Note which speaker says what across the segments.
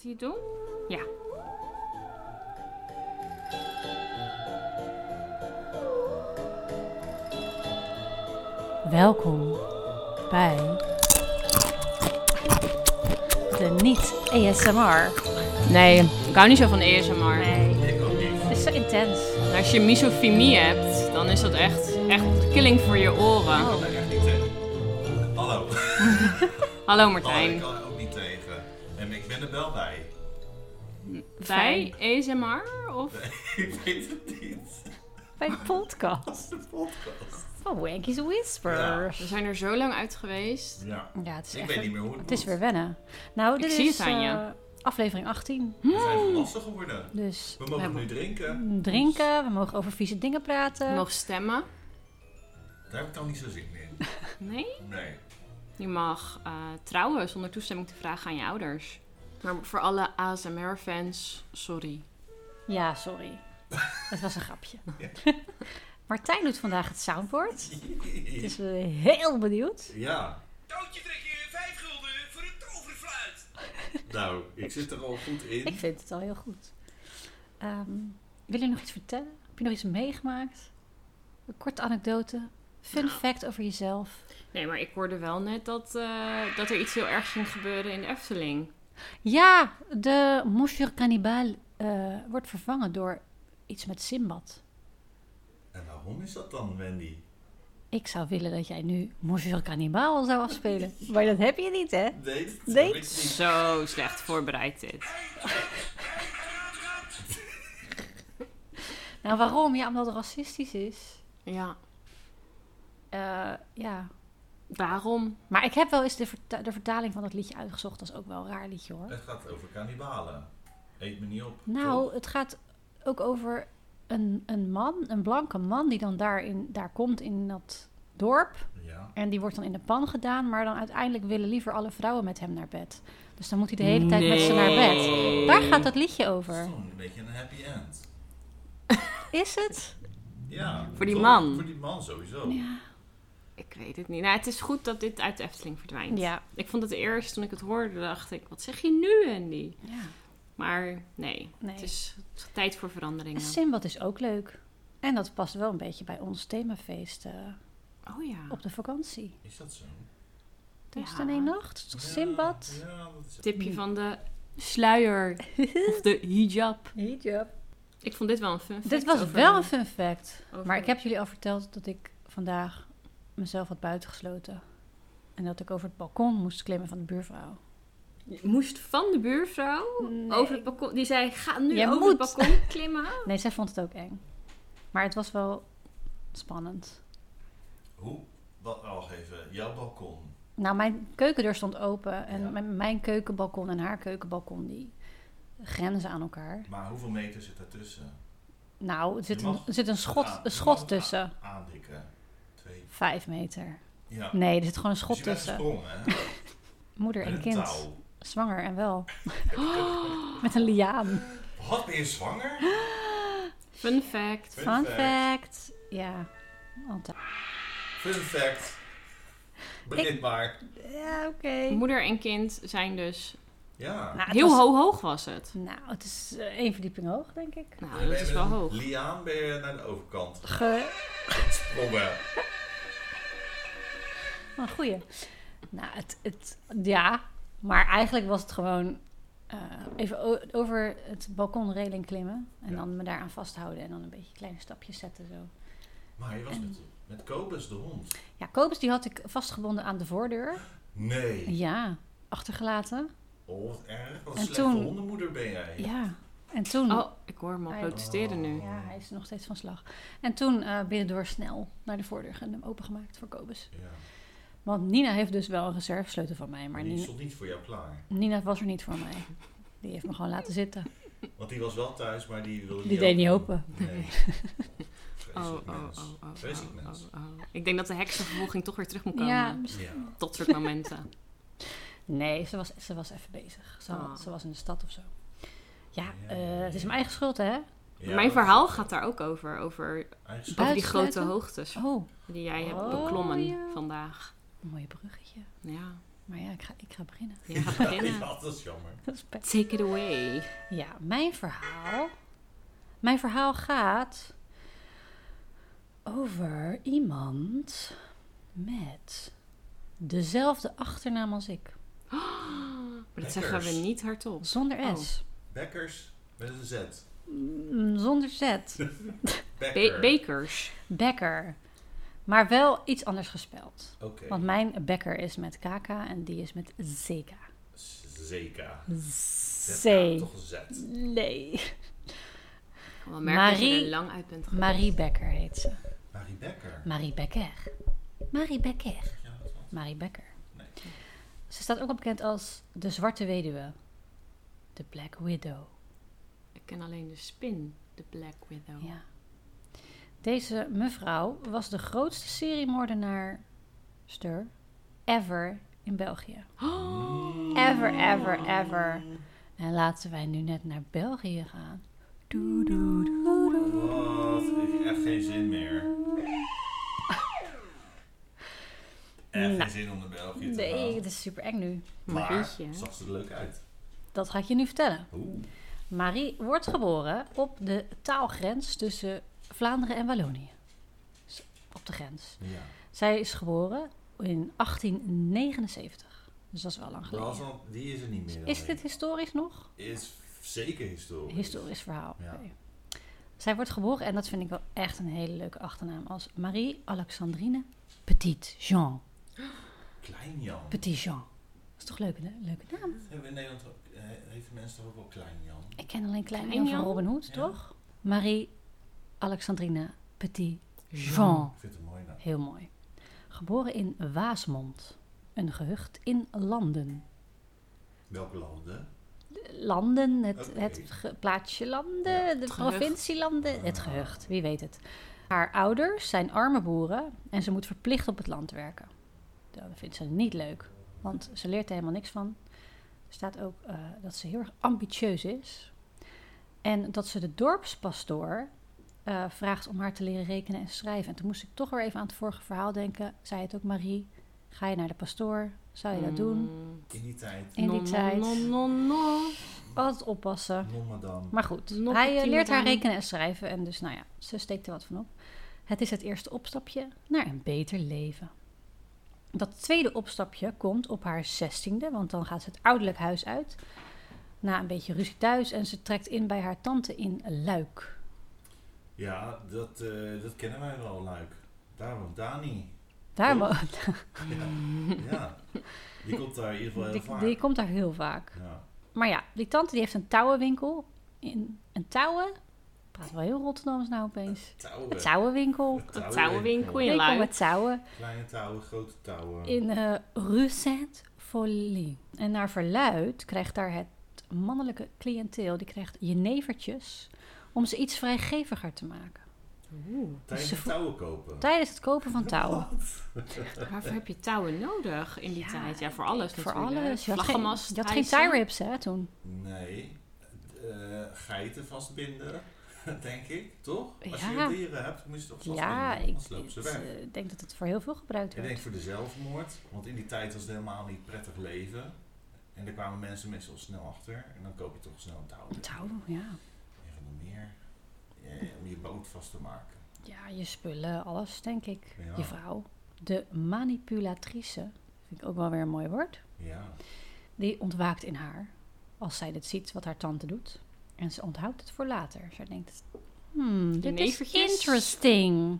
Speaker 1: hij het doen? Ja.
Speaker 2: Welkom bij de niet-ASMR.
Speaker 1: Nee, ik hou niet zo van ASMR.
Speaker 2: Nee, het is zo intens.
Speaker 1: En Als je misofinie hebt, dan is dat echt, echt killing voor je oren.
Speaker 2: Oh.
Speaker 3: Nou, echt niet tegen. Hallo.
Speaker 1: Hallo
Speaker 3: Hallo, ik
Speaker 1: Martijn.
Speaker 3: kan er ook niet tegen. En ik ben er wel bij.
Speaker 1: Bij ASMR? Of?
Speaker 3: ik weet het niet.
Speaker 2: Bij de podcast.
Speaker 3: Dat is de podcast.
Speaker 2: Oh, Wanky's Whisper.
Speaker 1: We zijn er zo lang uit geweest.
Speaker 3: Ja.
Speaker 2: Ja, het is
Speaker 3: Ik
Speaker 2: echt
Speaker 3: weet
Speaker 2: een-
Speaker 3: niet meer hoe het
Speaker 2: Het is
Speaker 3: moet.
Speaker 2: weer wennen. Nou, dit
Speaker 1: zie
Speaker 2: is
Speaker 1: het aan je. Hm?
Speaker 2: eh, aflevering 18.
Speaker 3: We zijn volwassen geworden.
Speaker 2: Dus
Speaker 3: We mogen nu drinken.
Speaker 2: drinken, we mogen over vieze dingen
Speaker 1: We
Speaker 2: praten.
Speaker 1: mogen stemmen.
Speaker 3: Daar heb ik dan niet zo zin in.
Speaker 1: Nee?
Speaker 3: Nee.
Speaker 1: Je mag eh, trouwen zonder toestemming te vragen aan je ouders. Maar voor alle ASMR-fans, sorry.
Speaker 2: Ja, sorry. Het was een grapje.
Speaker 3: Ja.
Speaker 2: Martijn doet vandaag het soundboard. Dus we zijn heel benieuwd.
Speaker 3: Ja.
Speaker 4: Tootje trek je 5 gulden voor een toverfluit.
Speaker 3: Nou, ik zit er al goed in.
Speaker 2: Ik vind het al heel goed. Ehm, wil je nog iets vertellen? Heb je nog iets meegemaakt? Een korte anekdote. Fun fact over jezelf.
Speaker 1: Nee, maar ik hoorde wel net dat, eh, dat er iets heel ergs ging gebeuren in de Efteling.
Speaker 2: Ja, de Monsieur Cannibal eh, wordt vervangen door iets met Simbad.
Speaker 3: En waarom is dat dan, Wendy?
Speaker 2: Ik zou willen dat jij nu Monsieur Cannibal zou afspelen. Maar dat heb je niet, hè?
Speaker 3: Nee, dat
Speaker 2: Nee.
Speaker 3: heb ik niet.
Speaker 1: Zo slecht voorbereid dit.
Speaker 2: Nou, waarom? Ja, omdat het racistisch is.
Speaker 1: Ja,
Speaker 2: Eh, ja.
Speaker 1: waarom?
Speaker 2: Maar ik heb wel eens de, verta- de vertaling van dat liedje uitgezocht. Dat is ook wel een raar liedje, hoor.
Speaker 3: Het gaat over kannibalen. Eet me niet op.
Speaker 2: Nou,
Speaker 3: toch?
Speaker 2: het gaat ook over een, een man, een blanke man, die dan daar, in, daar komt in dat dorp.
Speaker 3: Ja.
Speaker 2: En die wordt dan in de pan gedaan, maar dan uiteindelijk willen liever alle vrouwen met hem naar bed. Dus dan moet hij de hele tijd met ze naar bed. Daar gaat dat liedje
Speaker 3: Dat is
Speaker 2: over.
Speaker 3: toch een beetje een happy end.
Speaker 2: Is het?
Speaker 3: Ja.
Speaker 1: Voor die
Speaker 3: toch?
Speaker 1: man.
Speaker 3: Voor die man sowieso.
Speaker 2: Ja.
Speaker 1: Ik weet het niet. Nou, het is goed dat dit uit de Efteling verdwijnt.
Speaker 2: Ja.
Speaker 1: Ik vond het eerst, toen ik het hoorde, dacht ik, wat zeg je nu, Andy?
Speaker 2: ja.
Speaker 1: Maar nee,
Speaker 2: Nee.
Speaker 1: het is tijd voor veranderingen.
Speaker 2: Simbad is ook leuk. En dat past wel een beetje bij ons themafeest eh,
Speaker 1: Oh ja.
Speaker 2: op de vakantie.
Speaker 3: Is dat zo?
Speaker 2: Dus
Speaker 1: Ja.
Speaker 2: dan één nacht,
Speaker 3: Ja,
Speaker 2: Simbad.
Speaker 3: Ja, dat is
Speaker 2: Hmm.
Speaker 1: Tipje van de sluier of de hijab. Ik vond dit wel een fun fact
Speaker 2: Dit was
Speaker 1: over-
Speaker 2: wel een fun fact.
Speaker 1: over-
Speaker 2: Maar ik heb jullie al verteld dat ik vandaag mezelf had buitengesloten. En dat ik over het balkon moest klimmen van de buurvrouw.
Speaker 1: Je moest van de buurvrouw over het balkon... Die zei, ga nu
Speaker 2: Jij
Speaker 1: over
Speaker 2: moet.
Speaker 1: het balkon klimmen.
Speaker 2: Nee, zij vond het ook eng. Maar het was wel spannend.
Speaker 3: Hoe? Wat, wacht even. Jouw balkon.
Speaker 2: Nou, mijn keukendeur stond open. En
Speaker 3: Ja.
Speaker 2: mijn, mijn keukenbalkon en haar keukenbalkon, die grenzen aan elkaar.
Speaker 3: Maar hoeveel meter zit ertussen?
Speaker 2: Nou, er zit
Speaker 3: Je
Speaker 2: een,
Speaker 3: mag-
Speaker 2: er zit een schot,
Speaker 3: Aan-
Speaker 2: een
Speaker 3: je mag
Speaker 2: schot tussen.
Speaker 3: a- ah, Aandikken. Twee.
Speaker 2: Vijf meter.
Speaker 3: Ja.
Speaker 2: Nee, er zit gewoon een
Speaker 3: Dus
Speaker 2: schot
Speaker 3: je bent
Speaker 2: tussen.
Speaker 3: gesprongen, hè?
Speaker 2: Moeder
Speaker 3: Met
Speaker 2: en
Speaker 3: een
Speaker 2: kind.
Speaker 3: touw.
Speaker 2: Zwanger en wel. Met een liaan.
Speaker 3: Wat, ben je zwanger?
Speaker 1: Fun fact.
Speaker 3: Fun
Speaker 2: Fun
Speaker 3: fact.
Speaker 2: fact. Ja, altijd.
Speaker 3: Fun fact. Begin maar.
Speaker 2: Ja, oké.
Speaker 1: Moeder en kind zijn dus...
Speaker 3: Ja.
Speaker 2: Nou, het
Speaker 1: Heel
Speaker 2: was-
Speaker 1: ho hoog was het.
Speaker 2: Nou, het is eh, één verdieping hoog, denk ik.
Speaker 1: Nou, dat
Speaker 3: Ben je
Speaker 1: is
Speaker 3: met
Speaker 1: wel
Speaker 3: een
Speaker 1: hoog.
Speaker 3: Liaan ben je naar de overkant
Speaker 2: Ge...
Speaker 3: gesprongen.
Speaker 2: Oh, goeie. Nou, het, het... Ja, maar eigenlijk was het gewoon... eh, even o- over het balkonreling klimmen. En
Speaker 3: Ja.
Speaker 2: dan me daaraan vasthouden. En dan een beetje kleine stapjes zetten zo.
Speaker 3: Maar je was met, met Kobus de hond.
Speaker 2: Ja, Kobus die had ik vastgebonden aan de voordeur.
Speaker 3: Nee.
Speaker 2: Ja, achtergelaten.
Speaker 3: Oh, wat erg. Wat
Speaker 2: En
Speaker 3: een slechte
Speaker 2: toen-
Speaker 3: hondenmoeder ben jij.
Speaker 2: Ja. En toen...
Speaker 1: Oh, ik hoor hem al
Speaker 2: Hm. Hij-
Speaker 1: protesteren nu.
Speaker 2: Ja, hij is nog steeds van slag. En toen eh binnendoor snel naar de voordeur en hem opengemaakt voor Kobus.
Speaker 3: Ja.
Speaker 2: Want Nina heeft dus wel een reservesleutel van mij. Maar
Speaker 3: Maar die
Speaker 2: Nina,
Speaker 3: stond niet voor jou klaar.
Speaker 2: Nina was er niet voor mij. Die heeft me gewoon laten zitten.
Speaker 3: Want die was wel thuis, maar die wilde
Speaker 2: Die deed niet open.
Speaker 3: Nee.
Speaker 1: Oh, oh,
Speaker 3: Vreselijk
Speaker 1: oh,
Speaker 3: mens.
Speaker 1: oh, oh,
Speaker 3: Vreselijk
Speaker 1: oh,
Speaker 3: mens.
Speaker 1: oh. Ik denk dat de heksenvervolging toch weer terug moet komen.
Speaker 2: Ja,
Speaker 3: Ja.
Speaker 1: Tot soort momenten.
Speaker 2: nee, ze was, ze was even bezig. Ze,
Speaker 1: Ah.
Speaker 2: ze was in de stad of zo. Oh. Ja,
Speaker 3: Ja,
Speaker 2: eh,
Speaker 3: ja, ja.
Speaker 2: het is mijn eigen schuld, hè?
Speaker 3: Ja,
Speaker 1: Mijn
Speaker 3: dat-
Speaker 1: verhaal gaat daar ook over. Over,
Speaker 3: Eigenlijk is-
Speaker 1: over die grote
Speaker 2: Uitsluiten?
Speaker 1: hoogtes
Speaker 2: Oh,
Speaker 1: die jij hebt
Speaker 2: Oh,
Speaker 1: beklommen
Speaker 2: ja.
Speaker 1: vandaag.
Speaker 2: een mooi bruggetje.
Speaker 1: Ja.
Speaker 2: Maar ja, ik ga, ik ga beginnen.
Speaker 1: Ja, ga beginnen.
Speaker 3: Ja, dat is jammer.
Speaker 2: Dat is pijn.
Speaker 1: Take it away.
Speaker 2: Ja, mijn verhaal. Mijn verhaal gaat over iemand met dezelfde achternaam als ik.
Speaker 1: Maar dat zeggen we niet hardop.
Speaker 2: Zonder
Speaker 1: Oh.
Speaker 2: S.
Speaker 3: Bekkers met een Z.
Speaker 2: Mm, Zonder Z.
Speaker 1: Be-
Speaker 3: Bekker.
Speaker 1: bekers.
Speaker 2: Becker. Maar wel iets anders gespeld.
Speaker 3: Oké.
Speaker 2: Want mijn Becker is met KK en die is met ZK.
Speaker 3: Zeker.
Speaker 2: Z.
Speaker 3: Zeker. Toch een Z.
Speaker 2: Nee.
Speaker 1: Ik kan wel merken dat je
Speaker 2: Marie-
Speaker 1: er lang uit bent geweest.
Speaker 2: Marie Becker heet ze.
Speaker 3: Marie Bekker.
Speaker 2: Marie Becker. Marie Becker.
Speaker 3: Ja, dat was-
Speaker 2: Marie Becker.
Speaker 3: Nee.
Speaker 2: Ze staat ook al bekend als de Zwarte Weduwe. De Black Widow.
Speaker 1: Ik ken alleen de spin, de Black Widow.
Speaker 2: Ja. Deze mevrouw was de grootste seriemoordenaarster ever in België. Ever, ever, ever. En laten wij nu net naar België gaan. Doe, doe, doe, doe.
Speaker 3: Wat? Ik heb echt geen zin meer. Echt geen zin om naar België te gaan.
Speaker 2: Nee, het is super eng nu.
Speaker 3: maar
Speaker 1: Marietje.
Speaker 3: zag ze er leuk uit.
Speaker 2: Dat ga ik je nu vertellen.
Speaker 3: Oeh.
Speaker 2: Marie wordt geboren op de taalgrens tussen Vlaanderen en Wallonië. Dus Op de grens.
Speaker 3: Ja.
Speaker 2: Zij is geboren in 1879. Dus dat is wel lang
Speaker 3: Dat is
Speaker 2: geleden.
Speaker 3: al- die is er niet meer. dan
Speaker 2: Is
Speaker 3: ik.
Speaker 2: dit historisch nog?
Speaker 3: Is zeker historisch.
Speaker 2: Historisch verhaal.
Speaker 3: Ja.
Speaker 2: Oké. Zij wordt geboren, en dat vind ik wel echt een hele leuke achternaam, als Marie-Alexandrine Petit Jean.
Speaker 3: Klein Jan.
Speaker 2: Petit Jean. Dat is toch een leuke, leuke naam?
Speaker 3: Hebben we in Nederland ook, eh, heeft mensen toch ook wel Klein Jan?
Speaker 2: Ik ken alleen Klein
Speaker 1: Klein
Speaker 2: Jan van
Speaker 1: Jan?
Speaker 2: Robin Hood,
Speaker 3: Ja.
Speaker 2: toch? Marie-Alexandrine Petit Jean.
Speaker 3: Ik vind het nou, een mooie naam.
Speaker 2: Heel mooi. Geboren in Waasmond, een gehucht in Landen.
Speaker 3: Welke landen?
Speaker 2: Landen, het,
Speaker 3: Oké.
Speaker 2: het ge- plaatsje Landen, de
Speaker 1: gehucht.
Speaker 2: provincie Landen, het
Speaker 3: Ah.
Speaker 2: gehucht, wie weet het. Haar ouders zijn arme boeren en ze moet verplicht op het land werken. Dat vindt ze niet leuk, want ze leert er helemaal niks van. Er staat ook eh, dat ze heel erg ambitieus is. En dat ze de dorpspastoor eh, vraagt om haar te leren rekenen en schrijven. En toen moest ik toch weer even aan het vorige verhaal denken. Zei het ook Marie, ga je naar de pastoor? Zou je dat doen?
Speaker 1: Mm.
Speaker 3: In die tijd.
Speaker 2: In die
Speaker 1: Non,
Speaker 2: tijd.
Speaker 1: Non, non, non.
Speaker 2: Altijd oppassen.
Speaker 3: Non madame.
Speaker 2: Maar goed,
Speaker 1: Nog
Speaker 2: hij eh,
Speaker 1: optimaal.
Speaker 2: leert haar rekenen en schrijven. En dus, nou ja, ze steekt er wat van op. Het is het eerste opstapje naar een beter leven. Dat tweede opstapje komt op haar zestiende, want dan gaat ze het ouderlijk huis uit. Na een beetje ruzie thuis en ze trekt in bij haar tante in Luik.
Speaker 3: Ja, dat, eh, dat kennen wij wel, Luik. Daar woont Dani.
Speaker 2: Daar,
Speaker 3: Oh,
Speaker 2: wo-
Speaker 3: Ja. ja. Die komt daar in ieder geval heel
Speaker 2: die,
Speaker 3: vaak.
Speaker 2: die komt daar heel vaak.
Speaker 3: Ja.
Speaker 2: Maar ja, die tante die heeft een touwenwinkel. In, een touwen? Ik Praat wel heel Rotterdams nou opeens.
Speaker 3: Touwen.
Speaker 2: Een touwenwinkel.
Speaker 3: Een
Speaker 1: Een touwenwinkel in
Speaker 2: Winkel
Speaker 1: Luik.
Speaker 2: met touwen.
Speaker 3: Kleine touwen, grote touwen.
Speaker 2: in eh Rue Sainte-Folie. En naar verluid krijgt daar het mannelijke cliënteel, die krijgt jenevertjes om ze iets vrijgeviger te maken.
Speaker 1: Oeh.
Speaker 3: Tijdens
Speaker 2: ze
Speaker 3: het
Speaker 2: vo-
Speaker 3: touwen kopen.
Speaker 2: Tijdens het kopen van
Speaker 1: Oh,
Speaker 2: touwen.
Speaker 1: Waarvoor heb je touwen nodig in die
Speaker 2: Ja,
Speaker 1: tijd? Ja, voor alles
Speaker 2: Voor
Speaker 1: natuurlijk.
Speaker 2: alles. Je had geen,
Speaker 1: Vlaggenmast,
Speaker 2: je had geen
Speaker 1: hijsen.
Speaker 2: tie-rips hè, toen.
Speaker 3: Nee. Eh, geiten vastbinden, denk ik, toch? Als
Speaker 2: Ja.
Speaker 3: je dieren hebt, moet je toch vastbinden,
Speaker 2: Ja, ik
Speaker 3: anders lopen ze
Speaker 2: het,
Speaker 3: weg.
Speaker 2: eh, denk dat het voor heel veel gebruikt
Speaker 3: Ik denk
Speaker 2: werd.
Speaker 3: voor de zelfmoord, want in die tijd was het helemaal niet prettig leven. En daar kwamen mensen meestal snel achter. En dan koop je toch snel een touw.
Speaker 2: Een touw, ja.
Speaker 3: En van de meer. eh, om je boot vast te maken.
Speaker 2: Ja, je spullen, alles denk ik.
Speaker 3: Ja.
Speaker 2: Je vrouw. De manipulatrice, vind ik ook wel weer een mooi woord.
Speaker 3: Ja.
Speaker 2: Die ontwaakt in haar als zij dit ziet wat haar tante doet. En ze onthoudt het voor later. Zij denkt, hmm, dit is
Speaker 1: Jenevertjes?
Speaker 2: interesting.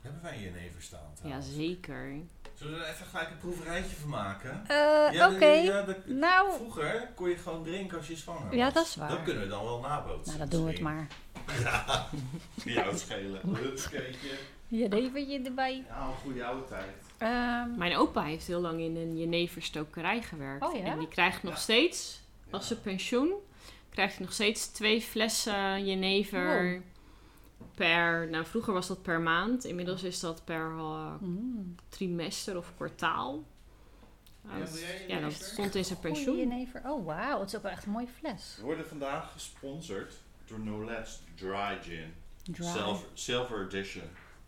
Speaker 3: Hebben wij hier neven staan?
Speaker 1: Ja,
Speaker 3: trouwens?
Speaker 1: zeker.
Speaker 3: Zullen we er even gelijk een proeverijtje van maken?
Speaker 2: Eh,
Speaker 3: Ja,
Speaker 2: Oké,
Speaker 3: ja, dat-
Speaker 2: nou...
Speaker 3: Vroeger kon je gewoon drinken als je zwanger was.
Speaker 2: Ja, dat is waar.
Speaker 3: Dat kunnen we dan wel
Speaker 2: Nou,
Speaker 3: nabootsen.
Speaker 2: dat doen we het
Speaker 3: misschien.
Speaker 2: maar.
Speaker 3: Ja, dat schelen. Hupskeetje.
Speaker 2: Jenevertje erbij.
Speaker 3: Ja, een goede oude tijd.
Speaker 2: Ehm,
Speaker 1: Mijn opa heeft heel lang in een jeneverstokerij gewerkt.
Speaker 2: Oh ja?
Speaker 1: En die krijgt nog steeds,
Speaker 3: Ja.
Speaker 1: als ze pensioen, krijgt hij nog steeds twee flessen jenever per... Nou, vroeger was dat per maand. Inmiddels is dat per eh,
Speaker 2: mm,
Speaker 1: trimester of kwartaal.
Speaker 3: Ja,
Speaker 1: dat-
Speaker 3: wil jij jenever?
Speaker 1: ja, dat stond in zijn
Speaker 2: goeie
Speaker 1: pensioen.
Speaker 2: jenever. Oh, wauw. Het is ook wel echt een mooie fles.
Speaker 3: We worden vandaag gesponsord door No Less Dry Gin.
Speaker 2: Dry.
Speaker 3: Silver, silver Edition.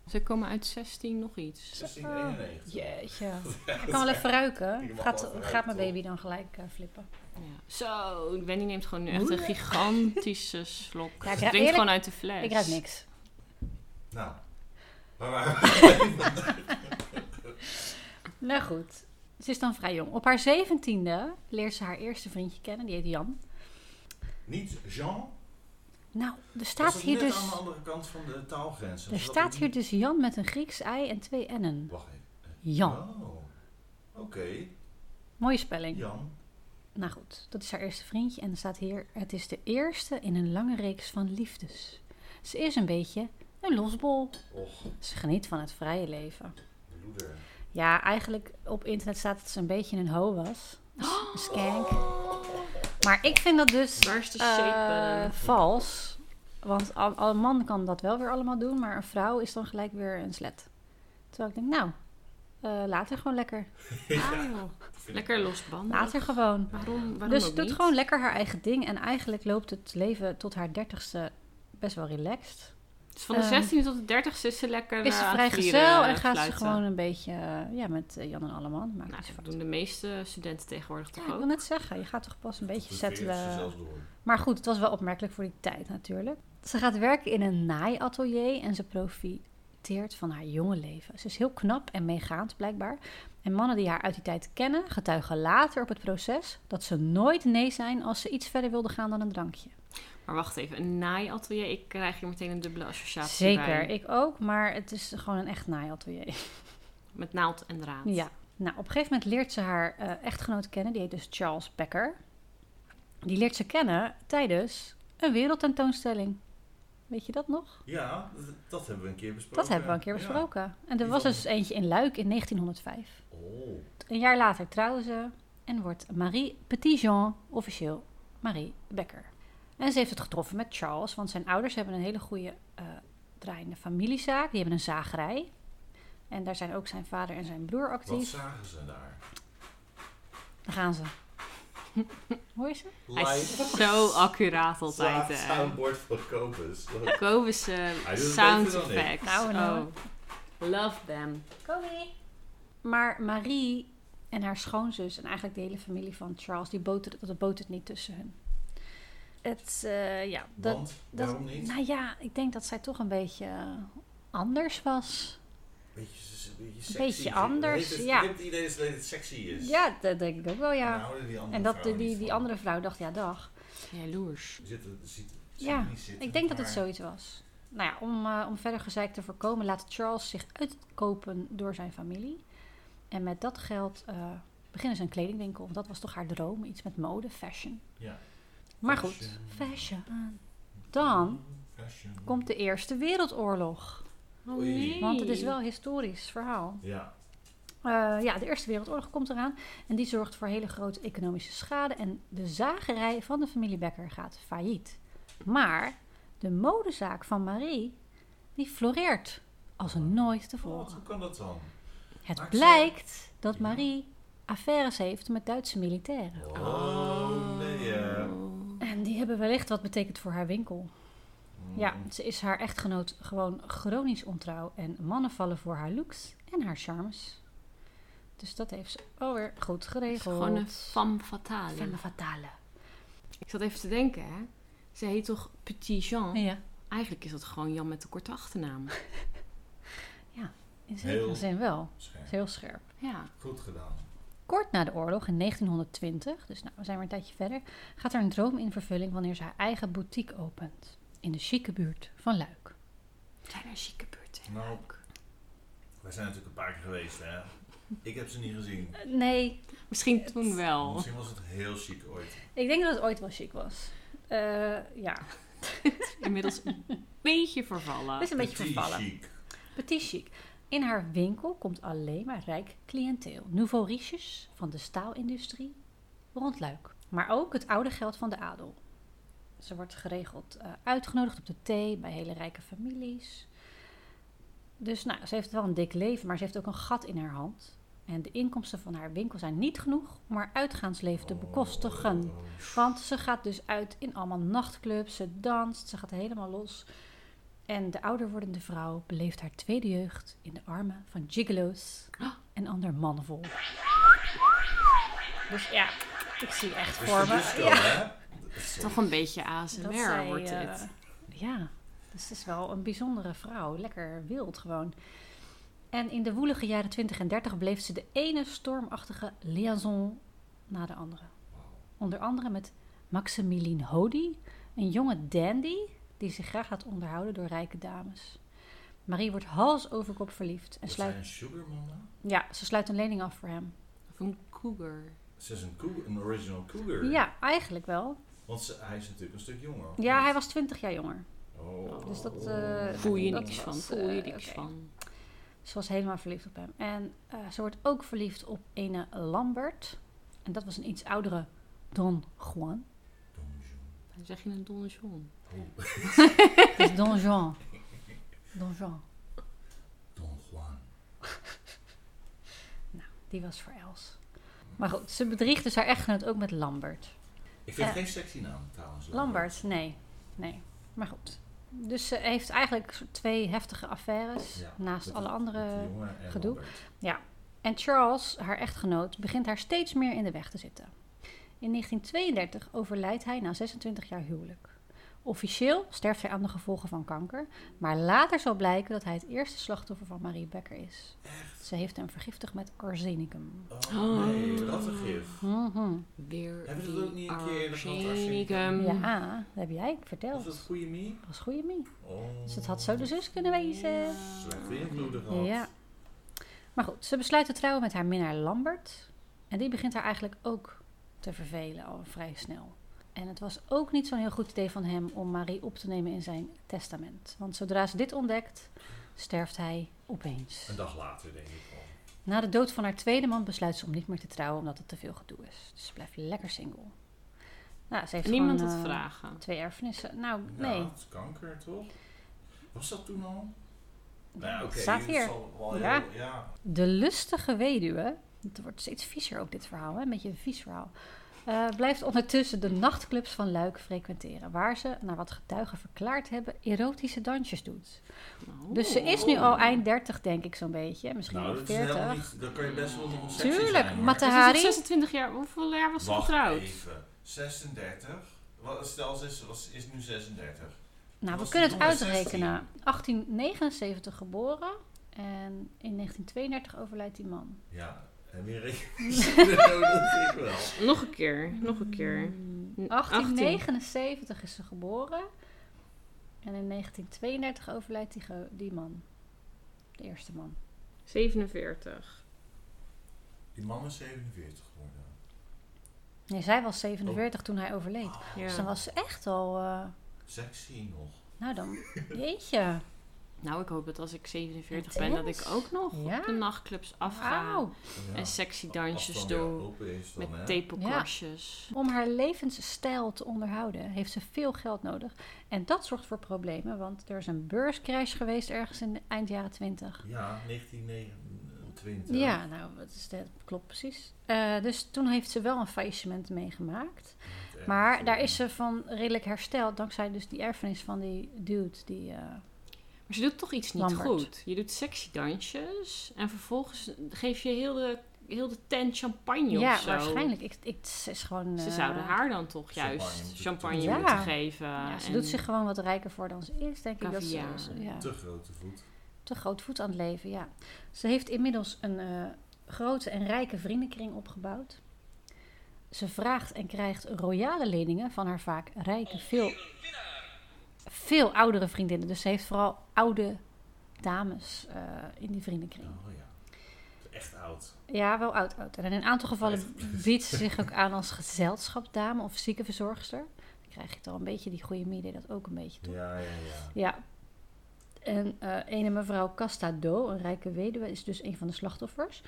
Speaker 1: Ze komen uit 16 nog iets.
Speaker 3: 1691.
Speaker 2: Jeetje. Ik kan wel even ruiken.
Speaker 3: Je mag
Speaker 2: Gaat,
Speaker 3: wel even
Speaker 2: gaat mijn
Speaker 3: ruiken,
Speaker 2: baby dan gelijk eh, flippen?
Speaker 1: Ja. Zo, Wendy neemt gewoon nu echt een
Speaker 2: Moeilijk.
Speaker 1: gigantische slok. Ze
Speaker 2: Ja, ik
Speaker 1: drinkt
Speaker 2: ruik- eerlijk-
Speaker 1: gewoon uit de fles.
Speaker 2: Ik ruik niks.
Speaker 3: Nou, waar waren we?
Speaker 2: Nou goed. Ze is dan vrij jong. Op haar zeventiende leert ze haar eerste vriendje kennen. Die heet Jan.
Speaker 3: Niet Jean.
Speaker 2: Nou, er
Speaker 3: Dat
Speaker 2: staat
Speaker 3: is
Speaker 2: hier
Speaker 3: net aan
Speaker 2: dus...
Speaker 3: de andere kant van de taalgrens.
Speaker 2: Er staat hier dus Jan met een Grieks ei en twee n'en.
Speaker 3: Wacht even.
Speaker 2: Jan.
Speaker 3: Oh, oké.
Speaker 2: Mooie spelling.
Speaker 3: Jan.
Speaker 2: Nou goed, dat is haar eerste vriendje. En er staat hier: Het is de eerste in een lange reeks van liefdes. Ze is een beetje een losbol.
Speaker 3: Och,
Speaker 2: Ze geniet van het vrije leven.
Speaker 3: loeder.
Speaker 2: Ja, eigenlijk op internet staat dat ze een beetje een ho was. Een skank. Maar ik vind dat dus
Speaker 1: Oh. Waar is de
Speaker 2: eh,
Speaker 1: shape?
Speaker 2: vals. Want al, al een man kan dat wel weer allemaal doen, maar een vrouw is dan gelijk weer een slet. Terwijl ik denk, nou, eh later gewoon lekker. Eh,
Speaker 1: Ah, joh. Lekker losbanden.
Speaker 2: Later gewoon.
Speaker 1: Waarom, waarom
Speaker 2: Dus
Speaker 1: ook
Speaker 2: ze doet
Speaker 1: niet?
Speaker 2: gewoon lekker haar eigen ding. En eigenlijk loopt het leven tot haar dertigste best wel relaxed.
Speaker 1: Dus van de
Speaker 2: Ehm,
Speaker 1: 16 tot de 30ste is ze lekker
Speaker 2: is ze
Speaker 1: eh, aan
Speaker 2: vrij
Speaker 1: het
Speaker 2: gezel
Speaker 1: vieren,
Speaker 2: en gaat ze
Speaker 1: fluiten.
Speaker 2: gewoon een beetje... eh, Ja, met eh, Jan en Alleman. Maakt
Speaker 1: Nou,
Speaker 2: niks
Speaker 1: dat
Speaker 2: fout.
Speaker 1: doen de meeste studenten tegenwoordig toch
Speaker 2: Ja, ik wil
Speaker 1: ook?
Speaker 2: net zeggen, je gaat toch pas een beetje
Speaker 3: Ze
Speaker 2: settelen.
Speaker 3: zelfs door.
Speaker 2: Maar goed, het was wel opmerkelijk voor die tijd natuurlijk. Ze gaat werken in een naaiatelier en ze profiteert van haar jonge leven. Ze is heel knap en meegaand blijkbaar. En mannen die haar uit die tijd kennen, getuigen later op het proces dat ze nooit nee zijn als ze iets verder wilden gaan dan een drankje.
Speaker 1: Maar wacht even, een naaiatelier, ik krijg hier meteen een dubbele associatie
Speaker 2: Zeker,
Speaker 1: bij.
Speaker 2: ik ook, maar het is gewoon een echt naaiatelier.
Speaker 1: Met naald en draad.
Speaker 2: Ja, nou op een gegeven moment leert ze haar eh, echtgenoot kennen, die heet dus Charles Becker. Die leert ze kennen tijdens een wereldtentoonstelling. Weet je dat nog?
Speaker 3: Ja, d- dat hebben we een keer besproken.
Speaker 2: Dat hebben we een keer
Speaker 3: Oh, Ja.
Speaker 2: besproken. En er
Speaker 3: Die
Speaker 2: was
Speaker 3: van-
Speaker 2: dus eentje in Luik in 1905.
Speaker 3: Oh,
Speaker 2: Een jaar later trouwen ze en wordt Marie Petitjean officieel Marie Becker. En ze heeft het getroffen met Charles, want zijn ouders hebben een hele goede eh, draaiende familiezaak. Die hebben een zagerij. En daar zijn ook zijn vader en zijn broer
Speaker 3: wat
Speaker 2: actief.
Speaker 3: zagen ze daar?
Speaker 2: Daar gaan ze. Hoor je ze?
Speaker 1: Hij is zo accuraat altijd.
Speaker 3: Slaat
Speaker 1: hè.
Speaker 3: soundboard voor Kobus.
Speaker 1: Kobische
Speaker 3: Hij doet het
Speaker 1: eh, sound
Speaker 3: beter dan ik.
Speaker 1: effects.
Speaker 2: Nou, nou.
Speaker 1: Oh. Love them.
Speaker 2: Maar Marie en haar schoonzus en eigenlijk de hele familie van Charles, die boten, dat boten het niet tussen hun. Het, eh, ja, dat,
Speaker 3: Want,
Speaker 2: dat-
Speaker 3: waarom niet?
Speaker 2: Nou ja, ik denk dat zij toch een beetje eh, anders was.
Speaker 3: Beetje, ze- een beetje sexy.
Speaker 2: Beetje anders,
Speaker 3: Ik weet het-
Speaker 2: ja.
Speaker 3: Ik heb het idee dat het sexy is.
Speaker 2: Ja, dat denk ik ook wel,
Speaker 3: Daar
Speaker 2: ja.
Speaker 3: houden die andere
Speaker 2: En dat die,
Speaker 3: vrouwen
Speaker 2: die,
Speaker 3: niet
Speaker 2: die
Speaker 3: van.
Speaker 2: andere vrouw dacht, ja, dag.
Speaker 1: Jaloers.
Speaker 3: Zitten, zitten,
Speaker 2: Ja,
Speaker 3: zitten niet zitten,
Speaker 2: Ik denk dat het
Speaker 3: maar-
Speaker 2: zoiets was. Nou ja, om, eh, om verder gezeik te voorkomen, laat Charles zich uitkopen door zijn familie. En met dat geld eh, beginnen ze een kledingwinkel. Want dat was toch haar droom, iets met mode, fashion.
Speaker 3: Ja.
Speaker 2: Maar
Speaker 3: Fashion.
Speaker 2: goed, fashion. Dan
Speaker 3: Fashion.
Speaker 2: komt de Eerste Wereldoorlog.
Speaker 1: Oh,
Speaker 3: Oei.
Speaker 1: nee.
Speaker 2: Want het is wel een historisch verhaal.
Speaker 3: Ja,
Speaker 2: Eh, ja, de Eerste Wereldoorlog komt eraan. En die zorgt voor hele grote economische schade. En de zagerij van de familie Becker gaat failliet. Maar de modezaak van Marie, die floreert als een nooit
Speaker 3: Wat,
Speaker 2: tevoren.
Speaker 3: Oh, hoe kan dat dan?
Speaker 2: Het
Speaker 3: maakt
Speaker 2: blijkt dat
Speaker 3: Ja.
Speaker 2: Marie affaires heeft met Duitse militairen.
Speaker 3: Oh, nee. eh.
Speaker 1: Oh.
Speaker 2: En die hebben wellicht wat betekend voor haar winkel.
Speaker 3: Hmm,
Speaker 2: Ja, ze is haar echtgenoot gewoon chronisch ontrouw. En mannen vallen voor haar looks en haar charmes. Dus dat heeft ze alweer goed
Speaker 1: Het is
Speaker 2: geregeld.
Speaker 1: gewoon een femme fatale.
Speaker 2: Femme fatale.
Speaker 1: Ik zat even te denken, hè. Ze heet toch Petit Jean?
Speaker 2: Ja,
Speaker 1: Eigenlijk is dat gewoon Jan met de korte achternaam.
Speaker 2: in zekere
Speaker 3: Heel-
Speaker 2: zin wel.
Speaker 3: Scherp.
Speaker 2: Het is heel scherp.
Speaker 1: Ja.
Speaker 3: Goed gedaan.
Speaker 2: Kort na de oorlog, in 1920, dus nou, we zijn weer een tijdje verder, gaat er een droom in vervulling wanneer ze haar eigen boutique opent. In de chique buurt van Luik.
Speaker 1: Zijn er chique buurten?
Speaker 3: Nou. Wij zijn natuurlijk een paar keer geweest, hè. Ik heb ze niet gezien.
Speaker 2: Eh, Nee,
Speaker 1: Misschien toen wel.
Speaker 3: Misschien was het heel chic ooit.
Speaker 2: ik denk dat het ooit wel chic was. Eh, ja,
Speaker 1: Inmiddels een beetje vervallen.
Speaker 2: het is een beetje
Speaker 3: Ah, Petit
Speaker 2: vervallen.
Speaker 3: chic.
Speaker 2: Petit chic. In haar winkel komt alleen maar rijk cliënteel. Nouveau riches van de staalindustrie rond Luik. Maar ook het oude geld van de adel. Ze wordt geregeld eh, uitgenodigd op de thee bij hele rijke families. Dus nou, ze heeft wel een dik leven, maar ze heeft ook een gat in haar hand. En de inkomsten van haar winkel zijn niet genoeg om haar uitgaansleven te bekostigen.
Speaker 3: Oh,
Speaker 2: Want ze gaat dus uit in allemaal nachtclubs, ze danst, ze gaat helemaal los. En de ouder wordende vrouw beleeft haar tweede jeugd in de armen van gigolo's en ander mannenvol. Dus ja, ik zie echt
Speaker 3: Dus
Speaker 2: voor
Speaker 3: de
Speaker 2: me.
Speaker 3: disco,
Speaker 2: Ja.
Speaker 3: hè?
Speaker 1: Toch een beetje
Speaker 2: Dat
Speaker 1: ASMR
Speaker 2: zij,
Speaker 1: wordt dit.
Speaker 2: eh, ja, dus het is wel een bijzondere vrouw. Lekker wild gewoon. En in de woelige jaren 20 en 30 bleef ze de ene stormachtige liaison na de andere. Onder andere met Maximiline Hody, een jonge dandy die zich graag laat onderhouden door rijke dames. Marie wordt hals over kop verliefd en
Speaker 3: Wordt zij
Speaker 2: sluit,
Speaker 3: een sugar mama?
Speaker 2: ja, ze sluit een lening af voor hem.
Speaker 1: Of een cougar.
Speaker 3: Ze is een, cougar, een original cougar.
Speaker 2: Ja, eigenlijk wel.
Speaker 3: Want ze- hij is natuurlijk een stuk jonger. of
Speaker 2: Ja,
Speaker 3: niet?
Speaker 2: hij was 20 jaar jonger.
Speaker 3: Oh.
Speaker 2: Dus dat, eh,
Speaker 1: Voel je
Speaker 2: Dat
Speaker 1: niks
Speaker 2: was,
Speaker 1: van.
Speaker 2: eh,
Speaker 1: Voel je niks
Speaker 2: oké.
Speaker 1: van.
Speaker 2: Ze was helemaal verliefd op hem. En eh, ze wordt ook verliefd op ene Lambert. En dat was een iets oudere Don Juan.
Speaker 1: Dan zeg je een Don John.
Speaker 3: Oh,
Speaker 2: Het is Dus Don Juan. Don Juan.
Speaker 3: Don Juan.
Speaker 2: Die was voor Els. Maar goed, ze bedriegt dus haar echtgenoot ook met Lambert.
Speaker 3: Ik vind
Speaker 2: Ja.
Speaker 3: geen sexy naam trouwens.
Speaker 2: Lambert, nee. Nee. Maar goed. Dus ze heeft eigenlijk twee heftige affaires.
Speaker 3: Ja,
Speaker 2: naast
Speaker 3: met
Speaker 2: alle
Speaker 3: die- met
Speaker 2: andere
Speaker 3: die jongen en
Speaker 2: gedoe.
Speaker 3: Lambert.
Speaker 2: En Charles, haar echtgenoot, begint haar steeds meer in de weg te zitten. In 1932 overlijdt hij na 26 jaar huwelijk. Officieel sterft hij aan de gevolgen van kanker, maar later zal blijken dat hij het eerste slachtoffer van Marie Becker is. Ze heeft hem vergiftigd met arsenicum.
Speaker 3: Oh nee, rattengif.
Speaker 2: Mhm.
Speaker 1: Weer
Speaker 3: Hebben ze dat ook niet een
Speaker 1: die
Speaker 3: keer eerder gehad,
Speaker 1: arsenicum.
Speaker 2: Ja, dat heb jij
Speaker 3: Is
Speaker 2: verteld.
Speaker 3: dat
Speaker 2: Dat
Speaker 3: goede mie?
Speaker 2: was goede mee.
Speaker 3: Oh.
Speaker 2: Dus het had zo de zus kunnen wezen.
Speaker 3: Slechte invloeden gehad.
Speaker 2: Ja. Maar goed, ze besluit te trouwen met haar minnaar Lambert. En die begint haar eigenlijk ook te vervelen al vrij snel. En het was ook niet zo'n heel goed idee van hem om Marie op te nemen in zijn testament. Want zodra ze dit ontdekt, sterft hij opeens.
Speaker 3: Oh. Een dag later denk ik al.
Speaker 2: Na de dood van haar tweede man besluit ze om niet meer te trouwen omdat het te veel gedoe is. Dus ze blijft lekker single. Nou, ze heeft
Speaker 1: Niemand
Speaker 2: gewoon,
Speaker 1: het
Speaker 2: eh,
Speaker 1: vragen.
Speaker 2: Twee erfenissen. Nou,
Speaker 3: Ja,
Speaker 2: nee.
Speaker 3: het is kanker toch? Was dat toen al? Nou ja, oké.
Speaker 2: Staat
Speaker 3: het
Speaker 2: hier.
Speaker 3: zal wel
Speaker 2: Ja.
Speaker 3: heel- ja.
Speaker 2: De lustige weduwe, het wordt steeds viezer ook dit verhaal, hè? een beetje een vies verhaal, eh, blijft ondertussen de nachtclubs van Luik frequenteren, waar ze, naar wat getuigen verklaard hebben, erotische dansjes doet.
Speaker 1: Nou,
Speaker 2: Dus ze is nu al eind 30, denk ik zo'n beetje, misschien
Speaker 3: Nou,
Speaker 2: wel
Speaker 3: dat is helemaal
Speaker 2: 40.
Speaker 3: niet. Dan kan je best wel nog een sexy
Speaker 2: Tuurlijk,
Speaker 3: zijn, hoor.
Speaker 1: ze is nog
Speaker 2: Matahari.
Speaker 1: 26 jaar. Hoeveel jaar was ze
Speaker 3: Wacht
Speaker 1: getrouwd?
Speaker 3: even. 36. Wat, stel, ze is, was- is nu 36.
Speaker 2: Nou, we
Speaker 3: was
Speaker 2: kunnen
Speaker 3: die
Speaker 2: het
Speaker 3: jongen 16?
Speaker 2: uitrekenen. 1879 geboren en in 1932 overlijdt die man.
Speaker 3: Ja, en weer rekening. dat vind ik wel.
Speaker 1: Nog een keer. Nog een keer.
Speaker 2: Mm,
Speaker 1: 18.
Speaker 2: 1879 is ze geboren. En in 1932 overlijdt die, ge- die man. De eerste man.
Speaker 1: 47.
Speaker 3: Die man is 47 geworden.
Speaker 2: Nee, zij was 47 toen hij overleed. Dus dan
Speaker 1: Oh. Ja.
Speaker 2: was ze echt al... eh,
Speaker 3: Oh, Sexy nog.
Speaker 2: nou dan, jeetje.
Speaker 1: Nou, ik hoop dat als ik 47 ben,
Speaker 2: Intens.
Speaker 1: dat ik ook nog
Speaker 2: Ja.
Speaker 1: op de nachtclubs afga.
Speaker 2: Wauw.
Speaker 3: Oh, Ja.
Speaker 1: En sexy
Speaker 3: Als het
Speaker 1: dansjes
Speaker 3: dan
Speaker 1: doe.
Speaker 3: weer open is dan, hè.
Speaker 1: Met tepelkorstjes.
Speaker 2: Om haar levensstijl te onderhouden heeft ze veel geld nodig. En dat zorgt voor problemen, want er is een beurscrash geweest ergens in de eind jaren 20.
Speaker 3: Ja, 1929.
Speaker 2: Ja, nou, dat, is, dat klopt precies. Eh, dus toen heeft ze wel een faillissement meegemaakt.
Speaker 3: Met echt
Speaker 2: Maar
Speaker 3: veel-
Speaker 2: daar is ze van redelijk hersteld dankzij dus die erfenis van die dude. Die, eh,
Speaker 1: Maar ze doet toch iets niet
Speaker 2: Lambert.
Speaker 1: goed. Je doet sexy dansjes. En vervolgens geef je heel de, heel de tent champagne
Speaker 2: ja,
Speaker 1: of zo.
Speaker 2: waarschijnlijk. Ik, ik, ze is gewoon...
Speaker 1: Ze
Speaker 2: eh,
Speaker 1: zouden haar dan toch
Speaker 3: Champagne
Speaker 1: juist
Speaker 3: moeten-
Speaker 1: champagne
Speaker 2: Ja.
Speaker 1: moeten geven.
Speaker 2: Ja, ze
Speaker 1: en-
Speaker 2: doet zich gewoon wat rijker voor dan ze is, denk ik. Dat ze,
Speaker 1: Caviar.
Speaker 2: ze- ja,
Speaker 3: Te grote voet.
Speaker 2: te groot voet aan het leven, ja. Ze heeft inmiddels een eh, grote en rijke vriendenkring opgebouwd. Ze vraagt en krijgt royale leningen van haar vaak rijke, veel, veel oudere vriendinnen. Dus ze heeft vooral oude dames eh, in die vriendenkring.
Speaker 3: Oh ja. Echt oud.
Speaker 2: Ja, wel oud-oud. En in een aantal gevallen biedt ze zich ook aan als gezelschapsdame of ziekenverzorgster. Dan krijg je het al een beetje, die goede media dat ook een beetje toe. Ja.
Speaker 3: Ja, ja, ja.
Speaker 2: En eh ene mevrouw Castado, een rijke weduwe, is dus een van de slachtoffers.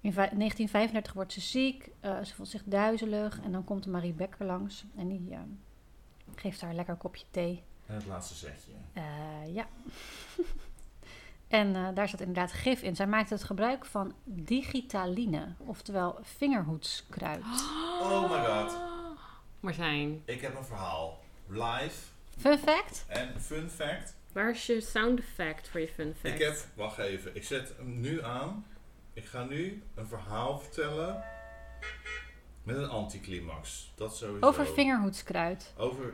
Speaker 2: In vij- 1935 wordt ze ziek, eh, ze voelt zich duizelig en dan komt Marie Becker langs en die eh, geeft haar een lekker kopje thee.
Speaker 3: En het laatste zetje.
Speaker 2: Eh, ja. en eh, daar zat inderdaad gif in. Zij maakte het gebruik van digitaline, oftewel vingerhoedskruid.
Speaker 3: Oh my god.
Speaker 1: Martijn.
Speaker 3: Ik heb een verhaal. Live.
Speaker 2: Fun fact?
Speaker 3: En fun fact.
Speaker 1: Waar is je sound effect voor je fun fact?
Speaker 3: Ik heb, wacht even, ik zet hem nu aan. Ik ga nu een verhaal vertellen met een anticlimax. Dat sowieso.
Speaker 2: Over vingerhoedskruid.
Speaker 3: Over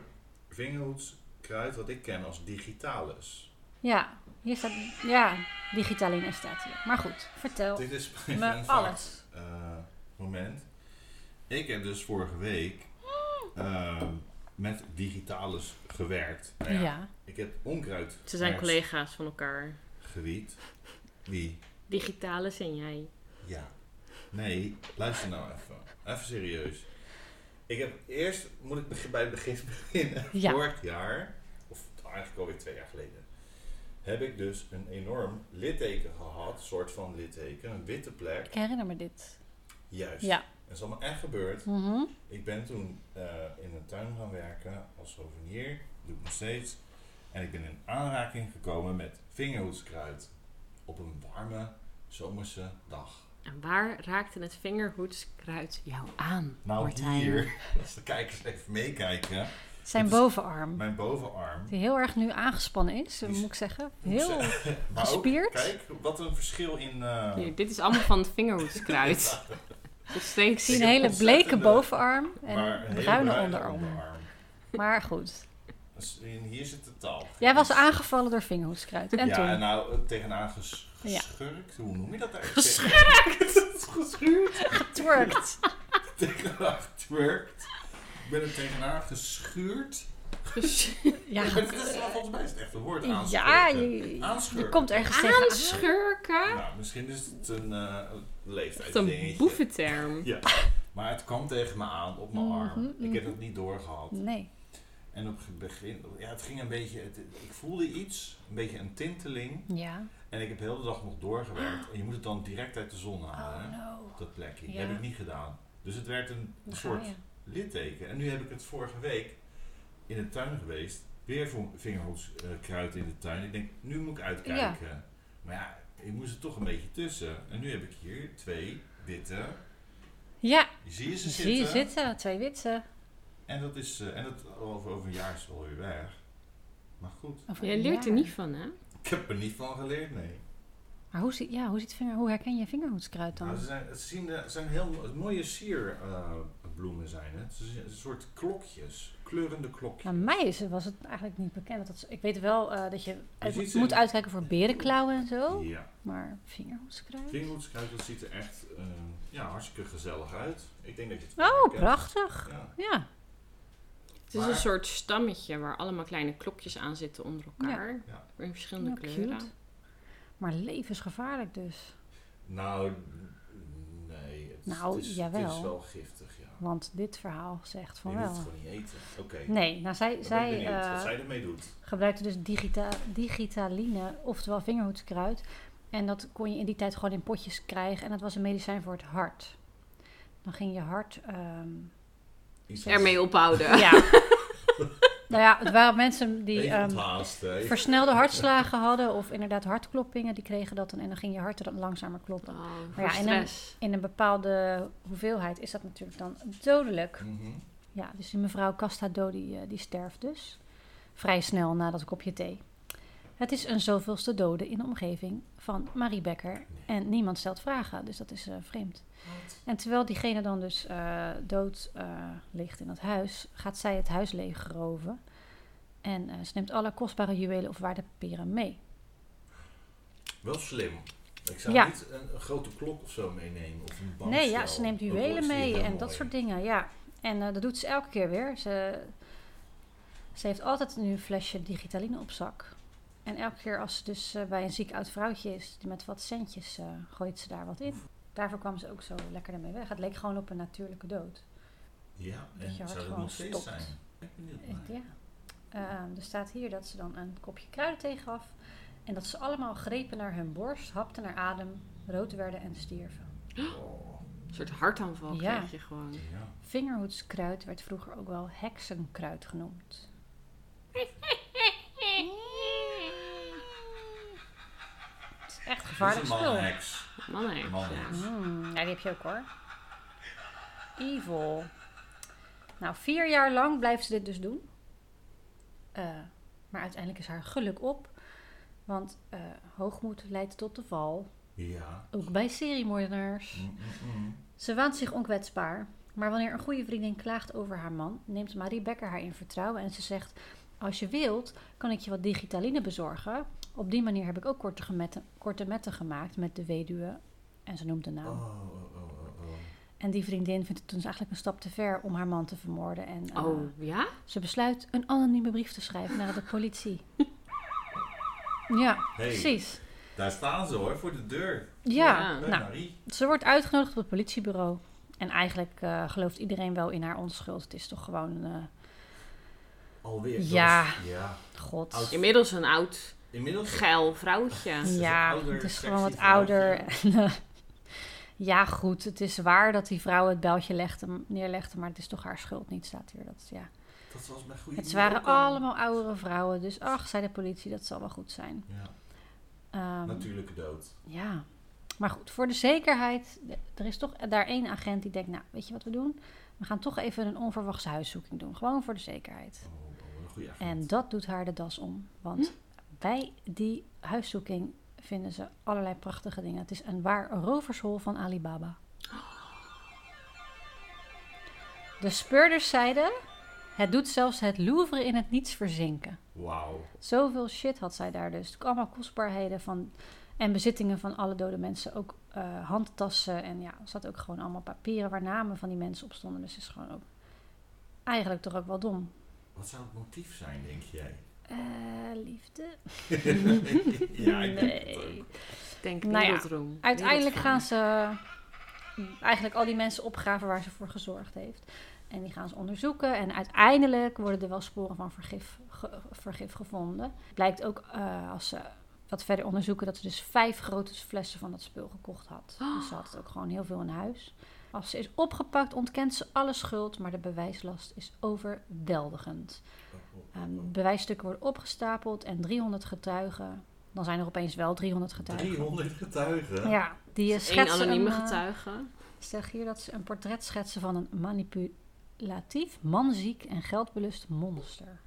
Speaker 3: vingerhoedskruid wat ik ken als digitalis.
Speaker 2: Ja, hier staat... Ja, digitaline staat hier. Maar goed, vertel
Speaker 3: Dit is mijn
Speaker 2: Oh. me
Speaker 3: fun fact,
Speaker 2: alles.
Speaker 3: eh, moment. Ik heb dus vorige week eh, met digitalis gewerkt. Nou ja,
Speaker 2: Ja.
Speaker 3: Ik heb onkruid
Speaker 1: Ze zijn
Speaker 3: gewerkt,
Speaker 1: collega's van elkaar.
Speaker 3: gewiet. Wie?
Speaker 1: Digitalis en jij.
Speaker 3: Ja. Nee, luister nou even. Even serieus. Ik heb eerst, moet ik beg- bij het begin beginnen.
Speaker 2: Ja.
Speaker 3: Vorig jaar, of eigenlijk alweer twee jaar geleden, heb ik dus een enorm litteken gehad. soort van litteken, een witte plek.
Speaker 2: Ik herinner me dit.
Speaker 3: Juist.
Speaker 2: Ja.
Speaker 3: Dat is allemaal echt gebeurd.
Speaker 2: Mhm.
Speaker 3: Ik ben toen eh, in een tuin gaan werken als souvenier. Doe ik nog steeds. En ik ben in aanraking gekomen met vingerhoedskruid. Op een warme zomerse dag.
Speaker 1: En waar raakte het vingerhoedskruid jou aan?
Speaker 3: Nou,
Speaker 1: Martijn?
Speaker 3: hier, als de kijkers even meekijken.
Speaker 2: Zijn
Speaker 3: Dit is-
Speaker 2: bovenarm.
Speaker 3: Mijn bovenarm.
Speaker 2: Die heel erg nu aangespannen is,
Speaker 3: Die is-
Speaker 2: moet ik zeggen.
Speaker 3: moet
Speaker 2: Heel
Speaker 3: ze- maar ook,
Speaker 2: gespierd.
Speaker 3: kijk, wat een verschil in... eh,
Speaker 1: Hier, dit is allemaal van het vingerhoedskruid. Tot
Speaker 2: Ik
Speaker 1: steeds.
Speaker 2: zie een hele bleke
Speaker 3: ontzettende-
Speaker 2: bovenarm en
Speaker 3: eh, maar
Speaker 2: een
Speaker 3: hele
Speaker 2: bruine onderarm. Maar goed,
Speaker 3: Dus in- hier zit de taal.
Speaker 2: jij was aangevallen door vingerhoedskruid. En
Speaker 3: Dus- ja, en
Speaker 2: toen?
Speaker 3: nou, eh, tegenaan ges-
Speaker 2: Ja.
Speaker 3: geschurkt. Hoe noem je dat eigenlijk?
Speaker 1: Geschurkt!
Speaker 3: Geschuurd?
Speaker 2: Getwerkt.
Speaker 3: tegenaan getwerkt. Ik ben er tegenaan geschuurd.
Speaker 2: Ja,
Speaker 3: Maar dat is wel volgens mij is het echt een woord aan.
Speaker 2: ja je, je
Speaker 3: Aanschurken.
Speaker 2: komt ergens tegenaan.
Speaker 1: Aanschurken?
Speaker 3: Nou, misschien is het een eh
Speaker 1: Echt
Speaker 3: leeftijd
Speaker 1: een boeventerm.
Speaker 3: Ja. Maar het kwam tegen me aan op
Speaker 2: Mhm,
Speaker 3: mijn arm. Ik heb het niet doorgehad.
Speaker 2: Nee.
Speaker 3: En op het begin, ja, het ging een beetje, het- ik voelde iets, een beetje een tinteling.
Speaker 2: Ja.
Speaker 3: En ik heb heel de hele dag nog doorgewerkt. En je moet het dan direct uit de zon halen,
Speaker 2: Oh
Speaker 3: Ah, hè,
Speaker 2: no.
Speaker 3: op dat plekje.
Speaker 2: Ja.
Speaker 3: Dat heb ik niet gedaan. Dus het werd een
Speaker 2: Daar ga
Speaker 3: soort
Speaker 2: je.
Speaker 3: litteken. En nu heb ik het vorige week in de tuin geweest. Weer voor vingerhoedskruid in de tuin. Ik denk, nu moet ik uitkijken. Maar ja, ik moest er toch een beetje tussen. En nu heb ik hier twee witte.
Speaker 2: Ja,
Speaker 3: Zie je ze zitten?
Speaker 2: zie je zitten. Twee witte.
Speaker 3: En dat is, eh, en dat over, over een jaar is het alweer weg. Maar goed,
Speaker 2: Over
Speaker 1: Jij
Speaker 2: een
Speaker 1: leert er
Speaker 2: jaar.
Speaker 1: niet van, hè?
Speaker 3: ik heb er niet van geleerd, nee.
Speaker 2: Maar hoe, zie, ja, hoe, ziet vinger, hoe herken je vingerhoedskruid
Speaker 3: Nou,
Speaker 2: dan?
Speaker 3: ze zijn, ze zien, eh, zijn heel mo- mooie sierbloemen zijn het. Ze zijn een soort klokjes, kleurende klokjes.
Speaker 2: Nou, mij is, was het eigenlijk niet bekend. Dat, is- ik weet wel eh, dat je uit-
Speaker 3: ziet ze-
Speaker 2: moet uitkijken voor berenklauwen en zo.
Speaker 3: Ja,
Speaker 2: Maar vingerhoedskruid?
Speaker 3: vingerhoedskruid, dat ziet er echt eh, ja, hartstikke gezellig uit. Ik denk dat je het wel
Speaker 2: Oh,
Speaker 3: herkent.
Speaker 2: prachtig.
Speaker 3: Ja.
Speaker 2: Ja.
Speaker 1: Het is
Speaker 3: Maar-
Speaker 1: een soort stammetje waar allemaal kleine klokjes aan zitten onder elkaar.
Speaker 3: Ja.
Speaker 1: In verschillende
Speaker 2: Ja,
Speaker 1: kleuren.
Speaker 2: cute. Maar levensgevaarlijk dus.
Speaker 3: Nou, nee, het, is-
Speaker 2: Nou,
Speaker 3: het is, het
Speaker 2: jawel.
Speaker 3: is wel giftig, ja.
Speaker 2: Want dit verhaal zegt
Speaker 3: Je
Speaker 2: van
Speaker 3: moet het
Speaker 2: wel.
Speaker 3: gewoon niet eten. Oké,
Speaker 2: Nee, nou zij,
Speaker 3: dan ben ik
Speaker 2: zij
Speaker 3: benieuwd
Speaker 2: eh,
Speaker 3: wat zij ermee doet.
Speaker 2: gebruikte dus digita digitaline, oftewel vingerhoedskruid. En dat kon je in die tijd gewoon in potjes krijgen. En dat was een medicijn voor het hart. Dan ging je hart... ehm,
Speaker 3: Iets
Speaker 1: Ermee ophouden.
Speaker 2: ja. nou ja, het waren mensen die...
Speaker 3: Even
Speaker 2: ehm,
Speaker 3: onthaast, hè.
Speaker 2: versnelde hartslagen hadden of inderdaad hartkloppingen, die kregen dat dan en dan ging je hart er dan langzamer kloppen.
Speaker 1: Oh, voor
Speaker 2: ja, en dan-
Speaker 1: stress.
Speaker 2: In een bepaalde hoeveelheid is dat natuurlijk dan dodelijk.
Speaker 3: Mhm.
Speaker 2: Ja, dus die mevrouw Castado die, eh, die sterft dus. Vrij snel na dat kopje thee. Het is een zoveelste dode in de omgeving van Marie Becker. En niemand stelt vragen, dus dat is eh, vreemd. En terwijl diegene dan dus eh, dood eh, ligt in dat huis, gaat zij het huis leegroven. En eh, ze neemt alle kostbare juwelen of waardepapieren mee.
Speaker 3: Wel slim. Ik zou
Speaker 2: Ja.
Speaker 3: niet een, een grote klok of zo meenemen. Of een bankstel.
Speaker 2: Nee, ja, ze neemt
Speaker 3: Ook al is
Speaker 2: juwelen
Speaker 3: die
Speaker 2: mee
Speaker 3: heel
Speaker 2: en dat
Speaker 3: mooi.
Speaker 2: soort dingen, ja. En eh, dat doet ze elke keer weer. Ze, ze heeft altijd nu een flesje digitaline op zak. En elke keer als ze dus eh, bij een ziek oud vrouwtje is, die met wat centjes, eh, gooit ze daar wat in. Daarvoor kwam ze ook zo lekker ermee weg. Het leek gewoon op een natuurlijke dood.
Speaker 3: Ja,
Speaker 2: Dat je
Speaker 3: en
Speaker 2: hart
Speaker 3: zou dat
Speaker 2: gewoon
Speaker 3: nog steeds
Speaker 2: stopt.
Speaker 3: zijn? Ik ben benieuwd
Speaker 2: Echt,
Speaker 3: naar.
Speaker 2: ja. Ehm, er staat hier dat ze dan een kopje kruiden tegengaf. En dat ze allemaal grepen naar hun borst, hapten naar adem, rood werden en stierven.
Speaker 3: Oh,
Speaker 1: Een soort hartaanval
Speaker 2: Ja.
Speaker 1: kreeg je gewoon.
Speaker 3: ja.
Speaker 2: Vingerhoedskruid werd vroeger ook wel heksenkruid genoemd. Het is echt
Speaker 3: Dat
Speaker 2: gevaarlijk
Speaker 3: is een
Speaker 2: spul.
Speaker 3: manheks.
Speaker 1: Mannen.
Speaker 3: Mannen.
Speaker 2: Mm, ja, die heb je ook hoor. Evil. Nou, vier jaar lang blijft ze dit dus doen. Eh, Maar uiteindelijk is haar geluk op. Want eh, hoogmoed leidt tot de val.
Speaker 3: Ja.
Speaker 2: Ook bij seriemoordenaars.
Speaker 3: Mm, mm, mm.
Speaker 2: Ze waant zich onkwetsbaar. Maar wanneer een goede vriendin klaagt over haar man, neemt Marie Becker haar in vertrouwen en ze zegt: Als je wilt, kan ik je wat digitaline bezorgen. Op die manier heb ik ook korte, gemetten, korte metten gemaakt met de weduwe. En ze noemt de naam.
Speaker 3: Oh, oh, oh, oh, oh.
Speaker 2: En die vriendin vindt het dus eigenlijk een stap te ver om haar man te vermoorden. En eh,
Speaker 1: Oh, ja?
Speaker 2: ze besluit een anonieme brief te schrijven naar de politie. Ja,
Speaker 3: Hey.
Speaker 2: precies.
Speaker 3: Daar staan ze hoor, voor de deur.
Speaker 2: Ja,
Speaker 1: Ja.
Speaker 3: Bij
Speaker 2: nou,
Speaker 3: Marie.
Speaker 2: ze wordt uitgenodigd op het politiebureau. En eigenlijk eh, gelooft iedereen wel in haar onschuld. Het is toch gewoon, eh,
Speaker 3: Alweer. Dat
Speaker 2: Ja.
Speaker 3: is- ja.
Speaker 2: god.
Speaker 3: Oud-
Speaker 1: Inmiddels een oud,
Speaker 3: Inmiddels.
Speaker 1: geil vrouwtje.
Speaker 3: Het is een
Speaker 2: Ja,
Speaker 3: ouder,
Speaker 2: het is gewoon wat
Speaker 3: sexy vrouwtje.
Speaker 2: ouder. En, eh, ja, goed, het is waar dat die vrouw het beltje legde, neerlegde, maar het is toch haar schuld niet, staat hier. Dat, ja.
Speaker 3: Dat was mijn goede
Speaker 2: Het
Speaker 3: idee
Speaker 2: waren
Speaker 3: ook al.
Speaker 2: allemaal oudere vrouwen, dus ach, zei de politie, dat zal wel goed zijn.
Speaker 3: Ja,
Speaker 2: Ehm,
Speaker 3: natuurlijke dood.
Speaker 2: ja, maar goed, voor de zekerheid, d- er is toch daar één agent die denkt, nou, weet je wat we doen? We gaan toch even een onverwachte huiszoeking doen, gewoon voor de zekerheid.
Speaker 3: Oh, oh, een goede agent.
Speaker 2: En dat doet haar de das om. Want bij die huiszoeking vinden ze allerlei prachtige dingen. Het is een waar rovershol van Alibaba. De speurders zeiden: het doet zelfs het Louvre in het niets verzinken.
Speaker 3: Wauw.
Speaker 2: Zoveel shit had zij daar dus. Allemaal kostbaarheden van, en bezittingen van alle dode mensen. Ook eh, handtassen en ja, er zat ook gewoon allemaal papieren waar namen van die mensen op stonden. Dus het is gewoon ook eigenlijk toch ook wel dom.
Speaker 3: Wat zou het motief zijn, denk jij?
Speaker 2: Eh, liefde.
Speaker 3: ja, ik denk het eh,
Speaker 2: Nee.
Speaker 3: ook.
Speaker 1: Ik Denk
Speaker 2: Nou ja,
Speaker 1: wereldroem.
Speaker 2: Uiteindelijk
Speaker 1: Wereldfame.
Speaker 2: gaan ze mm, eigenlijk al die mensen opgraven waar ze voor gezorgd heeft. En die gaan ze onderzoeken. En uiteindelijk worden er wel sporen van vergif, ge- vergif gevonden. Blijkt ook eh, als ze wat verder onderzoeken dat ze dus vijf grote flessen van dat spul gekocht had. Dus ze had het ook gewoon heel veel in huis. Als ze is opgepakt, ontkent ze alle schuld, maar de bewijslast is overweldigend.
Speaker 3: Oh, oh,
Speaker 2: Ehm,
Speaker 3: oh.
Speaker 2: bewijsstukken worden opgestapeld en 300 getuigen. Dan zijn er opeens wel 300 getuigen.
Speaker 3: 300 getuigen.
Speaker 2: Ja, die eh,
Speaker 1: Dus één
Speaker 2: schetsen
Speaker 1: anonieme
Speaker 2: een, eh,
Speaker 1: getuige.
Speaker 2: zeg hier dat ze een portret schetsen van een manipulatief, manziek en geldbelust monster.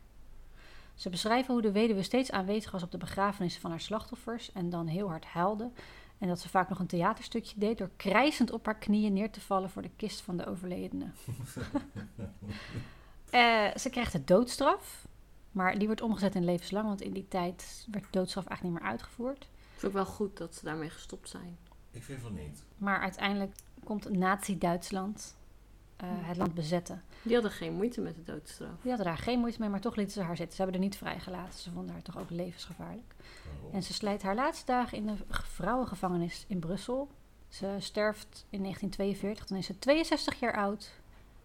Speaker 2: Ze beschrijven hoe de weduwe steeds aanwezig was op de begrafenissen van haar slachtoffers en dan heel hard huilde. En dat ze vaak nog een theaterstukje deed door krijzend op haar knieën neer te vallen voor de kist van de overledene. Eh, ze krijgt de doodstraf, maar die wordt omgezet in levenslang, want in die tijd werd doodstraf eigenlijk niet meer uitgevoerd.
Speaker 1: Vind ik wel goed dat ze daarmee gestopt zijn.
Speaker 3: Ik vind van niet.
Speaker 2: Maar uiteindelijk komt Nazi-Duitsland eh, het land bezetten.
Speaker 1: Die hadden geen moeite met de doodstraf.
Speaker 2: Die hadden daar geen moeite mee, maar toch lieten ze haar zitten. Ze hebben haar niet vrijgelaten. Ze vonden haar toch ook levensgevaarlijk.
Speaker 3: Oh.
Speaker 2: En ze slijt haar laatste dagen in de vrouwengevangenis in Brussel. Ze sterft in 1942, dan is ze 62 jaar oud,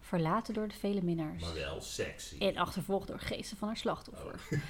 Speaker 2: verlaten door de vele minnaars.
Speaker 3: Maar wel sexy.
Speaker 2: En achtervolgd door geesten van haar slachtoffer.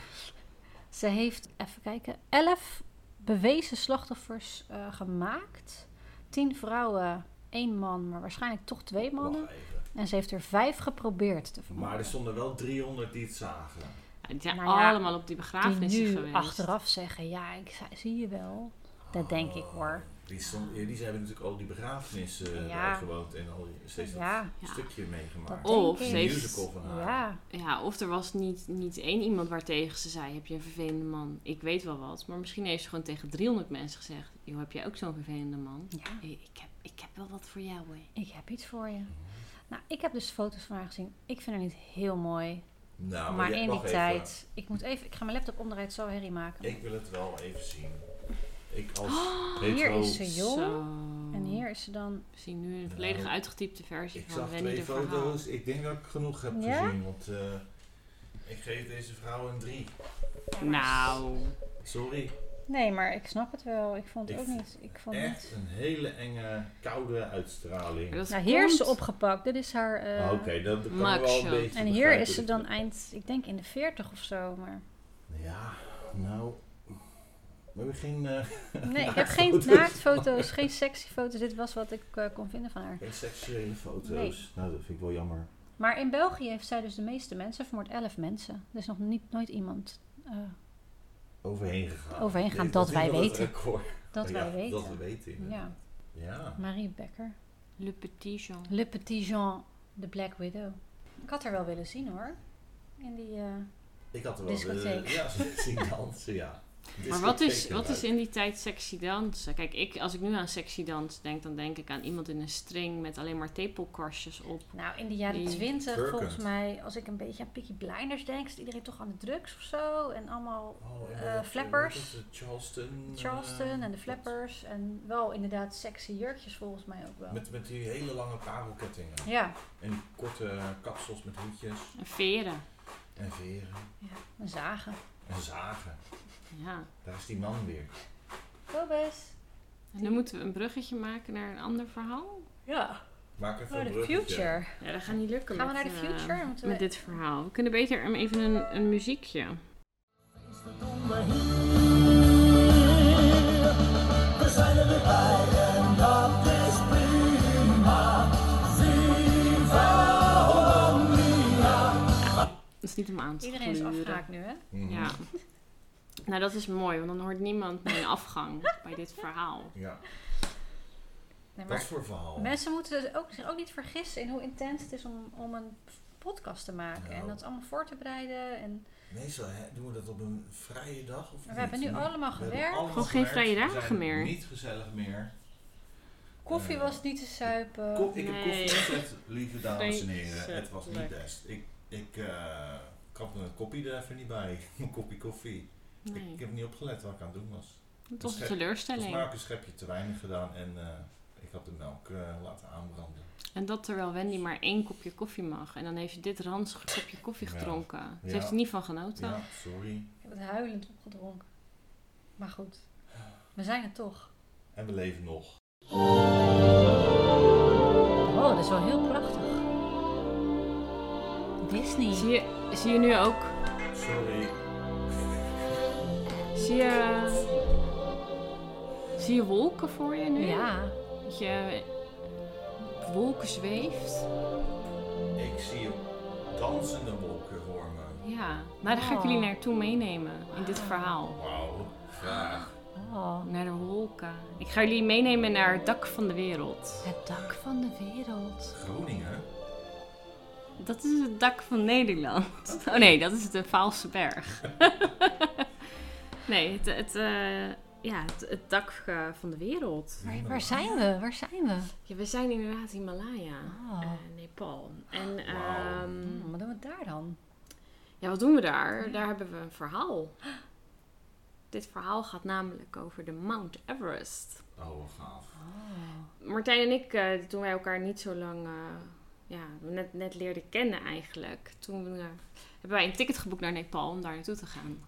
Speaker 2: Ze heeft, even kijken, elf bewezen slachtoffers eh, gemaakt. Tien vrouwen, één man, maar waarschijnlijk toch twee mannen.
Speaker 3: Wacht even.
Speaker 2: En ze heeft er vijf geprobeerd te vermoorden.
Speaker 3: Maar er stonden wel 300 die het zagen.
Speaker 1: Ja, die zijn
Speaker 2: Nou ja,
Speaker 1: allemaal op die begrafenis
Speaker 2: die nu
Speaker 1: geweest.
Speaker 2: achteraf zeggen, ja, ik zei- zie je wel. Dat denk ik hoor.
Speaker 3: Die, stonden, die hebben natuurlijk al die begrafenissen eh,
Speaker 2: Ja.
Speaker 3: daar gewoond en al die- steeds dat
Speaker 2: Ja,
Speaker 1: Ja.
Speaker 3: stukje meegemaakt.
Speaker 2: dat
Speaker 1: Of
Speaker 2: denk
Speaker 1: ze
Speaker 3: Een
Speaker 2: ik.
Speaker 1: heeft-
Speaker 3: musical van haar.
Speaker 2: Ja,
Speaker 1: Ja, of er was niet, niet één iemand waartegen ze zei: Heb je een vervelende man? Ik weet wel wat. Maar misschien heeft ze gewoon tegen 300 mensen gezegd: Joh, heb jij ook zo'n vervelende man?
Speaker 2: ja,
Speaker 1: Ik ik heb, ik heb wel wat voor jou, hè.
Speaker 2: ik heb iets voor je. Nou, ik heb dus foto's van haar gezien. Ik vind haar niet heel mooi.
Speaker 3: Nou,
Speaker 2: maar
Speaker 3: jij-
Speaker 2: in die
Speaker 3: wacht even.
Speaker 2: tijd. Ik moet even. Ik ga mijn laptop omdraaien. Het zal herrie maken.
Speaker 3: Ik wil het wel even zien. Ik als
Speaker 2: Oh, hier
Speaker 3: hetero-
Speaker 2: is ze jong.
Speaker 1: Zo.
Speaker 2: En hier is ze dan.
Speaker 1: We zien nu een volledige uitgetypte versie
Speaker 3: Nou, Ik
Speaker 1: van
Speaker 3: zag
Speaker 1: Wendy
Speaker 3: twee
Speaker 1: de Verhaal.
Speaker 3: foto's. Ik denk dat ik genoeg heb
Speaker 2: Ja?
Speaker 3: gezien. Want eh, ik geef deze vrouw een 3.
Speaker 1: Nou,
Speaker 3: Sorry.
Speaker 2: Nee, maar ik snap het wel. Ik vond het
Speaker 3: Ik
Speaker 2: ook
Speaker 3: vind
Speaker 2: niet. Ik vond
Speaker 3: Echt
Speaker 2: niet.
Speaker 3: een hele enge, koude uitstraling.
Speaker 1: maar dat
Speaker 2: Nou, hier is ze
Speaker 1: komt-
Speaker 2: opgepakt. Dit is haar. eh,
Speaker 3: Ah, Oké, dat kan
Speaker 1: Max
Speaker 3: wel
Speaker 1: shot.
Speaker 3: een beetje
Speaker 2: En hier is
Speaker 3: begrijpen.
Speaker 2: ze dan eind. Ik denk in de 40 of zo. Maar.
Speaker 3: Ja, nou... We hebben geen, eh
Speaker 2: Nee, ik heb geen naaktfoto's. Geen sexy foto's. Dit was wat ik eh, kon vinden van haar.
Speaker 3: geen seksuele foto's.
Speaker 2: Nee.
Speaker 3: Nou, dat vind ik wel jammer.
Speaker 2: Maar in België heeft zij dus de meeste mensen. Vermoord 11 mensen. Er is nog niet, nooit iemand. eh,
Speaker 3: Overheen gegaan.
Speaker 2: Overheen gegaan,
Speaker 3: Dit-
Speaker 2: dat
Speaker 3: is
Speaker 2: wij
Speaker 3: wel het
Speaker 2: weten.
Speaker 3: record.
Speaker 2: dat
Speaker 3: Ja,
Speaker 2: wij weten.
Speaker 3: Dat we weten, inderdaad.
Speaker 2: ja.
Speaker 3: Ja.
Speaker 2: Marie Becker.
Speaker 1: Le Petit Jean.
Speaker 2: Le Petit Jean, de Black Widow. Ik had haar wel willen zien hoor. In die eh,
Speaker 3: Ik had er wel...
Speaker 2: Discotheek.
Speaker 3: eh, ja, zien dansen, ja.
Speaker 1: Maar wat is,
Speaker 3: Discotheek
Speaker 1: wat is
Speaker 3: eruit.
Speaker 1: in die tijd sexy dansen? Kijk, ik, als ik nu aan sexy dans denk, dan denk ik aan iemand in een string met alleen maar tepelkorstjes op.
Speaker 2: Nou, in de jaren
Speaker 1: Die-
Speaker 2: twintig,
Speaker 3: Burkend.
Speaker 2: volgens mij, als ik een beetje aan Peaky Blinders denk, zit iedereen toch aan de drugs of zo. En allemaal
Speaker 3: Oh, en
Speaker 2: eh,
Speaker 3: dat, eh,
Speaker 2: flappers.
Speaker 3: wat is het, Charleston. eh,
Speaker 2: Charleston en de
Speaker 3: wat-
Speaker 2: flappers. En wel inderdaad sexy jurkjes volgens mij ook wel.
Speaker 3: Met, met die hele lange parelkettingen.
Speaker 2: Ja,
Speaker 3: En die korte kapsels met hoedjes
Speaker 1: En veren.
Speaker 3: en veren
Speaker 2: ja, een zagen.
Speaker 3: en zagen.
Speaker 1: Ja.
Speaker 3: Daar is die man weer.
Speaker 2: Kobus.
Speaker 1: En nu moeten we een bruggetje maken naar een ander verhaal.
Speaker 2: Ja,
Speaker 3: Maak even
Speaker 2: naar
Speaker 3: een
Speaker 2: de
Speaker 3: bruggetje.
Speaker 2: Oh, future.
Speaker 1: Ja, dat gaat niet lukken.
Speaker 2: Gaan we
Speaker 1: met,
Speaker 2: naar de
Speaker 1: eh,
Speaker 2: future? Moeten
Speaker 1: met
Speaker 2: we-
Speaker 1: dit verhaal. We kunnen beter hem even een, een muziekje. Dat is niet om aan te
Speaker 2: Iedereen is
Speaker 1: gluren.
Speaker 2: afgehaakt nu, hè?
Speaker 3: Mhm.
Speaker 1: Ja. Nou, dat is mooi, want dan hoort niemand mijn afgang bij dit verhaal.
Speaker 3: Ja,
Speaker 2: Nee,
Speaker 3: wat
Speaker 2: maar
Speaker 3: voor verhaal.
Speaker 2: mensen moeten dus ook, zich ook niet vergissen in hoe intens het is om, om een podcast te maken.
Speaker 3: Nou.
Speaker 2: En dat allemaal voor te bereiden. En
Speaker 3: Meestal hè, doen we dat op een vrije dag of
Speaker 2: we
Speaker 3: niet?
Speaker 2: hebben nu
Speaker 3: Nee.
Speaker 2: allemaal
Speaker 3: We hebben
Speaker 2: gewerkt.
Speaker 3: allemaal
Speaker 1: Gewoon geen
Speaker 3: gewerkt.
Speaker 1: vrije
Speaker 3: We
Speaker 1: dagen
Speaker 3: zijn
Speaker 1: meer.
Speaker 3: Niet gezellig meer.
Speaker 2: Koffie
Speaker 3: Eh,
Speaker 2: was niet te suipen.
Speaker 3: Ko- ik heb
Speaker 1: nee.
Speaker 3: koffie gezet, lieve dames en heren. Het was niet
Speaker 1: Vreselijk.
Speaker 3: best. Ik, ik eh, krap mijn kopje er even niet bij. Mijn kopje koffie. Ik,
Speaker 1: Nee,
Speaker 3: ik heb niet opgelet wat ik aan het doen was.
Speaker 1: het was een
Speaker 3: Schep- Volgens
Speaker 1: teleurstelling.
Speaker 3: mij heb ik een schepje te weinig gedaan en eh, ik had de melk eh, laten aanbranden.
Speaker 1: En dat terwijl Wendy maar één kopje koffie mag. En dan heeft ze dit ranzige kopje koffie
Speaker 3: Ja.
Speaker 1: gedronken. Ze
Speaker 3: Ja.
Speaker 1: heeft er niet van genoten.
Speaker 3: Ja, sorry.
Speaker 2: Ik heb het huilend opgedronken. Maar goed, we zijn er toch.
Speaker 3: En we leven nog.
Speaker 2: Oh, dat is wel heel prachtig. Disney.
Speaker 1: Zie, je, zie je nu ook...
Speaker 3: Sorry.
Speaker 1: Zie je... Zie je wolken voor je nu?
Speaker 2: Ja.
Speaker 1: Dat je op wolken zweeft.
Speaker 3: Ik zie dansende wolken voor me.
Speaker 1: Ja. Maar daar ga ik
Speaker 2: Oh.
Speaker 1: jullie naartoe meenemen. In dit verhaal.
Speaker 3: Wauw, graag.
Speaker 2: Oh,
Speaker 1: Naar de wolken. Ik ga jullie meenemen naar het dak van de wereld.
Speaker 2: het dak van de wereld.
Speaker 3: Groningen?
Speaker 1: Dat is het dak van Nederland. Oh nee, dat is de Vaalse Berg. nee, het, het, eh, ja, het, het dak eh, van de wereld.
Speaker 2: Waar,
Speaker 3: Nou,
Speaker 2: waar zijn we? Waar zijn we?
Speaker 1: Ja, we zijn inderdaad Himalaya,
Speaker 2: Oh.
Speaker 1: eh, Nepal. En
Speaker 3: Wauw.
Speaker 1: ehm,
Speaker 2: Hmm, wat doen we daar dan?
Speaker 1: ja, wat doen we daar? Daar hebben we een verhaal. Dit verhaal gaat namelijk over de Mount Everest.
Speaker 3: Oh, wat gaaf.
Speaker 2: Oh.
Speaker 1: Martijn en ik, eh, toen wij elkaar niet zo lang, eh, ja, net, net leerden kennen eigenlijk, toen eh, hebben wij een ticket geboekt naar Nepal om daar naartoe te gaan.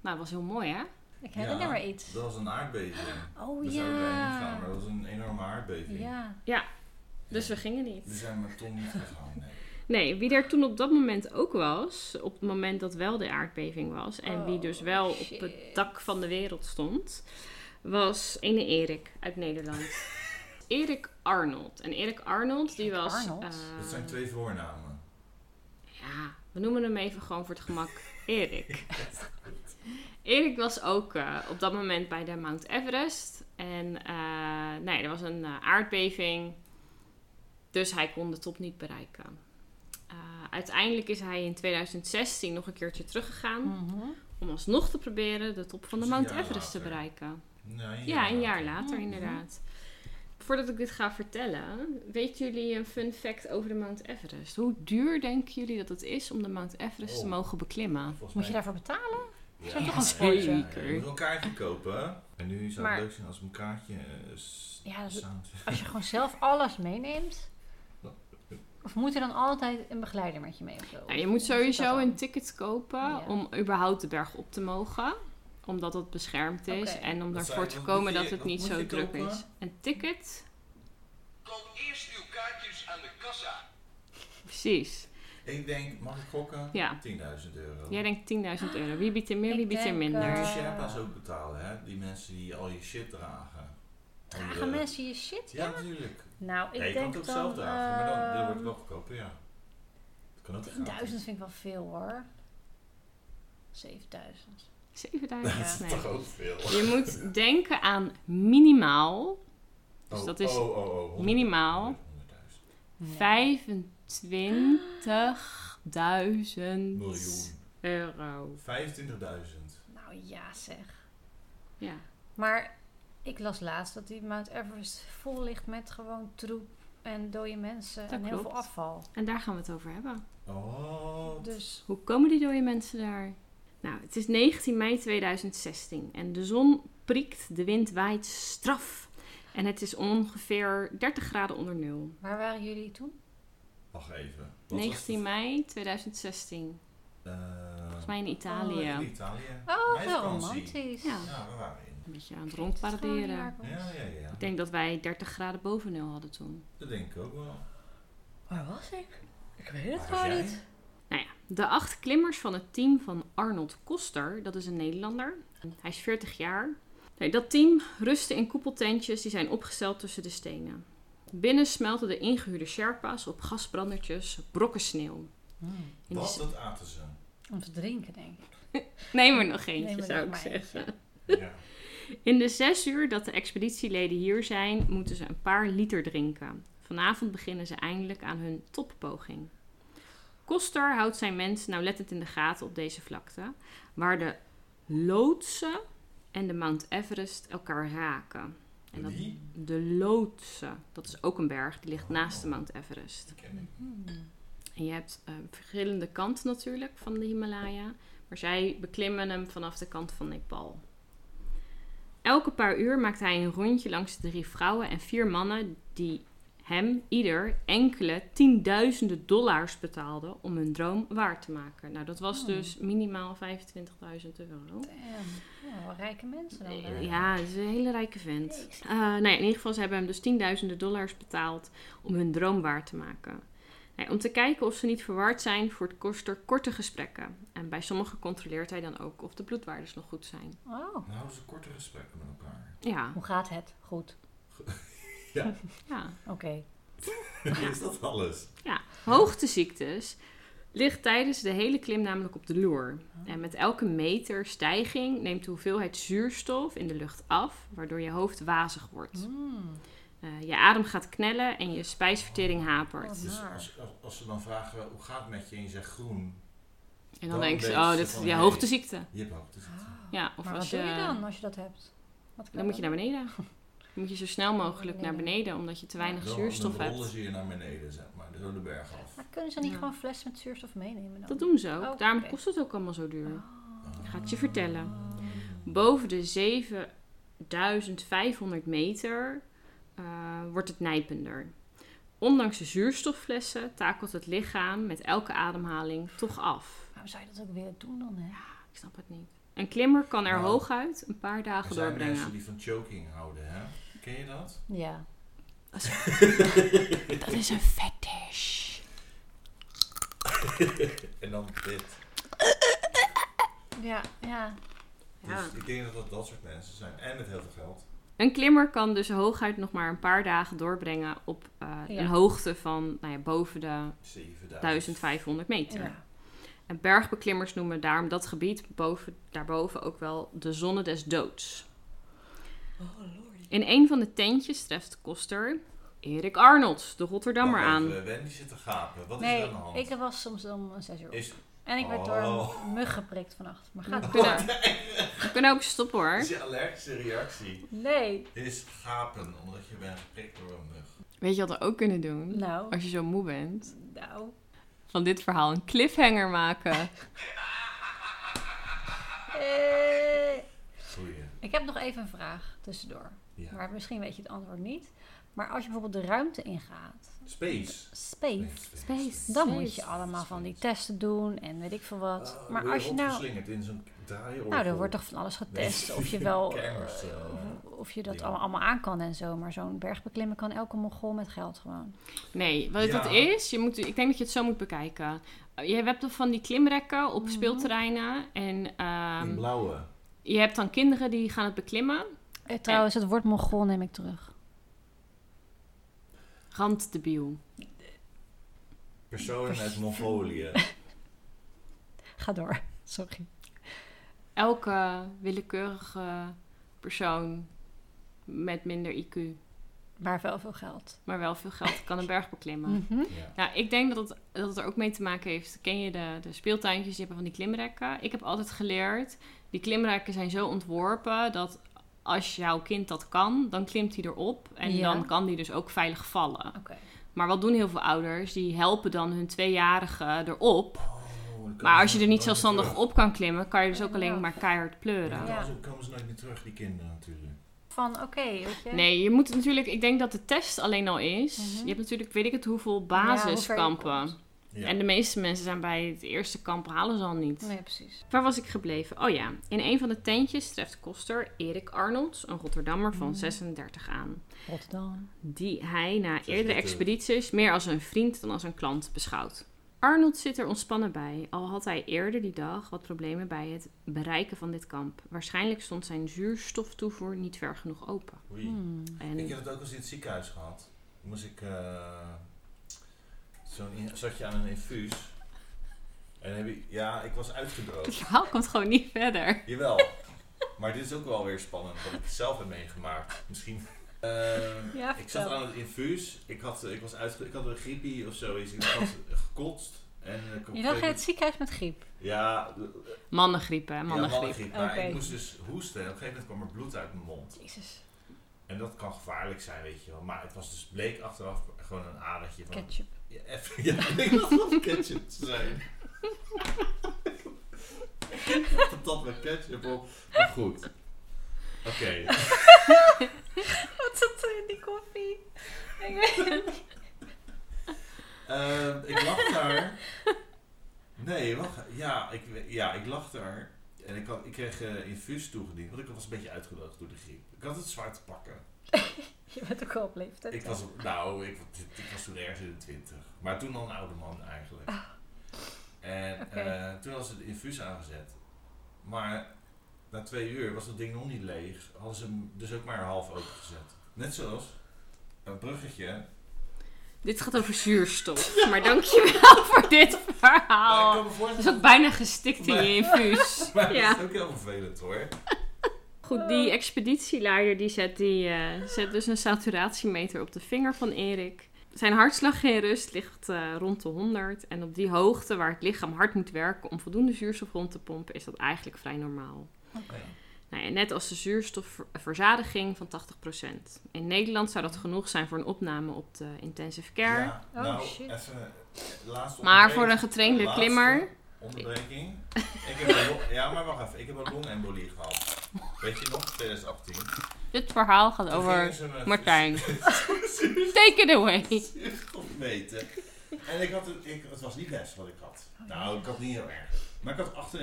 Speaker 1: Nou, dat was heel mooi, hè?
Speaker 2: Ik herinner
Speaker 3: Ja.
Speaker 2: me iets.
Speaker 3: Dat was een aardbeving.
Speaker 2: Oh
Speaker 3: We zouden erheen gaan, maar
Speaker 2: ja.
Speaker 3: dat was een enorme aardbeving.
Speaker 2: Ja.
Speaker 1: Dus we gingen
Speaker 3: We
Speaker 1: niet.
Speaker 3: zijn maar toen niet gegaan, nee.
Speaker 1: Nee, wie er toen op dat moment ook was, op het moment dat wel de aardbeving was en wie dus
Speaker 2: Oh,
Speaker 1: wel op
Speaker 2: shit.
Speaker 1: het dak van de wereld stond, was ene Erik uit Nederland. Erik Arnold. En Erik Arnold, die
Speaker 2: Erik
Speaker 1: was.
Speaker 2: Arnold?
Speaker 1: eh,
Speaker 3: Dat zijn twee voornamen.
Speaker 1: Ja, we noemen hem even gewoon voor het gemak Erik. Erik was ook eh, op dat moment bij de Mount Everest. En eh, nee, er was een eh, aardbeving. Dus hij kon de top niet bereiken. Eh, uiteindelijk is hij in 2016 nog een keertje teruggegaan.
Speaker 2: Mhm.
Speaker 1: Om alsnog te proberen de top van de
Speaker 3: Hm. Dus een
Speaker 1: Mount
Speaker 3: jaar
Speaker 1: Everest te
Speaker 3: later.
Speaker 1: bereiken.
Speaker 3: Nee,
Speaker 1: Ja, een jaar later
Speaker 2: Mhm.
Speaker 1: inderdaad. Voordat ik dit ga vertellen, weten jullie een fun fact over de Mount Everest? Hoe duur denken jullie dat het is om de Mount Everest te
Speaker 3: Oh.
Speaker 1: mogen beklimmen?
Speaker 3: Volgens
Speaker 2: Moet je
Speaker 3: mij-
Speaker 2: daarvoor betalen?
Speaker 3: Ja,
Speaker 2: zijn toch een
Speaker 3: zeker.
Speaker 1: sportje?
Speaker 3: Je moet wel een kaartje kopen. En nu zou
Speaker 2: Maar-
Speaker 3: het leuk zijn als we een kaartje eh, s-
Speaker 2: Ja, dat is-
Speaker 3: samen-
Speaker 2: Als je gewoon zelf alles meeneemt. Of moet er dan altijd een begeleider met je mee? Of zo?
Speaker 1: Nou, je moet
Speaker 2: Hoe zit dat
Speaker 1: sowieso
Speaker 2: dan?
Speaker 1: een ticket kopen
Speaker 2: Ja.
Speaker 1: om überhaupt de berg op te mogen omdat dat beschermd is
Speaker 2: Oké.
Speaker 1: en om
Speaker 3: Dat
Speaker 1: ervoor
Speaker 3: zei-
Speaker 1: te
Speaker 3: wat
Speaker 1: komen
Speaker 3: moet je-
Speaker 1: dat het
Speaker 3: wat
Speaker 1: niet
Speaker 3: moet
Speaker 1: zo
Speaker 3: je
Speaker 1: druk
Speaker 3: kopen?
Speaker 1: is. Een ticket,
Speaker 4: Koop eerst uw kaartjes aan de kassa.
Speaker 1: precies.
Speaker 3: Ik denk, mag ik gokken?
Speaker 1: Ja.
Speaker 3: 10.000 euro.
Speaker 1: Jij denkt 10.000 euro. Wie biedt er meer,
Speaker 2: Ik
Speaker 1: wie biedt er
Speaker 2: denk,
Speaker 1: minder?
Speaker 3: Moet je
Speaker 2: eh,
Speaker 3: Sherpa's ook betalen, hè? Die mensen die al je shit dragen. Al
Speaker 2: Dragen
Speaker 3: je-
Speaker 2: mensen je shit?
Speaker 3: eh, Ja, natuurlijk.
Speaker 2: Nou, ik
Speaker 3: ja, je kan
Speaker 2: denk
Speaker 3: het ook
Speaker 2: dan...
Speaker 3: zelf dragen, maar dan, dan wordt het
Speaker 2: ehm,
Speaker 3: wel goedkoper, ja. Dat kan ook
Speaker 2: 10.000
Speaker 3: gratis.
Speaker 2: eh, vind ik wel veel hoor. 7000.
Speaker 1: 7.000?
Speaker 3: Dat is
Speaker 1: Nee.
Speaker 3: toch ook veel.
Speaker 1: Je moet denken aan minimaal Dus
Speaker 3: Oh,
Speaker 1: dat is
Speaker 3: oh, oh, oh, 100.000.
Speaker 1: minimaal
Speaker 3: 100.000.
Speaker 1: 25.000
Speaker 3: Miljoen.
Speaker 1: euro.
Speaker 3: 25.000.
Speaker 2: Nou ja, zeg.
Speaker 1: Ja.
Speaker 2: Maar ik las laatst dat die Mount Everest vol ligt met gewoon troep en dode mensen en heel
Speaker 1: klopt.
Speaker 2: veel afval.
Speaker 1: En daar gaan we het over hebben.
Speaker 3: Oh.
Speaker 2: Dus
Speaker 1: Hoe komen die dode mensen daar? Nou, het is 19 mei 2016 en de zon prikt, de wind waait straf. En het is ongeveer 30 graden onder nul.
Speaker 2: waar waren jullie toen?
Speaker 3: Wacht even. Wat
Speaker 1: 19
Speaker 3: was
Speaker 1: mei 2016,
Speaker 3: het? Eh,
Speaker 1: volgens mij in Italië.
Speaker 3: in Italië.
Speaker 2: Oh,
Speaker 3: Mijn
Speaker 2: heel
Speaker 3: vakantie.
Speaker 2: romantisch.
Speaker 1: Ja.
Speaker 3: Ja, we waren in.
Speaker 1: Een beetje aan het
Speaker 2: Gewoon
Speaker 1: rondparaderen.
Speaker 2: een jaar
Speaker 3: Ja,
Speaker 2: was.
Speaker 3: ja, ja.
Speaker 1: Oh. Ik denk dat wij 30 graden boven nul hadden toen.
Speaker 3: Dat denk ik ook wel.
Speaker 2: Waar was ik? Ik weet het
Speaker 3: Waar was
Speaker 2: gewoon
Speaker 3: jij?
Speaker 2: niet.
Speaker 1: Nou ja, de acht klimmers van het team van Arnold Koster, dat is een Nederlander. Hij is 40 jaar. Nee, dat team rustte in koepeltentjes die zijn opgesteld tussen de stenen. Binnen smelten de ingehuurde Sherpa's op gasbrandertjes brokken sneeuw. In de
Speaker 3: Wat,
Speaker 1: s-
Speaker 3: dat aten ze.
Speaker 2: Om te drinken, denk ik.
Speaker 1: Neem er nog eentje,
Speaker 2: Neem er
Speaker 1: zou
Speaker 2: nog
Speaker 1: ik
Speaker 2: maar eentje.
Speaker 1: zeggen.
Speaker 3: Ja.
Speaker 1: In de zes uur dat de expeditieleden hier zijn, moeten ze een paar liter drinken. Vanavond beginnen ze eindelijk aan hun toppoging. Koster houdt zijn mensen nauwlettend in de gaten op deze vlakte, waar de loodsen en de Mount Everest elkaar raken. En dat,
Speaker 3: Die?
Speaker 1: de loodsen, dat is ook een berg, die ligt
Speaker 3: Oh.
Speaker 1: naast de Mount Everest.
Speaker 3: Die ken ik.
Speaker 2: Hmm.
Speaker 1: En je hebt eh, verschillende kanten natuurlijk van de Himalaya. Maar zij beklimmen hem vanaf de kant van Nepal. Elke paar uur maakt hij een rondje langs de drie vrouwen en vier mannen die hem ieder enkele tienduizenden dollars betaalden om hun droom waar te maken. Nou, dat was
Speaker 2: Oh.
Speaker 1: dus minimaal 25.000 euro.
Speaker 2: Damn. Ja, wel rijke mensen dan. daar.
Speaker 1: Ja, het is een hele rijke vent. Eh nou ja, in ieder geval, ze hebben hem dus tienduizenden dollars betaald om hun droom waar te maken. Nou ja, om te kijken of ze niet verward zijn voor het koster korte gesprekken. En bij sommigen controleert hij dan ook of de bloedwaardes nog goed zijn.
Speaker 2: Oh.
Speaker 3: Dan houden ze korte gesprekken met elkaar.
Speaker 1: Ja,
Speaker 2: Hoe gaat het? Goed.
Speaker 1: ja.
Speaker 2: Oké.
Speaker 3: Is dat alles?
Speaker 1: Hoogteziektes ligt tijdens de hele klim namelijk op de loer. En met elke meter stijging neemt de hoeveelheid zuurstof in de lucht af, waardoor je hoofd wazig wordt.
Speaker 2: Mm.
Speaker 1: Eh, je adem gaat knellen en je spijsvertering hapert.
Speaker 3: Dus
Speaker 2: Maar.
Speaker 3: als, als, als ze dan vragen hoe gaat het met je en je zegt groen,
Speaker 1: En dan
Speaker 3: Dan
Speaker 1: denk je,
Speaker 3: weten
Speaker 1: oh,
Speaker 3: ze
Speaker 1: dit is
Speaker 3: van,
Speaker 1: ja,
Speaker 3: hey.
Speaker 1: hoogteziekte.
Speaker 3: je hebt hoogte zitten.
Speaker 2: Ah.
Speaker 1: Ja, of
Speaker 2: maar
Speaker 1: als
Speaker 2: wat
Speaker 1: je, eh,
Speaker 2: doe je dan als je dat hebt? Wat kan
Speaker 1: Dan moet je naar beneden. Dan moet je zo snel mogelijk
Speaker 2: Naar
Speaker 1: naar
Speaker 2: beneden.
Speaker 1: beneden, omdat je te weinig
Speaker 3: Dan-
Speaker 1: zuurstof
Speaker 3: dan rollen
Speaker 1: hebt.
Speaker 3: ze je naar beneden, zeg maar, de rode berg af.
Speaker 2: Maar kunnen ze niet
Speaker 1: Ja.
Speaker 2: gewoon fles met zuurstof meenemen dan?
Speaker 1: Dat doen ze ook.
Speaker 2: Oh,
Speaker 1: Daarom
Speaker 2: oké.
Speaker 1: kost het ook allemaal zo duur.
Speaker 2: Oh.
Speaker 1: Ik ga het je vertellen.
Speaker 2: Ah.
Speaker 1: Boven de 7500 meter eh, wordt het nijpender. Ondanks de zuurstofflessen takelt het lichaam met elke ademhaling toch af.
Speaker 2: Waarom zou je dat ook willen doen dan, hè?
Speaker 1: Ik snap het niet. Een klimmer kan er
Speaker 3: Nou,
Speaker 1: hooguit een paar
Speaker 3: Er
Speaker 1: dagen
Speaker 3: zijn
Speaker 1: doorbrengen.
Speaker 3: mensen die van choking houden, hè? Ken je dat?
Speaker 2: Ja.
Speaker 1: Dat is een fetish.
Speaker 3: En dan dit.
Speaker 2: Ja, ja.
Speaker 1: Ja.
Speaker 3: Dus ik denk dat dat dat soort mensen zijn. En met heel veel geld.
Speaker 1: Een klimmer kan dus hooguit nog maar een paar dagen doorbrengen op eh,
Speaker 2: Ja.
Speaker 1: een hoogte van nou ja, boven de
Speaker 3: 7000.
Speaker 1: 1500 meter.
Speaker 2: ja.
Speaker 1: En bergbeklimmers noemen daarom dat gebied boven, daarboven ook wel de zonne des doods.
Speaker 2: Oh,
Speaker 1: In een van de tentjes treft Koster Erik Arnold, de Rotterdammer,
Speaker 3: Wacht
Speaker 1: aan.
Speaker 3: even, Wendy zit te gapen. Wat is er
Speaker 2: Nee,
Speaker 3: aan de hand?
Speaker 2: ik was soms om een zes uur op.
Speaker 3: Is,
Speaker 2: En ik werd door
Speaker 3: Oh.
Speaker 2: een mug geprikt vannacht. Maar gaat
Speaker 1: We
Speaker 2: het
Speaker 1: kunnen,
Speaker 2: door?
Speaker 1: we kunnen ook stoppen hoor.
Speaker 3: is je allergische reactie?
Speaker 2: Nee.
Speaker 3: Is gapen omdat je bent geprikt door een mug.
Speaker 1: Weet je wat we ook kunnen doen?
Speaker 2: Nou,
Speaker 1: Als je zo moe bent,
Speaker 2: nou.
Speaker 1: van dit verhaal een cliffhanger maken.
Speaker 2: Eh.
Speaker 3: Goeie.
Speaker 2: Ik heb nog even een vraag tussendoor.
Speaker 3: Ja.
Speaker 2: Maar misschien weet je het antwoord niet. Maar als je bijvoorbeeld de ruimte ingaat,
Speaker 3: Space.
Speaker 2: space,
Speaker 1: Space.
Speaker 2: dan moet je allemaal van die testen doen en weet ik veel wat.
Speaker 3: Oh,
Speaker 2: maar
Speaker 3: weer
Speaker 2: als je nou.
Speaker 3: opgeslingerd in zo'n draaiorgel.
Speaker 2: Nou, er wordt toch van alles getest. Of je wel. eh,
Speaker 3: Kermis, eh,
Speaker 2: Of je dat
Speaker 3: dingen.
Speaker 2: allemaal, allemaal aan kan en zo. Maar zo'n berg beklimmen kan elke Mongool met geld gewoon.
Speaker 1: Nee, wat het
Speaker 3: Ja.
Speaker 1: dat is, je moet, ik denk dat je het zo moet bekijken. Eh, Je hebt dan van die klimrekken op
Speaker 2: Mhm.
Speaker 1: speelterreinen. En ehm,
Speaker 3: Die blauwe.
Speaker 1: je hebt dan kinderen die gaan het beklimmen.
Speaker 2: Eh, trouwens, het woord Mongool neem ik terug.
Speaker 1: Randdebiel.
Speaker 3: Persoon uit Mongolië.
Speaker 2: Ga door. Sorry.
Speaker 1: Elke willekeurige persoon met minder IQ,
Speaker 2: Maar wel veel geld.
Speaker 1: maar wel veel geld, kan een berg beklimmen.
Speaker 2: Mhm.
Speaker 3: ja.
Speaker 1: Nou, ik denk dat het dat het er ook mee te maken heeft. Ken je de, de speeltuintjes? Die hebben van die klimrekken. Ik heb altijd geleerd, die klimrekken zijn zo ontworpen dat als jouw kind dat kan, dan klimt hij erop. En
Speaker 2: Ja.
Speaker 1: dan kan die dus ook veilig vallen.
Speaker 2: Oké.
Speaker 1: Maar wat doen heel veel ouders? Die helpen dan hun tweejarige erop.
Speaker 3: Oh, dan
Speaker 1: Maar
Speaker 3: komen
Speaker 1: als je
Speaker 3: ze-
Speaker 1: er niet
Speaker 3: komen ze
Speaker 1: zelfstandig
Speaker 3: terug.
Speaker 1: op kan klimmen, kan je dus ook
Speaker 2: Ja.
Speaker 1: alleen maar keihard pleuren.
Speaker 3: Ja,
Speaker 2: Ja.
Speaker 3: Zo komen ze nooit meer terug, die kinderen natuurlijk.
Speaker 2: Van oké, weet je.
Speaker 1: Nee, je moet natuurlijk, ik denk dat de test alleen al is.
Speaker 2: Mhm.
Speaker 1: Je hebt natuurlijk, weet ik het, hoeveel
Speaker 2: Ja, hoe ver je
Speaker 1: basiskampen.
Speaker 2: komt.
Speaker 3: Ja.
Speaker 1: En de meeste mensen zijn bij het eerste kamp halen ze al niet.
Speaker 2: Nee, precies.
Speaker 1: Waar was ik gebleven? Oh ja, in een van de tentjes treft Koster Erik Arnolds, een Rotterdammer van 36 aan.
Speaker 2: Rotterdam.
Speaker 1: Die hij na
Speaker 3: is
Speaker 1: eerdere
Speaker 3: niet, eh,
Speaker 1: expedities meer als een vriend dan als een klant beschouwt. Arnold zit er ontspannen bij, al had hij eerder die dag wat problemen bij het bereiken van dit kamp. Waarschijnlijk stond zijn zuurstoftoevoer niet ver genoeg open.
Speaker 3: Oei.
Speaker 2: Hmm.
Speaker 1: En
Speaker 3: Ik heb het ook eens in het ziekenhuis gehad. Toen moest ik. eh, zo'n in- zat je aan een infuus. En heb ik. Ja, ik was
Speaker 1: het
Speaker 3: uitgedroogd.
Speaker 1: verhaal komt gewoon niet verder.
Speaker 3: Jawel. Maar dit is ook wel weer spannend, wat ik het zelf heb meegemaakt. Misschien. Eh,
Speaker 2: Ja,
Speaker 3: ik
Speaker 2: vertel.
Speaker 3: zat aan het infuus. Ik had, ik was uitge- ik had een griepie of zo. Ik had gekotst. En, eh, ik-
Speaker 2: Je zag in het ziekenhuis met griep.
Speaker 3: Ja,
Speaker 1: Mannengriep, hè?
Speaker 3: ja,
Speaker 1: Mannengriep.
Speaker 3: mannengriep. Maar
Speaker 2: Oké.
Speaker 3: ik moest dus hoesten. En op een gegeven moment kwam er bloed uit mijn mond.
Speaker 2: Jezus.
Speaker 3: En dat kan gevaarlijk zijn, weet je wel. Maar het was dus bleek achteraf gewoon een adertje van...
Speaker 2: Ketchup.
Speaker 3: Ja, even, ja, ik dacht dat het ketchup te zijn. Ik dacht dat dat met ketchup op. Maar goed. Oké.
Speaker 2: Wat zat er in die koffie?
Speaker 3: Ehm, ik lag daar. Nee, wacht. Ja, ik, ja, ik lag daar. En ik, had, ik kreeg eh, infuus toegediend. Want ik was een beetje uitgedroogd door de griep. Ik had het zwaar te pakken.
Speaker 2: Je bent ook al op leeftijd.
Speaker 3: Ik
Speaker 2: hè?
Speaker 3: was, nou, ik, ik was toen ergens in de twintig. Maar toen al een oude man eigenlijk. En
Speaker 2: Oké.
Speaker 3: eh, toen hadden ze de infuus aangezet. Maar na twee uur was dat ding nog niet leeg. Hadden ze hem dus ook maar half opengezet. Net zoals een bruggetje.
Speaker 1: Dit gaat over zuurstof. Maar dankjewel voor dit
Speaker 3: Maar Nou, ik
Speaker 1: verhaal.
Speaker 3: kan me
Speaker 1: Het is
Speaker 3: voorstellen-
Speaker 1: ook bijna gestikt in je infuus.
Speaker 3: Maar
Speaker 1: Ja.
Speaker 3: dat is ook heel vervelend hoor.
Speaker 1: Goed, die expeditieleider die zet, die, eh, zet dus een saturatiemeter op de vinger van Erik. Zijn hartslag in rust ligt eh, rond de 100. En op die hoogte waar het lichaam hard moet werken om voldoende zuurstof rond te pompen, is dat eigenlijk vrij normaal.
Speaker 2: Oké.
Speaker 1: Nou ja, net als de zuurstofverzadiging van 80%. In Nederland zou dat genoeg zijn voor een opname op de intensive care.
Speaker 3: Ja,
Speaker 2: Oh,
Speaker 3: nou,
Speaker 2: shit.
Speaker 3: even eh, laatste
Speaker 1: Maar
Speaker 3: onderbreking.
Speaker 1: voor een getrainde
Speaker 3: Laatste
Speaker 1: klimmer.
Speaker 3: Onderbreking. Ik heb een, long- ja, maar wacht even. Ik heb een longembolie gehad. Weet je nog? 2018.
Speaker 1: Dit verhaal gaat
Speaker 3: Toen
Speaker 1: over
Speaker 3: gingen ze me-
Speaker 1: Martijn. Take it away.
Speaker 3: meten. En ik had het, ik, het was niet best wat ik had. Nou, ik had niet heel erg. Maar ik had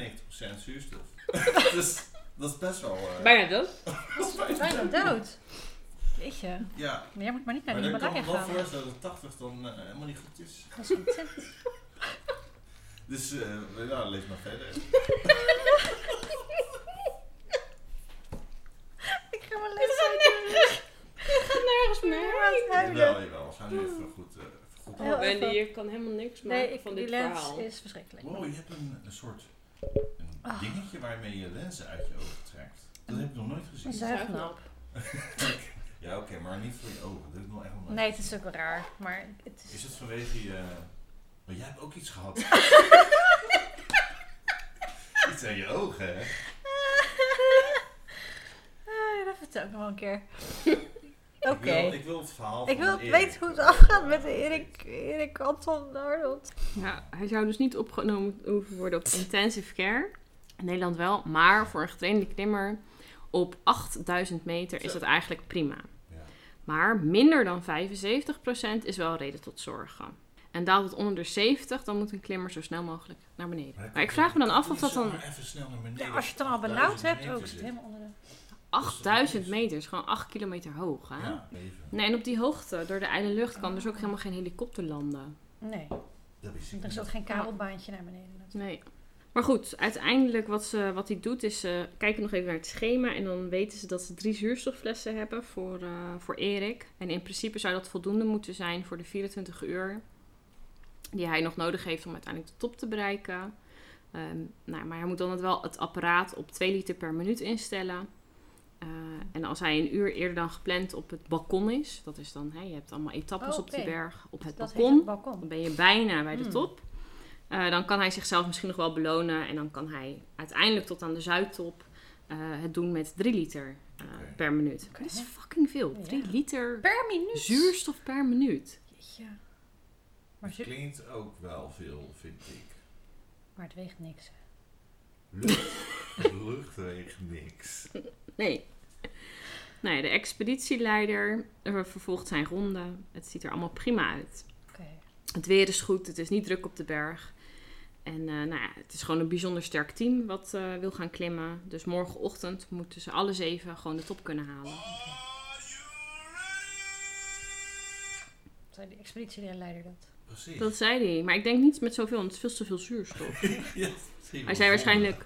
Speaker 3: 98% zuurstof. dus dat is best wel. eh,
Speaker 1: Bijna dood.
Speaker 3: dat is bijna-
Speaker 2: Bijna dood. Weet je.
Speaker 3: Ja,
Speaker 2: Jij moet maar niet naar
Speaker 3: maar
Speaker 2: de
Speaker 3: dan kan
Speaker 2: Himalaya
Speaker 3: ik me wel
Speaker 2: gaan.
Speaker 3: voorstellen dat 80 dan eh, helemaal niet goed is.
Speaker 2: Dat is ontzettend.
Speaker 3: Dus eh nou, lees maar verder.
Speaker 2: Ik ga mijn les uit.
Speaker 1: Het gaat nergens
Speaker 3: Jawel, jawel. We gaan nu even goed. eh, even goed
Speaker 2: Heel erg.
Speaker 1: Oh, Wendy, je kan helemaal niks maken
Speaker 2: Nee, ik,
Speaker 1: van
Speaker 2: die
Speaker 1: dit
Speaker 2: lens
Speaker 1: verhaal.
Speaker 2: is verschrikkelijk.
Speaker 3: Wow, je hebt een, een soort een dingetje waarmee je lenzen uit je ogen trekt. Dat heb ik nog nooit
Speaker 2: Een
Speaker 3: gezien.
Speaker 2: zuignap.
Speaker 3: Ja, oké, maar niet voor je ogen. Dat heb ik nog echt nog nooit
Speaker 2: Nee, het is ook wel raar. Maar het is...
Speaker 3: Is het vanwege je... Maar jij hebt ook iets gehad. iets aan je ogen, hè?
Speaker 2: Ah, dat vertel ik nog wel een keer. Oké.
Speaker 3: Ik wil- Ik, wil het verhaal
Speaker 2: Ik
Speaker 3: van
Speaker 2: wil
Speaker 3: Erik.
Speaker 2: weten hoe het afgaat met Erik, Erik Anton Arnold.
Speaker 1: Ja, hij zou dus niet opgenomen hoeven worden op intensive care. In Nederland wel, maar voor een getrainde klimmer op 8000 meter is dat eigenlijk prima.
Speaker 3: Ja.
Speaker 1: Maar minder dan 75% is wel reden tot zorgen. En daalt het onder de 70, dan moet een klimmer zo snel mogelijk naar beneden. Maar ik vraag me dan af of dat dan
Speaker 3: Zomaar even snel naar beneden.
Speaker 2: Ja, als je het dan al benauwd hebt, ook zit
Speaker 3: dus.
Speaker 2: het helemaal onder de...
Speaker 1: 8000 meter is gewoon 8 kilometer hoog. Hè?
Speaker 3: Ja, even.
Speaker 1: Nee, en op die hoogte, door de ijle lucht, kan dus ook helemaal geen helikopter landen.
Speaker 2: Nee,
Speaker 3: Dat is
Speaker 2: er is ook geen kabelbaantje naar beneden. natuurlijk.
Speaker 1: Nee. Maar goed, uiteindelijk wat, ze, wat hij doet is, ze kijken nog even naar het schema en dan weten ze dat ze drie zuurstofflessen hebben voor, eh, voor Erik. En in principe zou dat voldoende moeten zijn voor de 24 uur die hij nog nodig heeft om uiteindelijk de top te bereiken. Ehm, nou, maar hij moet dan het wel het apparaat op 2 liter per minuut instellen. Eh, Eh, en als hij een uur eerder dan gepland op het balkon is, dat is dan, hè, je hebt allemaal etappes
Speaker 2: Oh,
Speaker 1: op die
Speaker 2: oké.
Speaker 1: berg, op het
Speaker 2: dat heet
Speaker 1: balkon.
Speaker 2: het balkon.
Speaker 1: Dan ben je bijna bij de
Speaker 2: Hmm.
Speaker 1: top. Eh, dan kan hij zichzelf misschien nog wel belonen. En dan kan hij uiteindelijk tot aan de Zuidtop eh, het doen met 3 liter eh,
Speaker 3: Oké.
Speaker 1: per minuut.
Speaker 2: Oké.
Speaker 1: Dat is fucking veel.
Speaker 2: Ja.
Speaker 1: 3 liter
Speaker 2: Per minuut.
Speaker 1: zuurstof per minuut.
Speaker 2: Jeetje. Maar,
Speaker 3: Het
Speaker 2: zuur-
Speaker 3: klinkt ook wel veel, vind ik.
Speaker 2: maar het weegt niks.
Speaker 3: Lucht, lucht weegt niks.
Speaker 1: Nee. Nee, de expeditieleider eh, vervolgt zijn ronde. Het ziet er allemaal prima uit.
Speaker 2: Oké.
Speaker 1: Het weer is goed, het is niet druk op de berg. En eh, nou ja, het is gewoon een bijzonder sterk team wat eh, wil gaan klimmen. Dus morgenochtend moeten ze alle zeven gewoon de top kunnen halen.
Speaker 2: Oh.
Speaker 4: Are you ready?
Speaker 2: Zijn de expeditieleider dat?
Speaker 3: Precies.
Speaker 1: Dat zei hij. Maar ik denk niet met zoveel, want het is veel te veel zuurstof.
Speaker 3: Ja,
Speaker 1: Hij zei waarschijnlijk...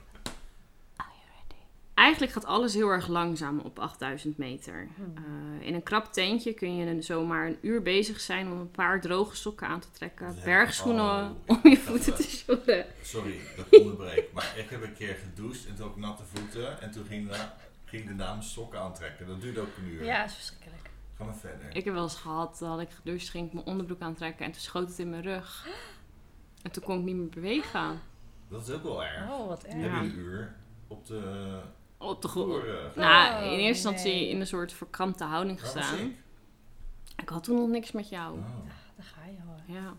Speaker 1: Eigenlijk gaat alles heel erg langzaam op 8000 meter. Eh, in een krap tentje kun je een- zomaar een uur bezig zijn om een paar droge sokken aan te trekken.
Speaker 3: Nee.
Speaker 1: Bergschoenen
Speaker 3: Oh,
Speaker 1: om je
Speaker 3: dat
Speaker 1: voeten
Speaker 3: wel.
Speaker 1: te schoenen.
Speaker 3: Sorry, dat onderbreek. Maar ik heb een keer gedoucht en toen had ik natte voeten. En toen ging de, ging de dame sokken aantrekken. Dat duurde ook een uur.
Speaker 2: Ja, is verschrikkelijk.
Speaker 3: Ga maar verder.
Speaker 1: Ik heb wel eens gehad, dan had ik gedoucht, ging ik mijn onderbroek aantrekken en toen schoot het in mijn rug. En toen kon ik niet meer bewegen.
Speaker 3: Dat is ook wel erg.
Speaker 2: Oh, wat erg.
Speaker 3: Je
Speaker 1: Ja.
Speaker 3: hebt een uur op de
Speaker 1: Op
Speaker 3: Oh.
Speaker 1: de grond.
Speaker 3: voeren.
Speaker 1: Nou, in
Speaker 2: Oh,
Speaker 1: eerste instantie
Speaker 2: nee.
Speaker 1: in een soort verkrampte houding
Speaker 3: Waar was
Speaker 1: gestaan.
Speaker 3: ik?
Speaker 1: Ik had toen nog niks met jou.
Speaker 3: Oh.
Speaker 2: Daar ga je hoor.
Speaker 1: Ja.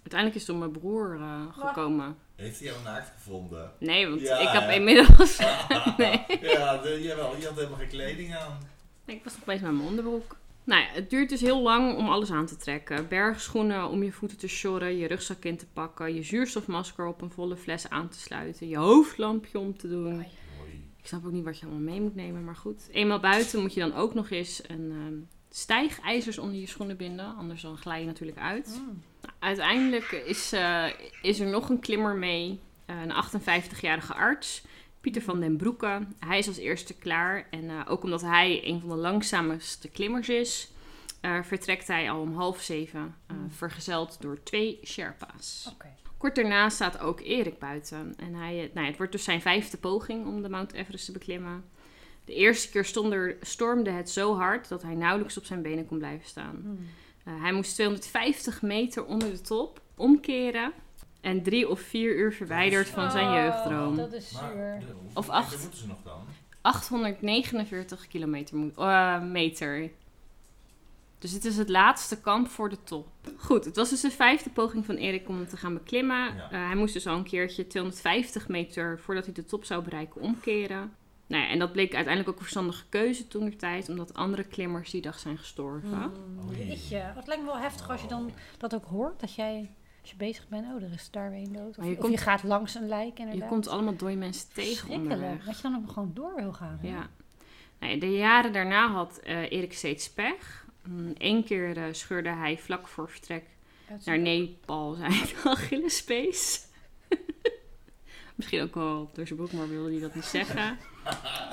Speaker 1: Uiteindelijk is toen mijn broer eh, gekomen.
Speaker 3: Heeft hij jou naakt gevonden?
Speaker 1: Nee, want
Speaker 3: Ja,
Speaker 1: ik heb
Speaker 3: hè?
Speaker 1: inmiddels...
Speaker 3: Ja, de, jawel, je had helemaal geen kleding aan.
Speaker 1: Nee, ik was nog bezig met mijn onderbroek. Nou ja, het duurt dus heel lang om alles aan te trekken. Bergschoenen om je voeten te sjorren, je rugzak in te pakken, je zuurstofmasker op een volle fles aan te sluiten, je hoofdlampje om te doen.
Speaker 2: Oei.
Speaker 3: Mooi.
Speaker 1: Ik snap ook niet wat je allemaal mee moet nemen, maar goed. Eenmaal buiten moet je dan ook nog eens een ehm, stijgijzers onder je schoenen binden, anders dan glij je natuurlijk uit. Nou,
Speaker 2: Mm.
Speaker 1: Uiteindelijk is, eh, is er nog een klimmer mee, eh, een 58-jarige arts, Pieter van den Broeke. Hij is als eerste klaar en eh, ook omdat hij een van de langzaamste klimmers is, eh, vertrekt hij al om half zeven, eh,
Speaker 2: Mm.
Speaker 1: vergezeld door twee Sherpa's.
Speaker 2: Oké.
Speaker 1: Kort daarna staat ook Erik buiten. En hij, eh, nou, ja, het wordt dus zijn vijfde poging om de Mount Everest te beklimmen. De eerste keer stond er- stormde het zo hard dat hij nauwelijks op zijn benen kon blijven staan.
Speaker 2: Mm.
Speaker 1: Uh, hij moest 250 meter onder de top omkeren en drie of vier uur verwijderd van zijn
Speaker 2: Oh,
Speaker 1: jeugddroom.
Speaker 2: Dat is
Speaker 3: Maar,
Speaker 2: zuur.
Speaker 3: de- hoeveel
Speaker 1: Of
Speaker 3: meter
Speaker 1: acht.
Speaker 3: moeten ze nog dan?
Speaker 1: 849 kilometer moet- eh, meter. Dus dit is het laatste kamp voor de top. Goed, het was dus de vijfde poging van Erik om hem te gaan beklimmen.
Speaker 3: Ja.
Speaker 1: Eh, hij moest dus al een keertje 250 meter voordat hij de top zou bereiken omkeren. Nou ja, en dat bleek uiteindelijk ook een verstandige keuze toen de tijd, omdat andere klimmers die dag zijn gestorven.
Speaker 2: Mm.
Speaker 3: Oei.
Speaker 2: Jeetje. Het lijkt me wel heftig als je dan dat ook hoort. Dat jij, als je bezig bent, oh, er is daar weer een dood. Of,
Speaker 1: Maar je
Speaker 2: of
Speaker 1: komt-
Speaker 2: je gaat langs een lijk inderdaad.
Speaker 1: Je komt allemaal dode mensen tegen
Speaker 2: Verschrikkelijk.
Speaker 1: onderweg.
Speaker 2: Dat je dan ook gewoon door wil gaan. hè?
Speaker 1: Ja. Nee, de jaren daarna had eh, Erik steeds pech. Eén keer eh, scheurde hij vlak voor vertrek
Speaker 2: Dat is-
Speaker 1: naar Nepal zijn Achillespees. Misschien ook wel door zijn broek, maar wilde hij dat niet zeggen.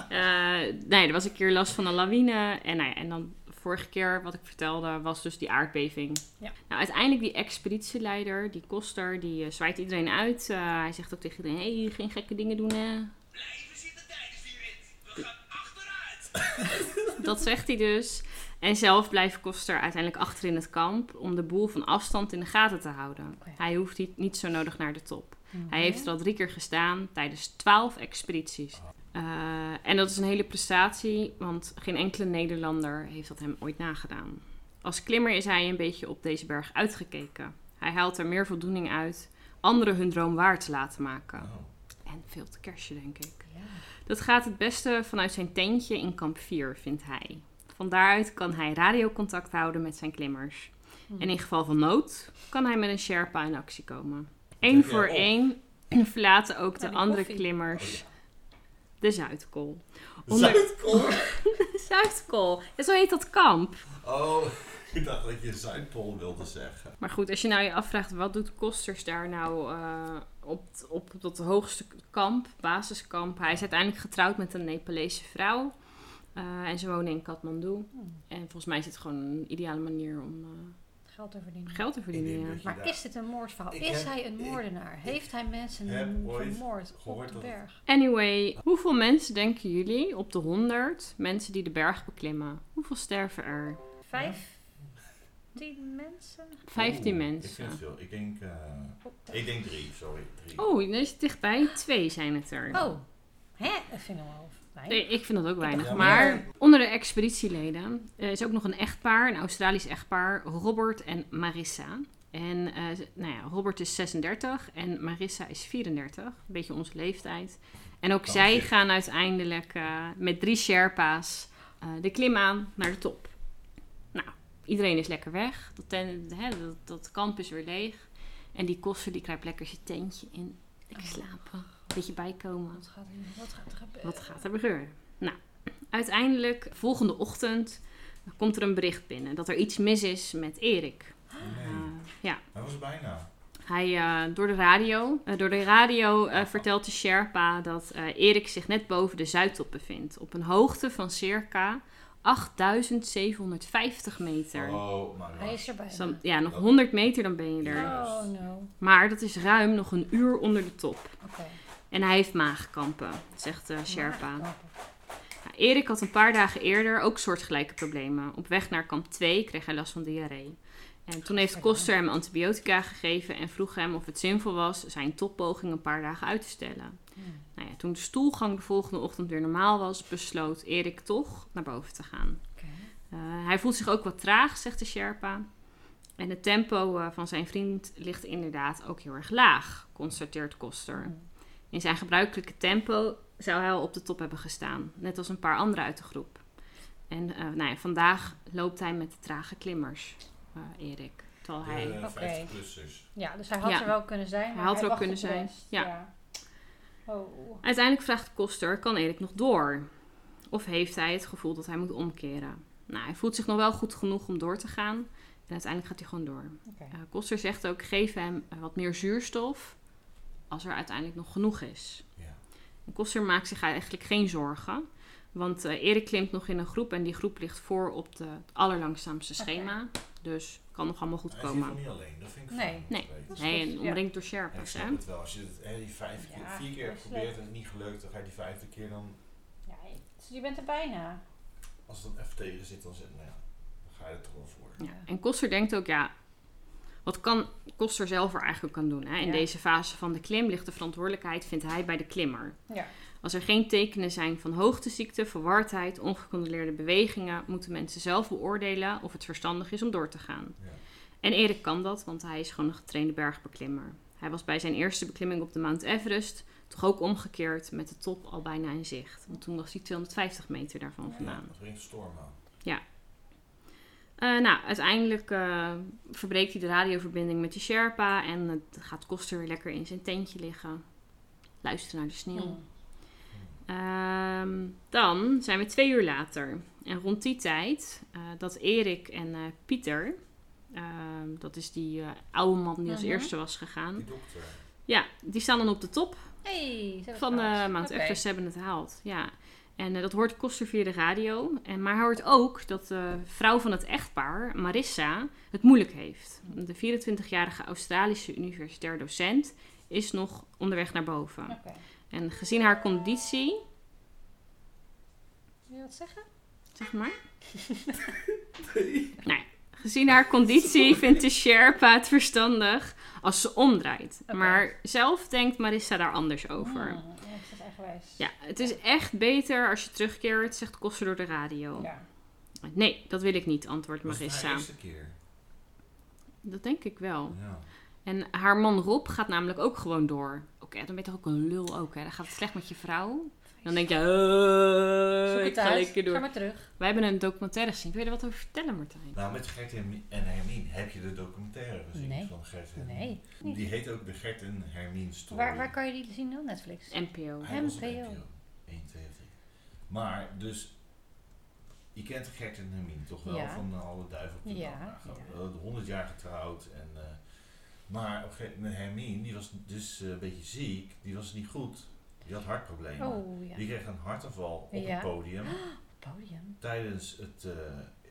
Speaker 1: Eh, nee, er was een keer last van een lawine. En, nou ja, en dan vorige keer, wat ik vertelde, was dus die aardbeving.
Speaker 2: Ja.
Speaker 1: Nou, uiteindelijk die expeditieleider, die koster, die eh, zwaait iedereen uit. Eh, hij zegt ook tegen iedereen, hey, geen gekke dingen doen hè.
Speaker 4: Blijven zitten tijdens die rit. We gaan achteruit.
Speaker 1: Dat zegt hij dus. En zelf blijft Koster uiteindelijk achter in het kamp om de boel van afstand in de gaten te houden.
Speaker 2: Oké.
Speaker 1: Hij hoeft niet- niet zo nodig naar de top.
Speaker 2: Mhm.
Speaker 1: Hij heeft er al drie keer gestaan tijdens twaalf expedities. Eh, en dat is een hele prestatie, want geen enkele Nederlander heeft dat hem ooit nagedaan. Als klimmer is hij een beetje op deze berg uitgekeken. Hij haalt er meer voldoening uit anderen hun droom waar te laten maken.
Speaker 3: Oh.
Speaker 1: En veel te kerstje, denk ik.
Speaker 2: Ja.
Speaker 1: Dat gaat het beste vanuit zijn tentje in kamp 4, vindt hij. Van daaruit kan hij radiocontact houden met zijn klimmers. En in geval van nood kan hij met een Sherpa in actie komen. Eén
Speaker 3: Trek jij
Speaker 1: voor
Speaker 3: op? Oh,
Speaker 1: één verlaten ook de
Speaker 2: die
Speaker 1: andere
Speaker 2: koffie.
Speaker 1: klimmers de Zuidkool. Onder-
Speaker 3: Zuidpool?
Speaker 1: De Zuidkool, Ja, zo heet dat kamp.
Speaker 3: Oh, ik dacht dat je Zuidpool wilde zeggen.
Speaker 1: Maar goed, als je nou je afvraagt wat doet Kosters daar nou eh, op, op dat hoogste kamp, basiskamp. Hij is uiteindelijk getrouwd met een Nepalese vrouw.
Speaker 3: Oh.
Speaker 1: Eh, en ze wonen in Kathmandu. En volgens mij is het gewoon een ideale manier om eh,
Speaker 2: Geld te verdienen.
Speaker 1: Geld te verdienen,
Speaker 3: denk
Speaker 1: ja.
Speaker 3: dat je
Speaker 2: Maar
Speaker 3: daar-
Speaker 2: is dit een moordverhaal?
Speaker 3: Ik
Speaker 2: Is
Speaker 3: heb-
Speaker 2: hij een
Speaker 3: ik-
Speaker 2: moordenaar? Heeft hij mensen
Speaker 3: heb ooit
Speaker 2: vermoord op
Speaker 3: gehoord
Speaker 2: de
Speaker 3: dat het-
Speaker 2: berg?
Speaker 1: Anyway, hoeveel mensen denken jullie op de 100 mensen die de berg beklimmen? Hoeveel sterven er?
Speaker 2: Vijf, tien mensen?
Speaker 1: 15
Speaker 3: Oeh, Oh, Ik vind
Speaker 1: mensen.
Speaker 3: het veel. Ik denk, eh,
Speaker 2: Op de-
Speaker 3: ik denk drie, sorry. Drie.
Speaker 1: Oh, dan is het dichtbij. Twee zijn het er.
Speaker 2: Oh, hè? Dat vind ik wel fijn.
Speaker 1: Nee, ik vind dat ook weinig.
Speaker 3: Ja,
Speaker 1: maar...
Speaker 3: maar-
Speaker 1: onder de expeditieleden eh, is ook nog een echtpaar, een Australisch echtpaar, Robert en Marissa. En eh, ze- nou ja, Robert is 36 en Marissa is 34, een beetje onze leeftijd. En ook
Speaker 3: Oh,
Speaker 1: zij
Speaker 3: shit.
Speaker 1: gaan uiteindelijk eh, met drie Sherpa's eh, de klim aan naar de top. Nou, iedereen is lekker weg. Dat, ten- hè, dat, dat kamp is weer leeg. En die koster die kruipt lekker zijn tentje in. Lekker slapen, een beetje bijkomen.
Speaker 2: Wat gaat, er- wat gaat er gebeuren?
Speaker 1: Wat gaat er gebeuren? Nou, uiteindelijk, volgende ochtend, komt er een bericht binnen dat er iets mis is met Erik. Eh,
Speaker 3: Nee,
Speaker 1: ja,
Speaker 3: dat was bijna.
Speaker 1: hij eh, door de radio, eh, door de radio eh, vertelt de Sherpa dat eh, Erik zich net boven de Zuidtop bevindt. Op een hoogte van circa 8750 meter.
Speaker 3: Oh, maar
Speaker 2: Hij is erbij.
Speaker 1: Dus dan- ja, nog 100 meter dan ben je er.
Speaker 2: Oh no.
Speaker 1: Maar dat is ruim nog een uur onder de top.
Speaker 2: Oké.
Speaker 1: En hij heeft maagkampen, zegt de Sherpa.
Speaker 2: Maar-
Speaker 1: Nou, Erik had een paar dagen eerder ook soortgelijke problemen. Op weg naar kamp 2 kreeg hij last van diarree. En toen heeft Koster hem antibiotica gegeven en vroeg hem of het zinvol was zijn toppoging een paar dagen uit te stellen. Nou ja, toen de stoelgang de volgende ochtend weer normaal was, besloot Erik toch naar boven te gaan.
Speaker 2: Oké.
Speaker 1: Eh, hij voelt zich ook wat traag, zegt de Sherpa. En het tempo eh, van zijn vriend ligt inderdaad ook heel erg laag, constateert Koster. In zijn gebruikelijke tempo zou hij al op de top hebben gestaan, net als een paar anderen uit de groep. En eh, nou ja, vandaag loopt hij met de trage klimmers, eh, Erik. Terwijl hij
Speaker 3: De
Speaker 2: Oké.
Speaker 3: 50-plussers.
Speaker 2: Ja, dus hij had
Speaker 1: Ja.
Speaker 2: er wel kunnen zijn. Maar hij
Speaker 1: had er wel
Speaker 2: wacht
Speaker 1: kunnen
Speaker 2: op de
Speaker 1: zijn,
Speaker 2: rest.
Speaker 1: ja.
Speaker 2: Oh.
Speaker 1: Uiteindelijk vraagt Koster, kan Erik nog door? Of heeft hij het gevoel dat hij moet omkeren? Nou, hij voelt zich nog wel goed genoeg om door te gaan. En uiteindelijk gaat hij gewoon door.
Speaker 2: Oké.
Speaker 1: Eh, Koster zegt ook, geef hem eh, wat meer zuurstof als er uiteindelijk nog genoeg is.
Speaker 3: Ja.
Speaker 1: En Koster maakt zich eigenlijk geen zorgen. Want eh, Erik klimt nog in een groep en die groep ligt voor op de, het allerlangzaamste schema. Dus kan nog allemaal goed
Speaker 3: Hij zit nog
Speaker 1: komen.
Speaker 3: niet alleen, dat vind ik
Speaker 2: Nee.
Speaker 3: fijn om te weten.
Speaker 1: Nee,
Speaker 2: Ja.
Speaker 1: en omringd door
Speaker 3: En ik
Speaker 1: Sherpas, hè?
Speaker 3: snap het wel. Als je het, hè, die vijf keer,
Speaker 2: Ja,
Speaker 3: vier keer hebt
Speaker 2: dat is leuk.
Speaker 3: geprobeerd en het niet gelukt, dan ga je die vijfde keer dan,
Speaker 2: Ja, dus je bent er bijna.
Speaker 3: als het dan even tegen zit, dan, zit, nou ja, dan ga je er toch wel voor.
Speaker 1: Ja. En Koster denkt ook, ja, wat kan Koster zelf er eigenlijk aan doen? Hè? In
Speaker 2: Ja.
Speaker 1: deze fase van de klim ligt de verantwoordelijkheid, vindt hij, bij de klimmer.
Speaker 2: Ja.
Speaker 1: Als er geen tekenen zijn van hoogteziekte, verwardheid, ongecontroleerde bewegingen, moeten mensen zelf beoordelen of het verstandig is om door te gaan.
Speaker 3: Ja.
Speaker 1: En Erik kan dat, want hij is gewoon een getrainde bergbeklimmer. Hij was bij zijn eerste beklimming op de Mount Everest toch ook omgekeerd met de top al bijna in zicht. Want toen was hij 250 meter daarvan
Speaker 3: Ja,
Speaker 1: vandaan.
Speaker 3: dat brengt storm aan.
Speaker 1: Eh, nou, uiteindelijk eh, verbreekt hij de radioverbinding met de Sherpa en het gaat Koster weer lekker in zijn tentje liggen. Luisteren naar de sneeuw.
Speaker 2: Hmm.
Speaker 1: Ehm, dan zijn we twee uur later. En rond die tijd eh, dat Erik en eh, Pieter, ehm, dat is die eh, oude man die als
Speaker 2: Mhm.
Speaker 1: eerste was gegaan,
Speaker 3: Die dokter.
Speaker 1: Hm? ja, die staan dan op de top
Speaker 2: Hey, ze hebben
Speaker 1: van
Speaker 2: het
Speaker 1: eh
Speaker 2: gehaald.
Speaker 1: Mount
Speaker 2: Oké.
Speaker 1: Everest hebben het gehaald. Ja. En eh, dat hoort Koster via de radio. En, maar hij hoort ook dat de vrouw van het echtpaar, Marissa, het moeilijk heeft. De 24-jarige Australische universitair docent is nog onderweg naar boven.
Speaker 2: Oké.
Speaker 1: En gezien haar conditie,
Speaker 2: Wil je wat zeggen?
Speaker 1: zeg maar. Nee. Gezien haar conditie vindt de Sherpa het verstandig als ze omdraait.
Speaker 2: Oké.
Speaker 1: Maar zelf denkt Marissa daar anders over.
Speaker 2: Hmm, ja, ik zit eigenwijs.
Speaker 1: Ja, het is echt beter als je terugkeert, zegt Koster door de radio.
Speaker 2: Ja.
Speaker 1: Nee, dat wil ik niet, antwoordt
Speaker 3: Was het haar
Speaker 1: Marissa. Oh.
Speaker 3: eerste keer.
Speaker 1: Dat denk ik wel.
Speaker 3: Ja.
Speaker 1: En haar man Rob gaat namelijk ook gewoon door. Oké, dan ben je toch ook een lul ook, hè? Dan gaat het slecht met je vrouw. Dan denk je,
Speaker 2: Zoek
Speaker 1: eh,
Speaker 2: het
Speaker 1: ik ga
Speaker 2: uit.
Speaker 1: lekker
Speaker 2: Ga
Speaker 1: door.
Speaker 2: maar terug.
Speaker 1: Wij hebben een documentaire gezien. Wil je er wat over vertellen, Martijn?
Speaker 3: Nou, met Gert en en Hermine. Heb je de documentaire gezien
Speaker 2: Nee.
Speaker 3: van Gert en
Speaker 2: Nee.
Speaker 3: Die heet ook de Gert en Hermine Story.
Speaker 2: Waar, waar kan je die zien dan? Netflix?
Speaker 1: NPO.
Speaker 3: Hij was op
Speaker 2: NPO.
Speaker 3: NPO. 1, 2, 3. Maar, dus, je kent Gert en Hermine toch wel
Speaker 2: Ja.
Speaker 3: van eh, alle duiven op de
Speaker 2: Ja,
Speaker 3: dam. Nou,
Speaker 2: ja.
Speaker 3: gewoon, eh, 100 jaar getrouwd. En, eh, maar op een gegeven moment, Hermine, die was dus eh, een beetje ziek, die was niet goed. Die had hartproblemen.
Speaker 2: Oh ja.
Speaker 3: Die kreeg een hartaanval op
Speaker 2: Ja.
Speaker 3: het podium
Speaker 2: Podium.
Speaker 3: tijdens het, eh,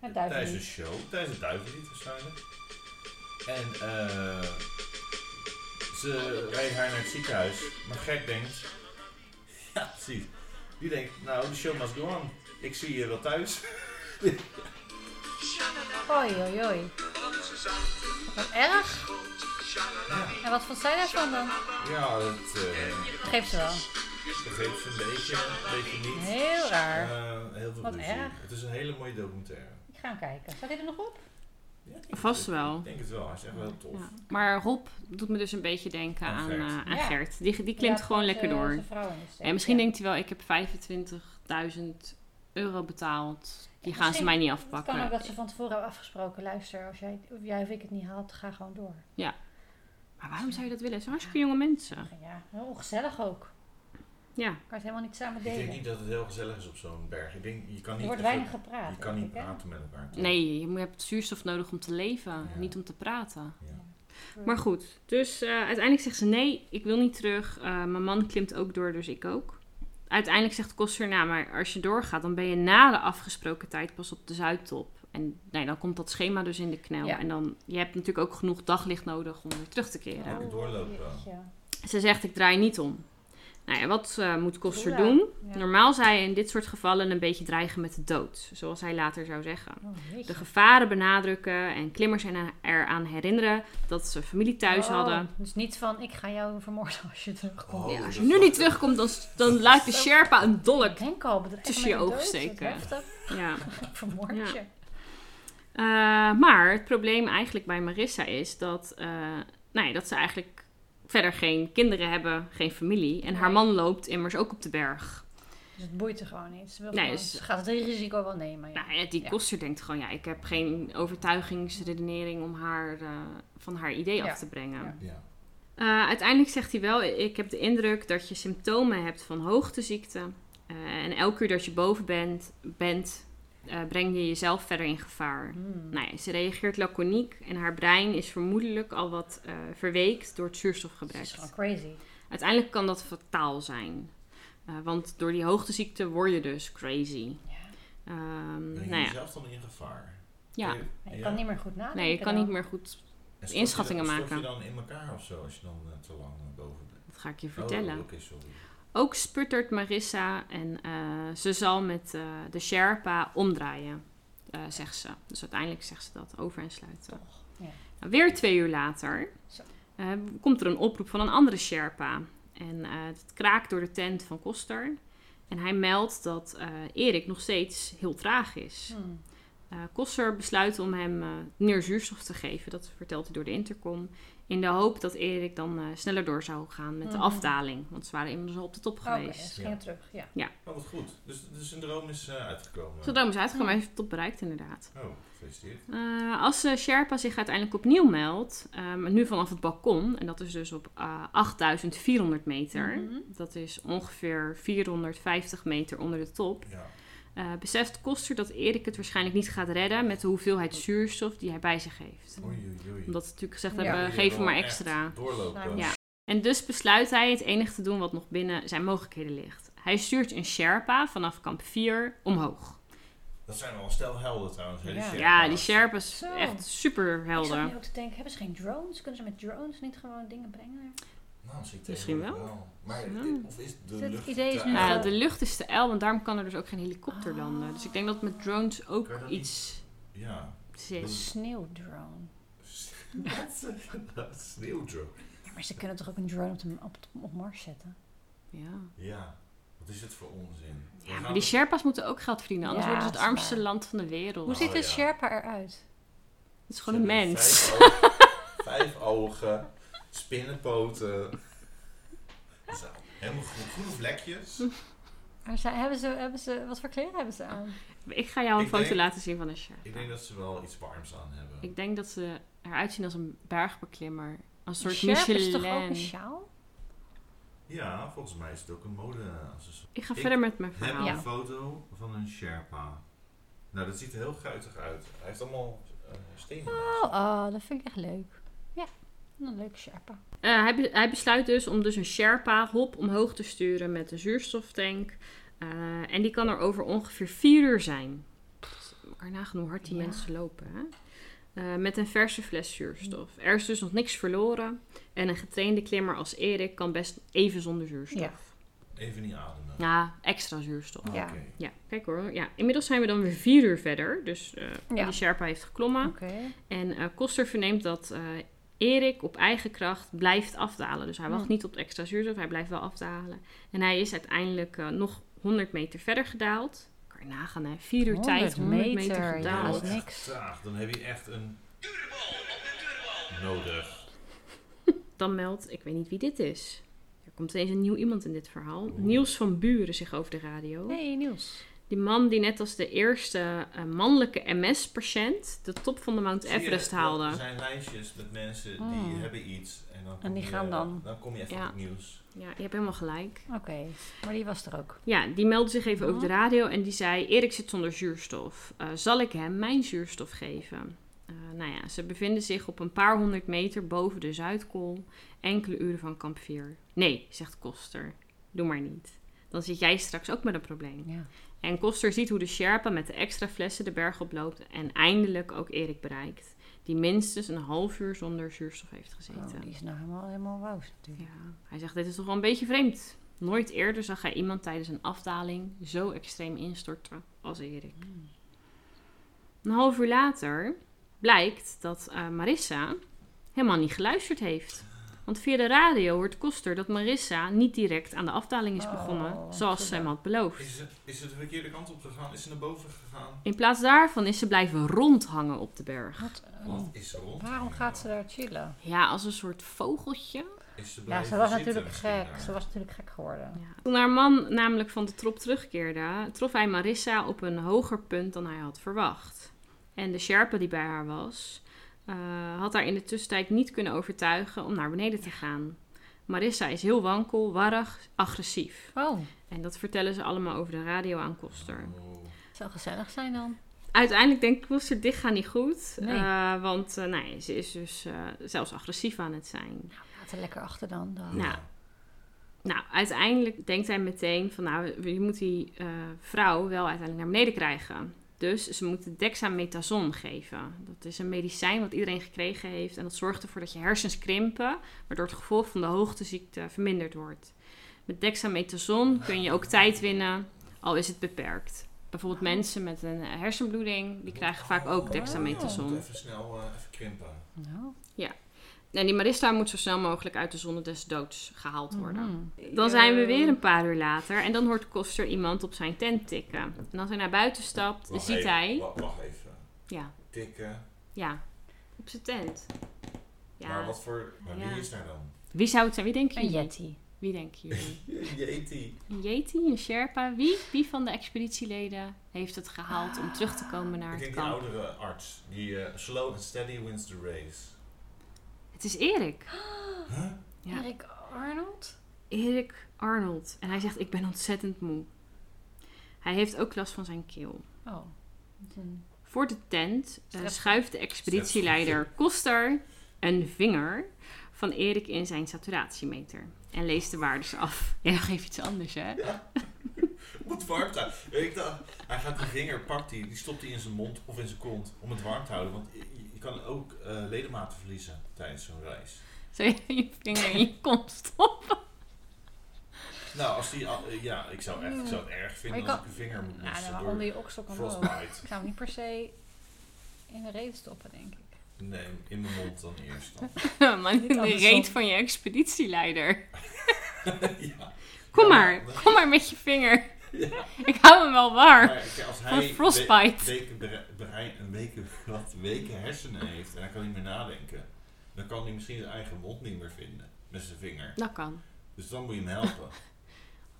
Speaker 2: Het
Speaker 3: tijdens de
Speaker 2: duivenlied.
Speaker 3: show, tijdens het duivenlied waarschijnlijk. En eh, ze rijdt haar naar het ziekenhuis. Maar gek denkt. Ja, precies. Die denkt, nou, de show must go on. Ik zie je wel thuis.
Speaker 2: Oei, oei, oei. Wat erg.
Speaker 3: Ja,
Speaker 2: En wat vond zij daarvan dan?
Speaker 3: ja dat eh
Speaker 2: Geef ze wel.
Speaker 3: begreep ze een beetje, een beetje niet.
Speaker 2: Heel raar.
Speaker 3: Eh, heel veel
Speaker 2: Wat
Speaker 3: ruzie.
Speaker 2: erg.
Speaker 3: Het is een hele mooie documentaire.
Speaker 2: Ik ga hem kijken. Staat hij er nog op?
Speaker 3: Ja, ik denk
Speaker 1: Vast
Speaker 3: het-
Speaker 1: wel.
Speaker 3: Ik denk het wel, hij is echt wel heel tof.
Speaker 1: Ja. Maar Rob doet me dus een beetje denken
Speaker 3: Aan
Speaker 1: aan,
Speaker 3: Gert.
Speaker 1: eh, aan
Speaker 2: Ja.
Speaker 1: Gert. Die, die klimt
Speaker 2: Ja,
Speaker 1: gewoon
Speaker 2: want,
Speaker 1: lekker
Speaker 2: eh,
Speaker 1: door.
Speaker 2: zijn vrouw in de steek,
Speaker 1: En misschien
Speaker 2: ja.
Speaker 1: denkt hij wel, ik heb 25.000 euro betaald. Die
Speaker 2: Ja,
Speaker 1: gaan ze
Speaker 2: misschien.
Speaker 1: mij niet
Speaker 2: Het kan ook
Speaker 1: afpakken.
Speaker 2: dat ze van tevoren hebben afgesproken. Luister, als jij, of jij of ik het niet haalt, ga gewoon door.
Speaker 1: Maar waarom zou je dat willen? Het zijn hartstikke jonge mensen.
Speaker 2: Ja, heel ongezellig ook.
Speaker 1: Ja,
Speaker 2: Kan je het helemaal niet samen
Speaker 3: Ik denk
Speaker 2: delen.
Speaker 3: niet dat het heel gezellig is op zo'n berg. Ik denk, je kan
Speaker 2: Er
Speaker 3: niet
Speaker 2: wordt
Speaker 3: echt-
Speaker 2: weinig gepraat.
Speaker 3: Je kan
Speaker 2: denk
Speaker 3: niet
Speaker 2: ik, hè?
Speaker 3: praten met elkaar. toch?
Speaker 1: nee, je moet- je hebt zuurstof nodig om te leven,
Speaker 3: Ja.
Speaker 1: niet om te praten.
Speaker 3: Ja.
Speaker 1: Maar goed, dus eh, uiteindelijk zegt ze nee, ik wil niet terug. Eh, mijn man klimt ook door, dus ik ook. Uiteindelijk zegt Koster, nou, maar als je doorgaat, dan ben je na de afgesproken tijd pas op de Zuidtop. En nee, dan komt dat schema dus in de knel.
Speaker 2: Ja.
Speaker 1: En dan, je hebt natuurlijk ook genoeg daglicht nodig om weer terug te keren.
Speaker 3: Ja. doorlopen.
Speaker 2: jeetje.
Speaker 1: Ze zegt, ik draai niet om. Nou ja, wat eh, moet Koster
Speaker 2: Oeh,
Speaker 1: doen?
Speaker 2: ja.
Speaker 1: Normaal zou hij in dit soort gevallen een beetje dreigen met de dood. Zoals hij later zou zeggen.
Speaker 2: Oh, jeetje.
Speaker 1: De gevaren benadrukken en klimmers erna- eraan herinneren dat ze familie thuis
Speaker 2: Oh,
Speaker 1: hadden.
Speaker 2: Dus niet van, ik ga jou vermoorden als je terugkomt.
Speaker 3: Oh,
Speaker 1: Ja, als je
Speaker 3: dat
Speaker 1: nu
Speaker 3: is-
Speaker 1: niet terugkomt, dan, dan laat de Sherpa een dolk.
Speaker 2: Ik denk al, bedreiging
Speaker 1: Tussen
Speaker 2: met
Speaker 1: je
Speaker 2: de dood,
Speaker 1: ogen
Speaker 2: wat
Speaker 1: steken.
Speaker 2: heftig.
Speaker 1: Ja.
Speaker 2: Ik vermoord
Speaker 1: Ja.
Speaker 2: je.
Speaker 1: Eh, maar het probleem eigenlijk bij Marissa is dat, eh, nee, dat ze eigenlijk verder geen kinderen hebben, geen familie. En haar man loopt immers ook op de berg.
Speaker 2: Dus het boeit er gewoon niet. Ze, wil
Speaker 1: Nee,
Speaker 2: gewoon-
Speaker 1: dus-
Speaker 2: ze gaat het risico wel nemen. Ja.
Speaker 1: Nou, ja, die
Speaker 2: Ja.
Speaker 1: koster denkt gewoon, ja, ik heb geen overtuigingsredenering om haar eh, van haar idee
Speaker 2: Ja.
Speaker 1: af te brengen.
Speaker 2: Ja.
Speaker 3: Ja.
Speaker 1: Eh, uiteindelijk zegt hij wel, ik heb de indruk dat je symptomen hebt van hoogteziekte. Eh, en elke keer dat je boven bent, bent eh, breng je jezelf verder in gevaar.
Speaker 2: Hmm.
Speaker 1: Nee, ze reageert laconiek en haar brein is vermoedelijk al wat eh, verweekt door het
Speaker 2: Het
Speaker 1: zuurstofgebrek.
Speaker 2: is gewoon crazy.
Speaker 1: Uiteindelijk kan dat fataal zijn. Eh, want door die hoogteziekte word je dus crazy.
Speaker 2: Ja.
Speaker 1: Ehm,
Speaker 3: Ben je
Speaker 1: nou ja,
Speaker 3: jezelf dan in gevaar?
Speaker 1: ja.
Speaker 3: Kun
Speaker 2: Maar Je
Speaker 3: ja.
Speaker 2: kan niet meer goed nadenken.
Speaker 1: Nee, je kan niet
Speaker 2: dan.
Speaker 1: meer goed.
Speaker 3: En stort
Speaker 1: Inschattingen
Speaker 3: je dan,
Speaker 1: maken.
Speaker 3: Stort je dan in elkaar of zo als je dan eh, te lang eh, boven bent?
Speaker 1: Dat ga ik je vertellen.
Speaker 3: Oh, oké, sorry.
Speaker 1: Ook sputtert Marissa en eh, ze zal met eh, de Sherpa omdraaien, eh, zegt ze. Dus uiteindelijk zegt ze dat over en sluiten.
Speaker 2: ja.
Speaker 1: Nou, weer twee uur later
Speaker 2: Zo.
Speaker 1: eh, komt er een oproep van een andere Sherpa. En eh, het kraakt door de tent van Koster. En hij meldt dat eh, Erik nog steeds heel traag is.
Speaker 2: Hmm.
Speaker 1: Eh, Koster besluit om hem eh, meer zuurstof te geven. Dat vertelt hij door de intercom. In de hoop dat Erik dan eh, sneller door zou gaan met
Speaker 2: Mhm.
Speaker 1: de afdaling. Want ze waren immers al op de top
Speaker 2: Oké,
Speaker 1: geweest.
Speaker 2: dus
Speaker 3: Ja.
Speaker 2: ging het terug. Ja.
Speaker 3: Oh, wat goed. Dus, dus zijn droom is eh, uitgekomen.
Speaker 1: Zodat is uitgekomen, hij heeft het top bereikt inderdaad.
Speaker 3: Oh, gefeliciteerd.
Speaker 1: Eh, als eh, Sherpa zich uiteindelijk opnieuw meldt, ehm, nu vanaf het balkon, en dat is dus op eh, 8400 meter,
Speaker 2: Mhm.
Speaker 1: dat is ongeveer 450 meter onder de top,
Speaker 3: Ja.
Speaker 1: eh, beseft Koster dat Erik het waarschijnlijk niet gaat redden met de hoeveelheid zuurstof die hij bij zich heeft.
Speaker 3: Oei, oei, oei.
Speaker 1: Omdat ze natuurlijk gezegd
Speaker 2: Ja.
Speaker 1: hebben,
Speaker 3: Wil je
Speaker 1: geef hem
Speaker 3: wel
Speaker 1: eh, maar
Speaker 3: echt
Speaker 1: extra.
Speaker 3: Doorlopen.
Speaker 2: Nou,
Speaker 1: Ja. En dus besluit hij het enige te doen wat nog binnen zijn mogelijkheden ligt. Hij stuurt een Sherpa vanaf kamp 4 omhoog.
Speaker 3: Dat zijn wel stel helden trouwens. hè,
Speaker 2: Ja.
Speaker 3: Sherpa's.
Speaker 1: Ja, die Sherpa is
Speaker 2: Zo.
Speaker 1: echt super
Speaker 2: Ik zat nu
Speaker 1: helder.
Speaker 2: ook te denken, hebben ze geen drones? Kunnen ze met drones niet gewoon dingen brengen?
Speaker 3: Nou, misschien,
Speaker 1: Misschien wel.
Speaker 3: tegenwoordig Maar
Speaker 1: Ja.
Speaker 3: of is de
Speaker 2: Dus Het
Speaker 3: lucht
Speaker 2: idee is
Speaker 3: te
Speaker 2: nu
Speaker 3: uit?
Speaker 1: Ja,
Speaker 2: wel-
Speaker 1: Eh, de lucht is te el, want daarom kan er dus ook geen helikopter
Speaker 2: Ah.
Speaker 1: landen. Dus ik denk dat met drones ook
Speaker 3: Kan je dat
Speaker 1: iets
Speaker 3: Ja.
Speaker 2: Een
Speaker 1: is.
Speaker 2: sneeuwdrone.
Speaker 3: Wat? Sneeuwdrop.
Speaker 2: Ja, maar ze kunnen toch ook een drone op, de, op, op Mars zetten?
Speaker 1: Ja.
Speaker 3: Ja. Wat is het voor onzin? We
Speaker 1: ja, maar
Speaker 3: gaan-
Speaker 1: die Sherpa's moeten ook geld verdienen, anders
Speaker 2: Ja,
Speaker 1: worden ze
Speaker 2: dat
Speaker 1: het
Speaker 2: is
Speaker 1: armste
Speaker 2: waar.
Speaker 1: land van de wereld.
Speaker 2: Hoe
Speaker 1: Het
Speaker 2: ziet
Speaker 3: Oh,
Speaker 2: een
Speaker 3: ja.
Speaker 2: Sherpa eruit?
Speaker 1: is gewoon een mens.
Speaker 3: Vijf ogen, vijf ogen, spinnenpoten. Zo, helemaal goed, goede vlekjes.
Speaker 1: Hm.
Speaker 2: Maar zij- hebben ze, hebben ze, wat voor kleren hebben ze aan?
Speaker 1: Ik ga jou een
Speaker 3: Ik
Speaker 1: foto
Speaker 3: denk-
Speaker 1: laten zien van een Sherpa.
Speaker 3: Ik denk dat ze wel iets warms aan hebben.
Speaker 1: Ik denk dat ze eruit zien als een bergbeklimmer. Als een
Speaker 2: Een
Speaker 1: soort
Speaker 2: Sherpa is toch ook
Speaker 1: Michelin.
Speaker 2: een sjaal?
Speaker 3: Ja, volgens mij is het ook een mode accessoire.
Speaker 1: Ik ga
Speaker 3: Ik
Speaker 1: verder met mijn
Speaker 3: We hebben
Speaker 1: verhaal.
Speaker 3: een foto van een Sherpa. Nou, dat ziet er heel guitig uit. Hij heeft allemaal eh, stenen.
Speaker 2: Oh, oh, dat vind ik echt leuk. Ja, een leuke Sherpa.
Speaker 1: Eh, hij, be- hij besluit dus om dus een Sherpa hop omhoog te sturen met een zuurstoftank. Eh, en die kan er over ongeveer vier uur zijn. Pff, Ik kan je nagaan hoe hard die
Speaker 2: Ja.
Speaker 1: mensen lopen. Hè? eh, met een verse fles zuurstof. Er is dus nog niks verloren en een getrainde klimmer als Erik kan best even zonder zuurstof.
Speaker 2: Ja.
Speaker 3: Even niet ademen.
Speaker 1: Ja, extra zuurstof.
Speaker 3: Ah,
Speaker 2: Ja.
Speaker 3: oké.
Speaker 1: Ja, kijk hoor. Ja, inmiddels zijn we dan weer vier uur verder. Dus eh
Speaker 2: Ja.
Speaker 1: de Sherpa heeft geklommen.
Speaker 2: Oké.
Speaker 1: En eh, Koster verneemt dat eh, Erik op eigen kracht blijft afdalen. Dus hij wacht
Speaker 2: Hm.
Speaker 1: niet op de extra zuurstof, hij blijft wel afdalen. En hij is uiteindelijk eh, nog 100 meter verder gedaald. Kan je nagaan, hè? Vier uur tijd, 100 meter,
Speaker 2: meter, ja,
Speaker 1: gedaald.
Speaker 2: dat is niks.
Speaker 3: Traag, dan heb je echt een
Speaker 4: Tuurbal op de tuurbal.
Speaker 3: nodig.
Speaker 1: Dan meldt, ik weet niet wie dit is. Er komt ineens een nieuw iemand in dit verhaal. Niels van Buren zich over de radio.
Speaker 2: Hey Niels.
Speaker 1: Die man die net als de eerste eh, mannelijke MS-patiënt de top van de Mount
Speaker 3: Zie je,
Speaker 1: Everest
Speaker 3: dat-
Speaker 1: haalde.
Speaker 3: Er zijn lijstjes met mensen die
Speaker 2: Hmm.
Speaker 3: hebben iets. En, dan
Speaker 2: En die
Speaker 3: kom je-
Speaker 2: gaan dan.
Speaker 3: Dan kom je even
Speaker 1: Ja.
Speaker 3: op het nieuws.
Speaker 1: Ja, je hebt helemaal gelijk.
Speaker 2: Oké, maar die was er ook.
Speaker 1: Ja, die meldde zich even
Speaker 2: Ja.
Speaker 1: over de radio en die zei: Erik zit zonder zuurstof. Eh, zal ik hem mijn zuurstof geven? Eh, nou ja, ze bevinden zich op een paar honderd meter boven de Zuidkool, enkele uren van kamp 4. Nee, zegt Koster. Doe maar niet. Dan zit jij straks ook met een probleem.
Speaker 2: Ja.
Speaker 1: En Koster ziet hoe de Sherpa met de extra flessen de berg oploopt en eindelijk ook Erik bereikt, die minstens een half uur zonder zuurstof heeft gezeten.
Speaker 2: Oh, die is nou helemaal, helemaal wauw natuurlijk.
Speaker 1: Ja, hij zegt, dit is toch wel een beetje vreemd. Nooit eerder zag hij iemand tijdens een afdaling zo extreem instorten als Erik. Een half uur later blijkt dat eh, Marissa helemaal niet geluisterd heeft. Want via de radio hoort Koster dat Marissa niet direct aan de afdaling is
Speaker 2: Oh,
Speaker 1: begonnen,
Speaker 2: wat
Speaker 1: zoals
Speaker 2: goed
Speaker 1: ze hem
Speaker 2: dan.
Speaker 1: had beloofd.
Speaker 3: Is ze, is ze de verkeerde kant op gegaan? Is ze naar boven gegaan?
Speaker 1: In plaats daarvan is ze blijven rondhangen op de berg.
Speaker 2: Wat, eh,
Speaker 3: Wat is er rond?
Speaker 2: waarom gaat ze daar chillen?
Speaker 1: Ja, als een soort vogeltje.
Speaker 3: Is ze
Speaker 2: Ja,
Speaker 3: blijven
Speaker 2: ze was
Speaker 3: zitten dus,
Speaker 2: natuurlijk
Speaker 3: misschien
Speaker 2: gek.
Speaker 3: daar?
Speaker 2: Ze was natuurlijk gek geworden.
Speaker 1: Ja. Toen haar man namelijk van de trop terugkeerde, trof hij Marissa op een hoger punt dan hij had verwacht. En de Sherpa die bij haar was, eh, had haar in de tussentijd niet kunnen overtuigen om naar beneden te gaan. Marissa is heel wankel, warrig, agressief.
Speaker 2: Oh,
Speaker 1: En dat vertellen ze allemaal over de radio aan Koster.
Speaker 3: Oh.
Speaker 2: het zou gezellig zijn dan.
Speaker 1: Uiteindelijk denkt Koster, dit gaat niet goed.
Speaker 2: Nee.
Speaker 1: eh, want eh, nee, ze is dus eh, zelfs agressief aan het zijn.
Speaker 2: Nou, laat er lekker achter dan. dan.
Speaker 1: Nou, Nou, uiteindelijk denkt hij meteen van nou, je moet die eh, vrouw wel uiteindelijk naar beneden krijgen. Dus ze moeten dexamethason geven. Dat is een medicijn wat iedereen gekregen heeft. En dat zorgt ervoor dat je hersens krimpen, waardoor het gevolg van de hoogteziekte verminderd wordt. Met dexamethason kun je ook tijd winnen, al is het beperkt. Bijvoorbeeld mensen met een hersenbloeding, die krijgen vaak ook
Speaker 3: Ik
Speaker 1: dexamethason.
Speaker 3: moet Even snel eh, even krimpen.
Speaker 2: Nou.
Speaker 1: En die Marista moet zo snel mogelijk uit de zonne des doods gehaald worden.
Speaker 2: Mhm.
Speaker 1: Dan zijn we weer een paar uur later en dan hoort Koster iemand op zijn tent tikken. En als hij naar buiten stapt,
Speaker 3: Wacht
Speaker 1: Dus ziet
Speaker 3: even,
Speaker 1: hij...
Speaker 3: Wacht, wacht even.
Speaker 1: Ja,
Speaker 3: Tikken.
Speaker 1: ja. Op zijn tent.
Speaker 3: Maar
Speaker 1: Ja.
Speaker 3: wat voor... Maar
Speaker 1: Ja.
Speaker 3: wie is daar dan?
Speaker 1: Wie zou het zijn? Wie denken
Speaker 2: Een
Speaker 1: jullie?
Speaker 2: yeti.
Speaker 1: Wie denken jullie?
Speaker 3: Jeeti.
Speaker 1: Een Yeti, een Sherpa? Wie? Wie van de expeditieleden heeft het gehaald om terug te komen naar
Speaker 3: Ik
Speaker 1: het
Speaker 3: denk die
Speaker 1: kamp?
Speaker 3: oudere arts. Die eh, slow and steady wins the race.
Speaker 1: Het is Erik. Ja.
Speaker 2: Erik Arnold?
Speaker 1: Erik Arnold. En hij zegt, ik ben ontzettend moe. Hij heeft ook last van zijn keel.
Speaker 2: Oh. dat is een-
Speaker 1: Voor de tent eh,
Speaker 2: Stress.
Speaker 1: schuift de expeditieleider Koster een vinger van Erik in zijn saturatiemeter. En leest de waardes af. Ja, geef iets anders, hè?
Speaker 3: Wat warm te houden. Ik dacht, hij gaat die vinger, pakt die, die stopt hij in zijn mond of in zijn kont om het warm te houden. Want je, je kan ook eh, ledematen verliezen tijdens zo'n reis.
Speaker 1: Zo je je vinger in je kont stopt.
Speaker 3: Nou, als die, al- eh, ja, ik zou, echt, ik zou het erg
Speaker 2: Maar
Speaker 3: vinden
Speaker 2: je
Speaker 3: als
Speaker 2: kan-
Speaker 3: ik een vinger moet
Speaker 2: Nou,
Speaker 3: missen
Speaker 2: nou,
Speaker 3: door
Speaker 2: onder je oksel kan ook.
Speaker 3: frostbite.
Speaker 2: Ik zou hem niet per se in de reet stoppen, denk ik.
Speaker 3: Nee, in mijn mond dan eerst. Dan.
Speaker 1: Maar in de
Speaker 2: andersom.
Speaker 1: reet van je expeditieleider.
Speaker 3: ja.
Speaker 1: Kom
Speaker 3: Ja,
Speaker 1: maar,
Speaker 3: maar-
Speaker 1: kom maar met je vinger.
Speaker 3: Ja.
Speaker 1: Ik hou hem wel warm.
Speaker 3: Maar kijk, als
Speaker 1: Van
Speaker 3: hij
Speaker 1: frostbite.
Speaker 3: we- weken, bere- berei- een weken, wat, weken hersenen heeft en hij kan niet meer nadenken, dan kan hij misschien zijn eigen mond niet meer vinden met zijn vinger.
Speaker 1: Dat kan.
Speaker 3: Dus dan moet je hem helpen.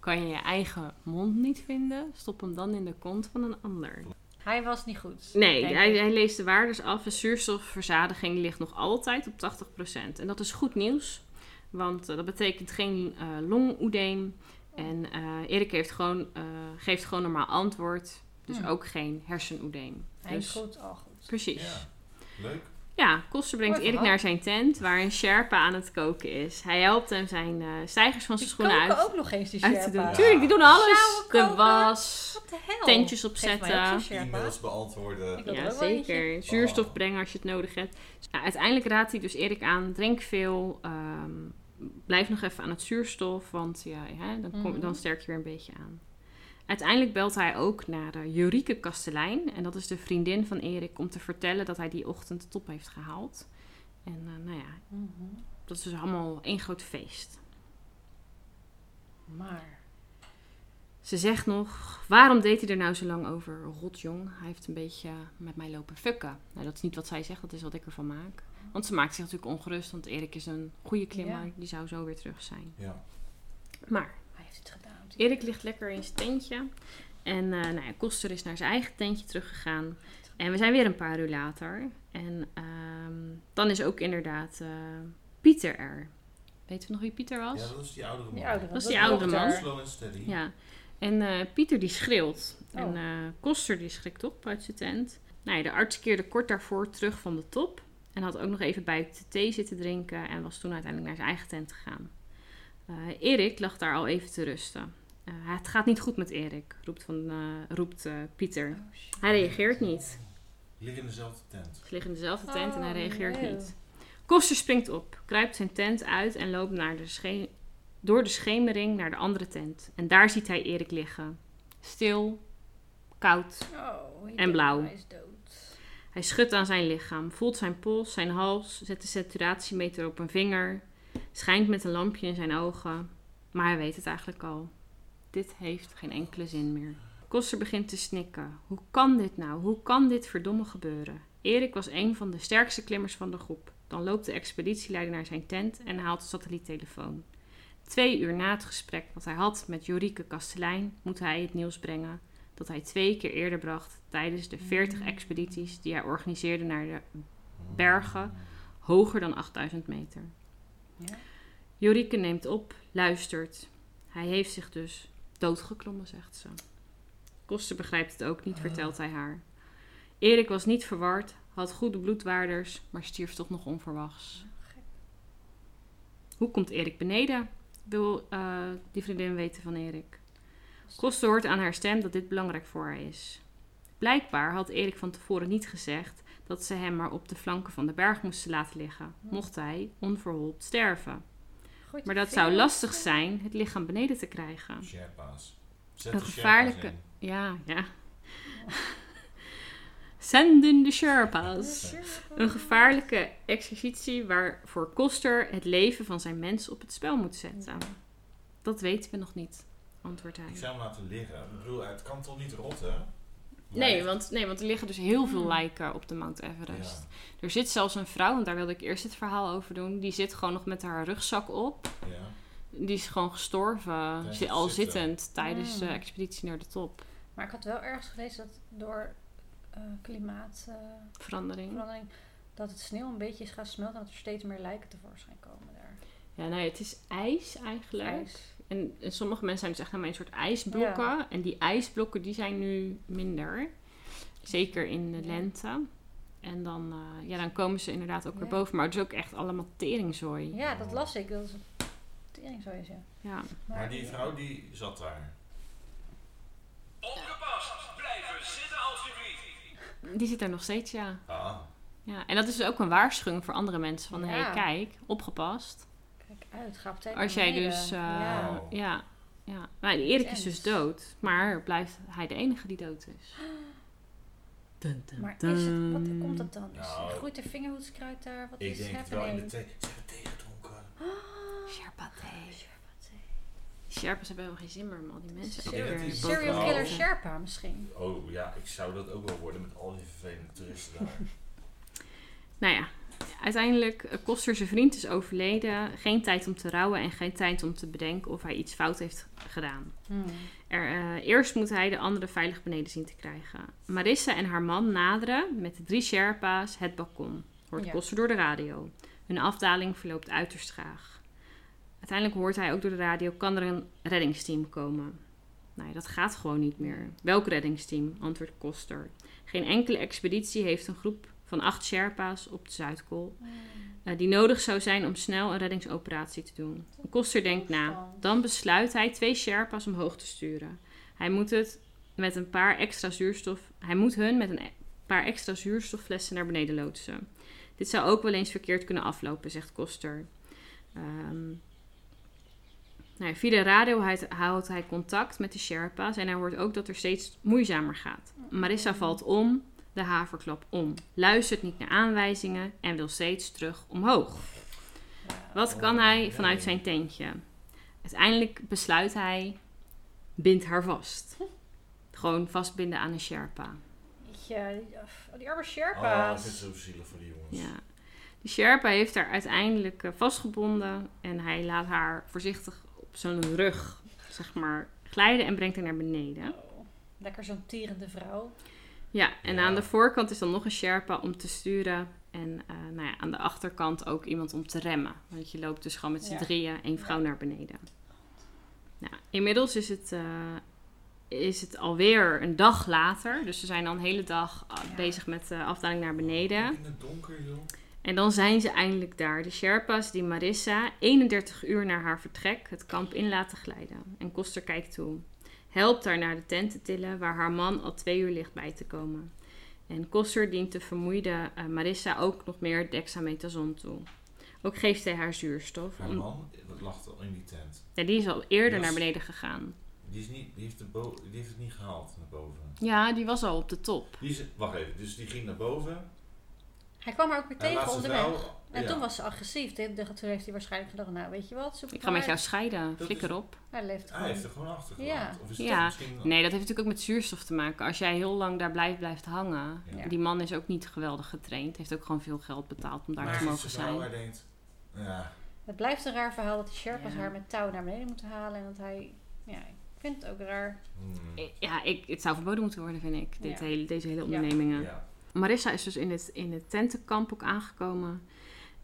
Speaker 1: Kan je je eigen mond niet vinden? Stop hem dan in de kont van een ander.
Speaker 2: Hij was niet goed.
Speaker 1: Nee,
Speaker 2: denk
Speaker 1: hij,
Speaker 2: ik.
Speaker 1: hij leest de waardes af. De zuurstofverzadiging ligt nog altijd op 80%. En dat is goed nieuws, want eh, dat betekent geen eh longoedeem. En eh, Erik heeft gewoon, eh, geeft gewoon normaal antwoord. Dus
Speaker 2: Hmm.
Speaker 1: ook geen hersenoedeem.
Speaker 2: Hij is
Speaker 1: Dus,
Speaker 2: goed, al goed.
Speaker 1: precies.
Speaker 3: Ja, leuk.
Speaker 1: Ja, Koster brengt
Speaker 2: Mooi
Speaker 1: Erik
Speaker 2: verhaal.
Speaker 1: naar zijn tent, waar een Sherpa aan het koken is. Hij helpt hem zijn eh stijgers van zijn
Speaker 2: Die
Speaker 1: schoenen
Speaker 2: koken
Speaker 1: uit,
Speaker 2: ook nog eens, die
Speaker 1: uit te doen.
Speaker 2: Sherpa.
Speaker 3: Ja.
Speaker 1: Tuurlijk, die doen alles.
Speaker 2: Sauer
Speaker 1: De
Speaker 2: koken.
Speaker 1: was,
Speaker 2: Wat de hel?
Speaker 1: tentjes
Speaker 2: Geef mij ook
Speaker 1: opzetten.
Speaker 2: zo'n Sherpa.
Speaker 3: E-mails beantwoorden.
Speaker 2: Ik wil
Speaker 1: Ja,
Speaker 2: er ook wel eentje.
Speaker 1: zeker. Zuurstof brengen als je het nodig hebt. Ja, uiteindelijk raadt hij dus Erik aan: drink veel. ehm, blijf nog even aan het zuurstof, want ja, ja, dan, kom,
Speaker 2: Mhm.
Speaker 1: dan sterk je weer een beetje aan. Uiteindelijk belt hij ook naar eh, Jurieke Kastelein. En dat is de vriendin van Erik om te vertellen dat hij die ochtend de top heeft gehaald. En eh, nou ja,
Speaker 2: Mhm.
Speaker 1: dat is dus allemaal één groot feest.
Speaker 2: Maar.
Speaker 1: Ze zegt nog, waarom deed hij er nou zo lang over? Rotjong, hij heeft een beetje met mij lopen fukken. Nou, dat is niet wat zij zegt, dat is wat ik ervan maak. Want ze maakt zich natuurlijk ongerust, want Erik is een goede klimmer.
Speaker 2: Ja.
Speaker 1: Die zou zo weer terug zijn.
Speaker 3: Ja.
Speaker 1: Maar
Speaker 2: Hij heeft het gedaan.
Speaker 1: Erik ligt lekker in zijn tentje. En eh, nou ja, Koster is naar zijn eigen tentje teruggegaan. En we zijn weer een paar uur later. En ehm, dan is ook inderdaad eh, Pieter er. Weet we nog wie Pieter was?
Speaker 3: ja, dat is die oudere man.
Speaker 2: Die oudere,
Speaker 1: Dat is die oudere
Speaker 2: dochter.
Speaker 1: man.
Speaker 3: Slow and steady.
Speaker 1: Ja, en eh, Pieter die schreeuwt.
Speaker 2: Oh.
Speaker 1: En eh, Koster die schrikt op uit zijn tent. Nou ja, de arts keerde kort daarvoor terug van de top. En had ook nog even bij de thee zitten drinken. En was toen uiteindelijk naar zijn eigen tent gegaan. Eh, Erik lag daar al even te rusten. Eh, het gaat niet goed met Erik, roept, van, eh, roept eh, Pieter.
Speaker 2: Oh, shit.
Speaker 1: Hij reageert niet.
Speaker 3: Die liggen in dezelfde tent.
Speaker 1: Ze liggen in dezelfde tent en hij
Speaker 2: Oh,
Speaker 1: reageert
Speaker 2: nee.
Speaker 1: niet. Koster springt op, kruipt zijn tent uit en loopt naar de sche- door de schemering naar de andere tent. En daar ziet hij Erik liggen. Stil, koud.
Speaker 2: Oh, hij
Speaker 1: En blauw.
Speaker 2: Hij is dood.
Speaker 1: Hij schudt aan zijn lichaam, voelt zijn pols, zijn hals, zet de saturatiemeter op een vinger, schijnt met een lampje in zijn ogen. Maar hij weet het eigenlijk al. Dit heeft geen enkele zin meer. Koster begint te snikken. Hoe kan dit nou? Hoe kan dit verdomme gebeuren? Erik was een van de sterkste klimmers van de groep. Dan loopt de expeditieleider naar zijn tent en haalt de satelliettelefoon. Twee uur na het gesprek wat hij had met Jorike Kastelein, moet hij het nieuws brengen dat hij twee keer eerder bracht tijdens de 40 expedities die hij organiseerde naar de
Speaker 3: Hm.
Speaker 1: bergen hoger dan 8000 meter.
Speaker 2: Ja.
Speaker 1: Jorike neemt op, luistert. Hij heeft zich dus doodgeklommen, zegt ze. Koster begrijpt het
Speaker 2: Ah.
Speaker 1: ook niet, vertelt hij haar. Erik was niet verward, had goede bloedwaarders, maar stierf toch nog onverwachts.
Speaker 2: gek.
Speaker 1: Hoe komt Erik beneden? Wil eh, die vriendin weten van Erik. Koster hoort aan haar stem dat dit belangrijk voor haar is. Blijkbaar had Erik van tevoren niet gezegd dat ze hem maar op de flanken van de berg moesten laten liggen, mocht hij onverhoopt sterven.
Speaker 2: Goed,
Speaker 1: Maar dat
Speaker 2: veel.
Speaker 1: zou lastig zijn het lichaam beneden te krijgen.
Speaker 3: Sherpa's. Zet
Speaker 1: Een
Speaker 3: de Sherpa's
Speaker 1: gevaarlijke-
Speaker 3: in.
Speaker 1: Ja, ja. Zenden de Sherpas.
Speaker 2: Sherpa.
Speaker 1: Een gevaarlijke exercitie waarvoor Koster het leven van zijn mens op het spel moet zetten. Dat weten we nog niet, antwoordt hij.
Speaker 3: Ik zou hem laten liggen. Ik bedoel, het kan toch niet rotten? Maar-
Speaker 1: Nee want, nee, want er liggen dus heel veel
Speaker 2: Hmm.
Speaker 1: lijken op de Mount
Speaker 3: Ja.
Speaker 1: Everest. Er zit zelfs een vrouw, en daar wilde ik eerst het verhaal over doen. Die zit gewoon nog met haar rugzak op.
Speaker 3: ja.
Speaker 1: Die is gewoon gestorven,
Speaker 3: Tijdens
Speaker 1: zi- al
Speaker 3: het zitten.
Speaker 1: zittend, tijdens de
Speaker 2: Hmm.
Speaker 1: expeditie naar de top.
Speaker 2: Maar ik had wel ergens gelezen dat door eh klimaatverandering.
Speaker 1: Verandering.
Speaker 2: dat het sneeuw een beetje is gaan smelten. En dat er steeds meer lijken tevoorschijn komen daar.
Speaker 1: Ja, nee, het is ijs eigenlijk.
Speaker 2: Ijs.
Speaker 1: En, en sommige mensen zijn dus echt helemaal een soort ijsblokken. En die ijsblokken die zijn nu minder. Zeker in de
Speaker 2: Ja.
Speaker 1: lente. En dan, eh, ja, dan komen ze inderdaad ook weer
Speaker 2: Ja.
Speaker 1: boven. Maar het is ook echt allemaal teringzooi.
Speaker 2: Ja, dat las ik. Dat is een tering zo is, ja.
Speaker 1: Ja.
Speaker 3: Maar die vrouw die zat daar.
Speaker 4: Opgepast, blijven zitten alsjeblieft.
Speaker 1: Die zit er nog steeds, ja.
Speaker 3: Ah,
Speaker 1: ja. En dat is dus ook een waarschuwing voor andere mensen. Van, hé,
Speaker 2: Ja.
Speaker 1: hey, kijk, opgepast.
Speaker 2: Kijk uit, ga op tijd
Speaker 1: Als
Speaker 2: naar
Speaker 1: jij
Speaker 2: beneden.
Speaker 1: dus... eh,
Speaker 2: ja.
Speaker 1: ja. ja. Maar Erik is dus
Speaker 2: Intens.
Speaker 1: dood. Maar blijft hij de enige die dood is. Dun, dun,
Speaker 2: Maar is het, wat
Speaker 1: dun.
Speaker 2: komt dat dan? Is,
Speaker 3: Oh. Nou,
Speaker 2: groeit er vingerhoedskruid daar? Wat
Speaker 3: ik
Speaker 2: is
Speaker 3: denk het wel in de
Speaker 2: happening?
Speaker 3: thee. Ze hebben thee gedronken.
Speaker 1: Sherpa thee.
Speaker 2: Sherpa thee.
Speaker 1: Die Sherpas hebben helemaal geen zin meer om al die mensen ook
Speaker 3: Serial-
Speaker 1: weer boven
Speaker 2: Serial
Speaker 1: te
Speaker 2: killer
Speaker 1: zetten.
Speaker 2: Sherpa misschien.
Speaker 3: Oh ja, ik zou dat ook wel worden met al die vervelende toeristen daar.
Speaker 1: Nou ja, uiteindelijk eh, Koster zijn vriend is overleden. Geen tijd om te rouwen en geen tijd om te bedenken of hij iets fout heeft gedaan. Er, eh, eerst moet hij de anderen veilig beneden zien te krijgen. Marissa en haar man naderen met de drie Sherpa's het balkon. Hoort
Speaker 2: Ja.
Speaker 1: Koster door de radio. Hun afdaling verloopt uiterst traag. Uiteindelijk hoort hij ook door de radio: kan er een reddingsteam komen? Nee, dat gaat gewoon niet meer. Welk reddingsteam? Antwoordt Koster. Geen enkele expeditie heeft een groep van acht Sherpa's op de Zuidpool eh, die nodig zou zijn om snel een reddingsoperatie te doen. Koster denkt na. Dan besluit hij twee Sherpa's omhoog te sturen. Hij moet het met een paar extra zuurstof. Hij moet hun met een e- paar extra zuurstofflessen naar beneden loodsen. Dit zou ook wel eens verkeerd kunnen aflopen, zegt Koster. Ehm, nou ja, via de radio hij- houdt hij contact met de Sherpa's en hij hoort ook dat er steeds moeizamer gaat. Marissa valt om, de haverklap om, luistert niet naar aanwijzingen en wil steeds terug omhoog. Wat kan hij vanuit zijn tentje? Uiteindelijk besluit hij, bindt haar vast. Gewoon vastbinden aan een Sherpa.
Speaker 2: Ja, die, oh, die arme
Speaker 3: Ah, ik
Speaker 2: Sherpa's.
Speaker 3: vind het zo zielig voor die jongens.
Speaker 1: Ja. De Sherpa heeft haar uiteindelijk eh, vastgebonden en hij laat haar voorzichtig op zijn rug zeg maar, glijden en brengt haar naar beneden.
Speaker 2: Oh, lekker zo'n tierende vrouw.
Speaker 1: Ja, en
Speaker 3: Ja.
Speaker 1: aan de voorkant is dan nog een Sherpa om te sturen. En eh, nou ja, aan de achterkant ook iemand om te remmen. Want je loopt dus gewoon met z'n
Speaker 2: Ja.
Speaker 1: drieën, één vrouw naar beneden. Nou, inmiddels is het, eh, is het alweer een dag later. Dus ze zijn al een hele dag eh,
Speaker 2: Ja.
Speaker 1: bezig met de afdaling naar beneden.
Speaker 3: In het donker, joh.
Speaker 1: En dan zijn ze eindelijk daar. De Sherpas die Marissa 31 uur na haar vertrek het kamp in laten glijden. En Koster kijkt toe. Helpt haar naar de tent te tillen waar haar man al twee uur ligt bij te komen. En Koster dient de vermoeide eh, Marissa ook nog meer dexamethason toe. Ook geeft hij haar zuurstof.
Speaker 3: Haar
Speaker 1: om-
Speaker 3: man, dat lag al in die tent.
Speaker 1: Ja, die is al eerder
Speaker 3: Yes.
Speaker 1: naar beneden gegaan.
Speaker 3: Die, is niet, die, heeft de bo- die heeft het niet gehaald naar boven.
Speaker 1: Ja, die was al op de top.
Speaker 3: Die is, wacht even, dus die ging naar boven.
Speaker 2: Hij kwam haar ook weer
Speaker 3: Hij laat
Speaker 2: tegen
Speaker 3: zijn
Speaker 2: onderweg.
Speaker 3: vrouw-
Speaker 2: En
Speaker 3: ja.
Speaker 2: toen was ze agressief. Toen dacht- toen heeft hij waarschijnlijk gedacht, nou weet je wat, zoek
Speaker 1: Ik
Speaker 2: het
Speaker 1: ga
Speaker 2: maar
Speaker 1: met jou
Speaker 2: uit.
Speaker 1: scheiden.
Speaker 3: is-
Speaker 1: Flikker op.
Speaker 2: Hij leeft
Speaker 3: Hij heeft
Speaker 2: gewoon.
Speaker 3: er gewoon achter
Speaker 2: Ja.
Speaker 3: Of is
Speaker 1: Ja.
Speaker 3: dat misschien...
Speaker 1: Nee, dat heeft natuurlijk ook met zuurstof te maken. Als jij heel lang daar blijft, blijft hangen.
Speaker 3: Ja.
Speaker 2: Ja.
Speaker 1: Die man is ook niet geweldig getraind. Heeft ook gewoon veel geld betaald om daar
Speaker 3: Maar
Speaker 1: te
Speaker 3: als
Speaker 1: mogen
Speaker 3: zijn vrouw,
Speaker 1: zijn.
Speaker 3: Hij denkt, ja,
Speaker 2: Het blijft een raar verhaal dat die Sherpas
Speaker 1: Ja.
Speaker 2: haar met touw naar beneden moeten halen. En dat hij, ja, ik vind het ook raar.
Speaker 3: hmm,
Speaker 1: I- Ja, ik, het zou verboden moeten worden, vind ik. Dit
Speaker 2: Ja.
Speaker 1: hele, deze hele
Speaker 2: Ja.
Speaker 1: ondernemingen.
Speaker 3: ja.
Speaker 1: Marissa is dus in het, in het tentenkamp ook aangekomen.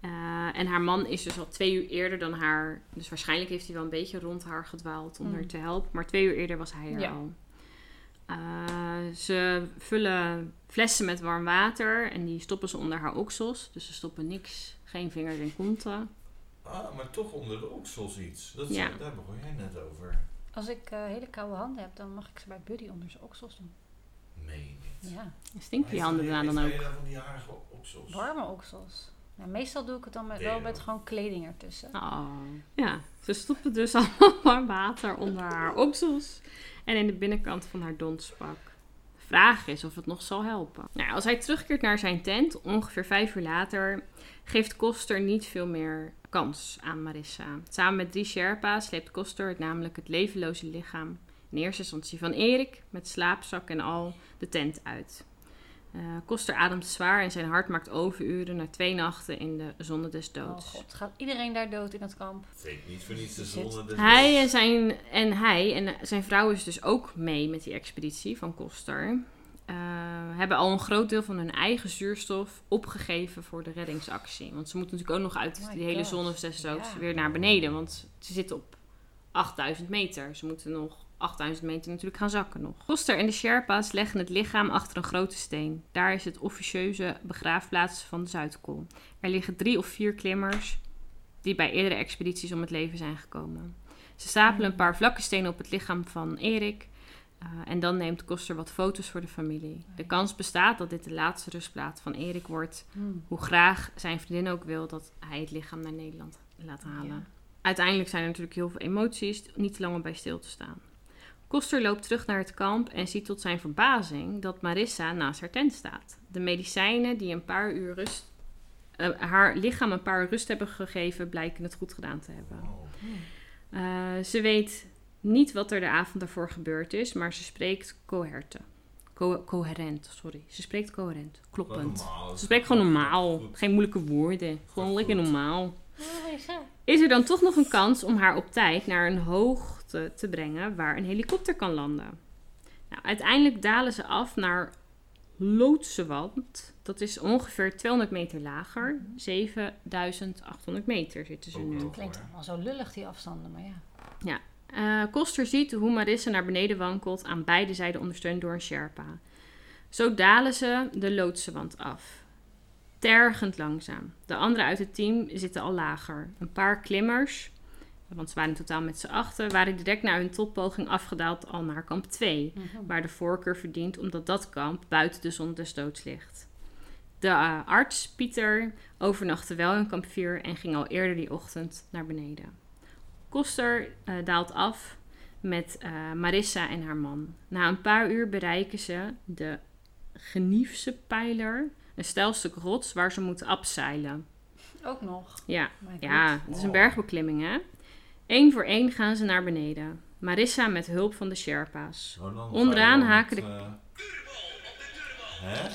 Speaker 1: Eh, en haar man is dus al twee uur eerder dan haar. Dus waarschijnlijk heeft hij wel een beetje rond haar gedwaald om
Speaker 2: Mm.
Speaker 1: haar te helpen. Maar twee uur eerder was hij er
Speaker 2: Ja.
Speaker 1: al. Eh, ze vullen flessen met warm water en die stoppen ze onder haar oksels. Dus ze stoppen niks, geen vingers en konten.
Speaker 3: Ah, maar toch onder de oksels iets. Dat is,
Speaker 1: Ja.
Speaker 3: Daar begon jij net over.
Speaker 2: Als ik eh, hele koude handen heb, dan mag ik ze bij Buddy onder zijn oksels doen.
Speaker 3: Meen niet.
Speaker 2: Ja,
Speaker 1: Stinkt die handen daarna dan ook.
Speaker 3: Ja, van die harige oksels.
Speaker 2: warme oksels. Nou, meestal doe ik het dan met, wel
Speaker 3: Nee,
Speaker 2: met
Speaker 3: hoor.
Speaker 2: gewoon kleding ertussen.
Speaker 1: Oh. Ja, ze stoppen dus allemaal warm water onder haar oksels en in de binnenkant van haar donspak. De vraag is of het nog zal helpen. Nou, als hij terugkeert naar zijn tent, ongeveer vijf uur later, geeft Koster niet veel meer kans aan Marissa. Samen met drie Sherpa's sleept Koster het namelijk het levenloze lichaam, in eerste instantie van Erik, met slaapzak en al, de tent uit. Eh, Koster ademt zwaar en zijn hart maakt overuren na twee nachten in de zonne des
Speaker 2: Oh
Speaker 1: doods.
Speaker 2: god, gaat iedereen daar dood in dat kamp?
Speaker 3: Het heet niet voor niets de
Speaker 2: Shit.
Speaker 3: zon.
Speaker 1: Hij en zijn, en hij en zijn vrouw is dus ook mee met die expeditie van Koster. Eh, hebben al een groot deel van hun eigen zuurstof opgegeven voor de reddingsactie. Want ze moeten natuurlijk ook nog uit
Speaker 2: Oh My
Speaker 1: die hele
Speaker 2: God.
Speaker 1: zon of zes doods
Speaker 2: Ja.
Speaker 1: weer naar beneden. Want ze zitten op 8000 meter. Ze moeten nog 8000 meter natuurlijk gaan zakken nog. Koster en de Sherpa's leggen het lichaam achter een grote steen. Daar is het officieuze begraafplaats van de Zuidkool. Er liggen drie of vier klimmers die bij eerdere expedities om het leven zijn gekomen. Ze stapelen een paar vlakke stenen op het lichaam van Erik. eh, en dan neemt Koster wat foto's voor de familie. De kans bestaat dat dit de laatste rustplaats van Erik wordt.
Speaker 2: Hmm.
Speaker 1: Hoe graag zijn vriendin ook wil dat hij het lichaam naar Nederland laat halen.
Speaker 2: Ja.
Speaker 1: Uiteindelijk zijn er natuurlijk heel veel emoties, niet te lang om bij stil te staan. Koster loopt terug naar het kamp en ziet tot zijn verbazing dat Marissa naast haar tent staat. De medicijnen die een paar uur rust, eh, haar lichaam een paar uur rust hebben gegeven, blijken het goed gedaan te hebben.
Speaker 3: Oh,
Speaker 1: Eh, ze weet niet wat er de avond daarvoor gebeurd is, maar ze spreekt coherente. Co- coherent, sorry. Ze spreekt coherent, kloppend. Ze spreekt gewoon normaal. Geen moeilijke woorden. Gewoon
Speaker 3: Goed.
Speaker 1: lekker normaal.
Speaker 2: Oh, ja.
Speaker 1: Is er dan toch nog een kans om haar op tijd naar een hoogte te brengen waar een helikopter kan landen? Nou, uiteindelijk dalen ze af naar Loodsewand. Dat is ongeveer 200 meter lager. 7800 meter zitten ze
Speaker 3: Ook
Speaker 1: nu.
Speaker 3: nog.
Speaker 2: Klinkt allemaal zo lullig die afstanden, maar ja.
Speaker 1: Eh, Koster ziet hoe Marissa naar beneden wankelt, aan beide zijden ondersteund door een Sherpa. Zo dalen ze de loodsewand af. Tergend langzaam. De anderen uit het team zitten al lager. Een paar klimmers want ze waren in totaal met z'n achten, waren direct na hun toppoging afgedaald al naar kamp 2, waar de voorkeur verdient omdat dat kamp buiten de zon des doods ligt. De eh, arts, Pieter, overnachtte wel in kamp 4 en ging al eerder die ochtend naar beneden. Koster eh, daalt af met eh, Marissa en haar man. Na een paar uur bereiken ze de Geniefse pijler, een stijlstuk rots waar ze moeten abzeilen.
Speaker 2: Ook nog.
Speaker 1: Ja,
Speaker 2: My
Speaker 1: ja,
Speaker 2: god.
Speaker 1: het is een bergbeklimming, hè? Eén voor één gaan ze naar beneden. Marissa met hulp van de Sherpa's.
Speaker 3: Roland,
Speaker 1: Onderaan
Speaker 3: Roland,
Speaker 1: haken de-
Speaker 3: eh,
Speaker 4: Turbal op de turbal.
Speaker 3: hè?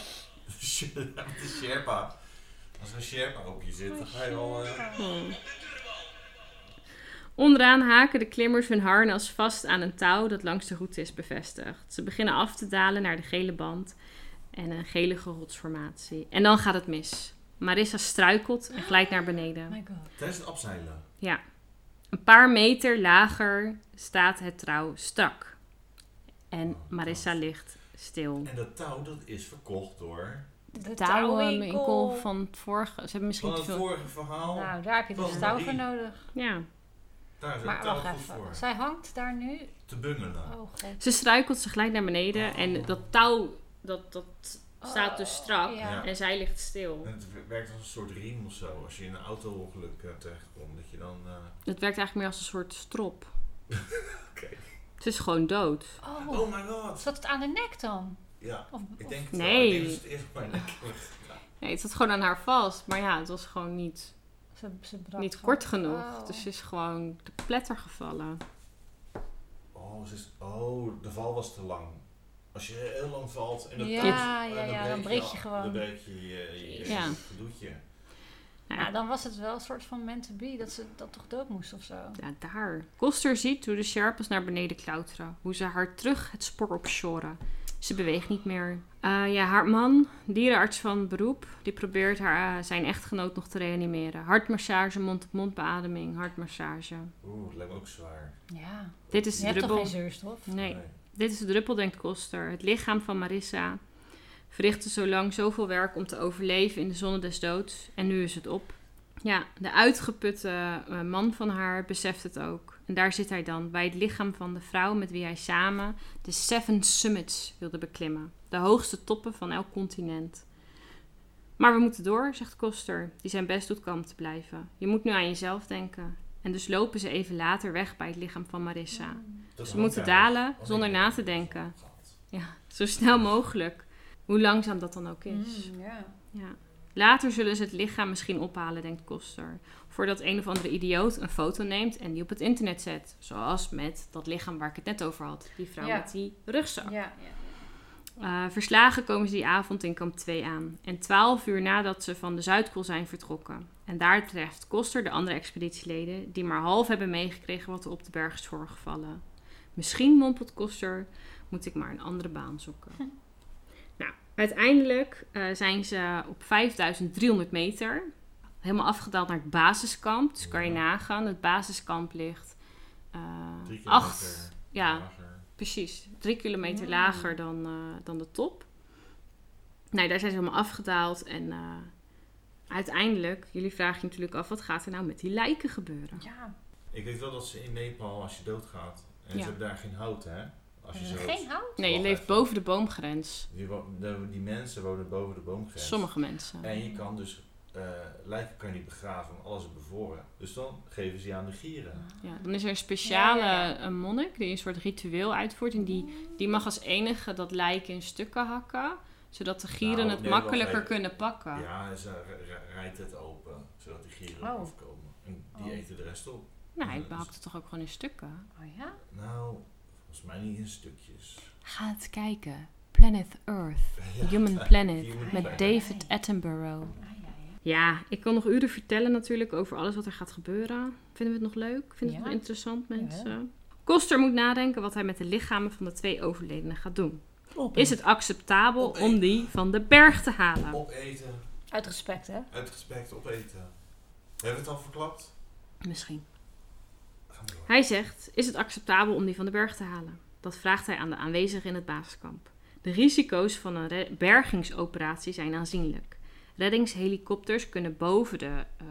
Speaker 3: de Sherpa. Als er een Sherpa op je zit, dan ga je al... eh,
Speaker 1: Hmm. Onderaan haken de klimmers hun harnas vast aan een touw dat langs de route is bevestigd. Ze beginnen af te dalen naar de gele band en een gele rotsformatie. En dan gaat het mis. Marissa struikelt en glijdt naar beneden.
Speaker 2: My god.
Speaker 3: Tijdens het opzeilen.
Speaker 1: Ja. Een paar meter lager staat het trouw strak. En Marissa ligt stil.
Speaker 3: En dat touw, dat is verkocht door...
Speaker 2: De
Speaker 1: touwwinkel ehm, van het vorige. Ze hebben misschien
Speaker 3: Van
Speaker 1: te
Speaker 3: het
Speaker 1: veel.
Speaker 3: vorige verhaal,
Speaker 2: Nou, daar heb je dus
Speaker 3: Van
Speaker 2: touw
Speaker 3: Marie.
Speaker 2: voor nodig.
Speaker 1: Ja.
Speaker 3: daar is het
Speaker 2: Maar
Speaker 3: touw
Speaker 2: wacht
Speaker 3: goed
Speaker 2: even.
Speaker 3: voor.
Speaker 2: Zij hangt daar nu.
Speaker 3: Te bungelen.
Speaker 2: Oh god.
Speaker 1: Ze struikelt, ze glijdt naar beneden. En dat touw, dat, dat staat dus strak.
Speaker 2: Oh, Ja.
Speaker 3: Ja.
Speaker 1: En zij ligt stil.
Speaker 3: En het werkt als een soort riem of zo. Als je in een auto-ongeluk eh, terechtkomt, dat je dan... eh,
Speaker 1: Het werkt eigenlijk meer als een soort strop.
Speaker 3: Oké.
Speaker 1: Ze is gewoon dood.
Speaker 2: Oh.
Speaker 3: Oh my god!
Speaker 2: Zat het aan de nek dan?
Speaker 3: Ja,
Speaker 2: Of,
Speaker 3: ik denk het
Speaker 1: Nee.
Speaker 3: wel. Ik denk dat ze het eerst maar lekker...
Speaker 1: Nee, het zat gewoon aan haar vast. Maar ja, het was gewoon niet,
Speaker 2: of ze, ze brak
Speaker 1: niet
Speaker 2: gewoon-
Speaker 1: kort genoeg.
Speaker 2: Oh.
Speaker 1: Dus ze is gewoon de pletter gevallen.
Speaker 3: Oh, ze is, oh, de val was te lang. Als je heel lang valt en dat
Speaker 2: Ja,
Speaker 3: touw-
Speaker 2: ja,
Speaker 3: eh,
Speaker 2: ja, dan breek je gewoon.
Speaker 3: Dan breek je je, je
Speaker 1: Ja.
Speaker 3: gedoetje.
Speaker 1: Ja.
Speaker 2: Nou, dan was het wel een soort van meant to be dat ze dat toch dood moest of zo.
Speaker 1: Ja, daar. Koster ziet hoe de Sherpas naar beneden klauteren. Hoe ze haar terug het spoor opshoren. Ze beweegt niet meer. Eh, ja, haar man, dierenarts van beroep, die probeert haar, eh, zijn echtgenoot nog te reanimeren. Hartmassage, mond-op-mond beademing, hartmassage.
Speaker 3: Oeh, dat lijkt me ook zwaar.
Speaker 2: Ja.
Speaker 1: Dit is
Speaker 2: Je
Speaker 1: de
Speaker 2: hebt toch
Speaker 1: druppel.
Speaker 2: geen zuurstof?
Speaker 1: Nee, dit is de druppel, denkt Koster. Het lichaam van Marissa verrichtte zo lang zoveel werk om te overleven in de zonne des doods. En nu is het op. Ja, de uitgeputte eh, man van haar beseft het ook. En daar zit hij dan, bij het lichaam van de vrouw met wie hij samen de Seven Summits wilde beklimmen. De hoogste toppen van elk continent. Maar we moeten door, zegt Koster, die zijn best doet kalm te blijven. Je moet nu aan jezelf denken. En dus lopen ze even later weg bij het lichaam van Marissa.
Speaker 2: Mm,
Speaker 3: Dat
Speaker 1: Ze
Speaker 3: is
Speaker 1: moeten
Speaker 3: ook
Speaker 1: dalen
Speaker 3: erg.
Speaker 1: zonder
Speaker 3: Oh, nee,
Speaker 1: na
Speaker 3: dat
Speaker 1: te
Speaker 3: heb ik
Speaker 1: denken.
Speaker 3: gehad.
Speaker 1: Ja, zo snel mogelijk. Hoe langzaam dat dan ook is.
Speaker 2: Mm, ja.
Speaker 1: Ja. Later zullen ze het lichaam misschien ophalen, denkt Koster. Voordat een of andere idioot een foto neemt en die op het internet zet. Zoals met dat lichaam waar ik het net over had. Die vrouw
Speaker 2: Ja.
Speaker 1: met die rugzak.
Speaker 2: Ja, ja, ja.
Speaker 1: Eh, verslagen komen ze die avond in kamp 2 aan. En 12 uur nadat ze van de Zuidpool zijn vertrokken. En daar treft Koster de andere expeditieleden, die maar half hebben meegekregen wat er op de berg is voorgevallen. Misschien, mompelt Koster, moet ik maar een andere baan zoeken. nou, uiteindelijk eh, zijn ze op 5300 meter helemaal afgedaald naar het basiskamp. Dus kan je
Speaker 3: Ja.
Speaker 1: nagaan, het basiskamp ligt eh
Speaker 3: Drie keer
Speaker 1: acht,
Speaker 3: later,
Speaker 1: ja,
Speaker 3: lager.
Speaker 1: Precies, drie kilometer
Speaker 2: Mm.
Speaker 1: lager dan, eh, dan de top. Nou, daar zijn ze helemaal afgedaald. En eh, uiteindelijk, jullie vragen je natuurlijk af, wat gaat er nou met die lijken gebeuren?
Speaker 2: ja.
Speaker 3: Ik weet wel dat ze in Nepal, als je doodgaat, en
Speaker 1: Ja.
Speaker 3: ze hebben daar geen hout, hè? Als je
Speaker 2: Is er
Speaker 3: zo-
Speaker 2: Eh, geen hout?
Speaker 1: Nee, je
Speaker 3: Wacht
Speaker 1: leeft
Speaker 3: even.
Speaker 1: boven de boomgrens.
Speaker 3: Die, wo- de- die mensen wonen boven de boomgrens.
Speaker 1: Sommige mensen.
Speaker 3: En je kan dus eh, lijken kan je niet begraven, want alles is bevoren. Dus dan geven ze je aan de gieren.
Speaker 1: Ja, dan is er een speciale
Speaker 2: Ja, ja, ja.
Speaker 1: eh, monnik die een soort ritueel uitvoert. En die,
Speaker 2: Mm.
Speaker 1: die mag als enige dat lijk in stukken hakken. Zodat de gieren
Speaker 3: Nou,
Speaker 1: het
Speaker 3: nee,
Speaker 1: makkelijker
Speaker 3: wacht even.
Speaker 1: kunnen pakken.
Speaker 3: Ja, en ze r- r- rijdt het open, zodat die gieren
Speaker 2: Oh.
Speaker 3: eraf komen. En die
Speaker 2: Oh.
Speaker 3: eten de rest op.
Speaker 1: Nou, hij
Speaker 3: Ja, dus-
Speaker 1: hakt het toch ook gewoon in stukken?
Speaker 2: Oh ja?
Speaker 3: Nou, volgens mij niet in stukjes.
Speaker 1: Ga het kijken. Planet Earth. Human Planet.
Speaker 3: Human
Speaker 1: Met
Speaker 3: Planet.
Speaker 1: David Attenborough.
Speaker 2: Ah, ja, ja.
Speaker 1: Ja, ik kan nog uren vertellen natuurlijk over alles wat er gaat gebeuren. Vinden we het nog leuk? Vinden we het
Speaker 2: Ja.
Speaker 1: nog interessant, mensen?
Speaker 2: Jawel.
Speaker 1: Koster moet nadenken wat hij met de lichamen van de twee overledenen gaat doen. Is het acceptabel
Speaker 3: Opeten.
Speaker 1: om die van de berg te halen?
Speaker 3: Opeten,
Speaker 2: Uit respect, hè?
Speaker 3: uit respect opeten. Hebben we het al verklapt?
Speaker 1: Misschien.
Speaker 3: Gaan we door.
Speaker 1: Hij zegt, is het acceptabel om die van de berg te halen? Dat vraagt hij aan de aanwezigen in het basiskamp. De risico's van een re- bergingsoperatie zijn aanzienlijk. Reddingshelikopters kunnen boven de eh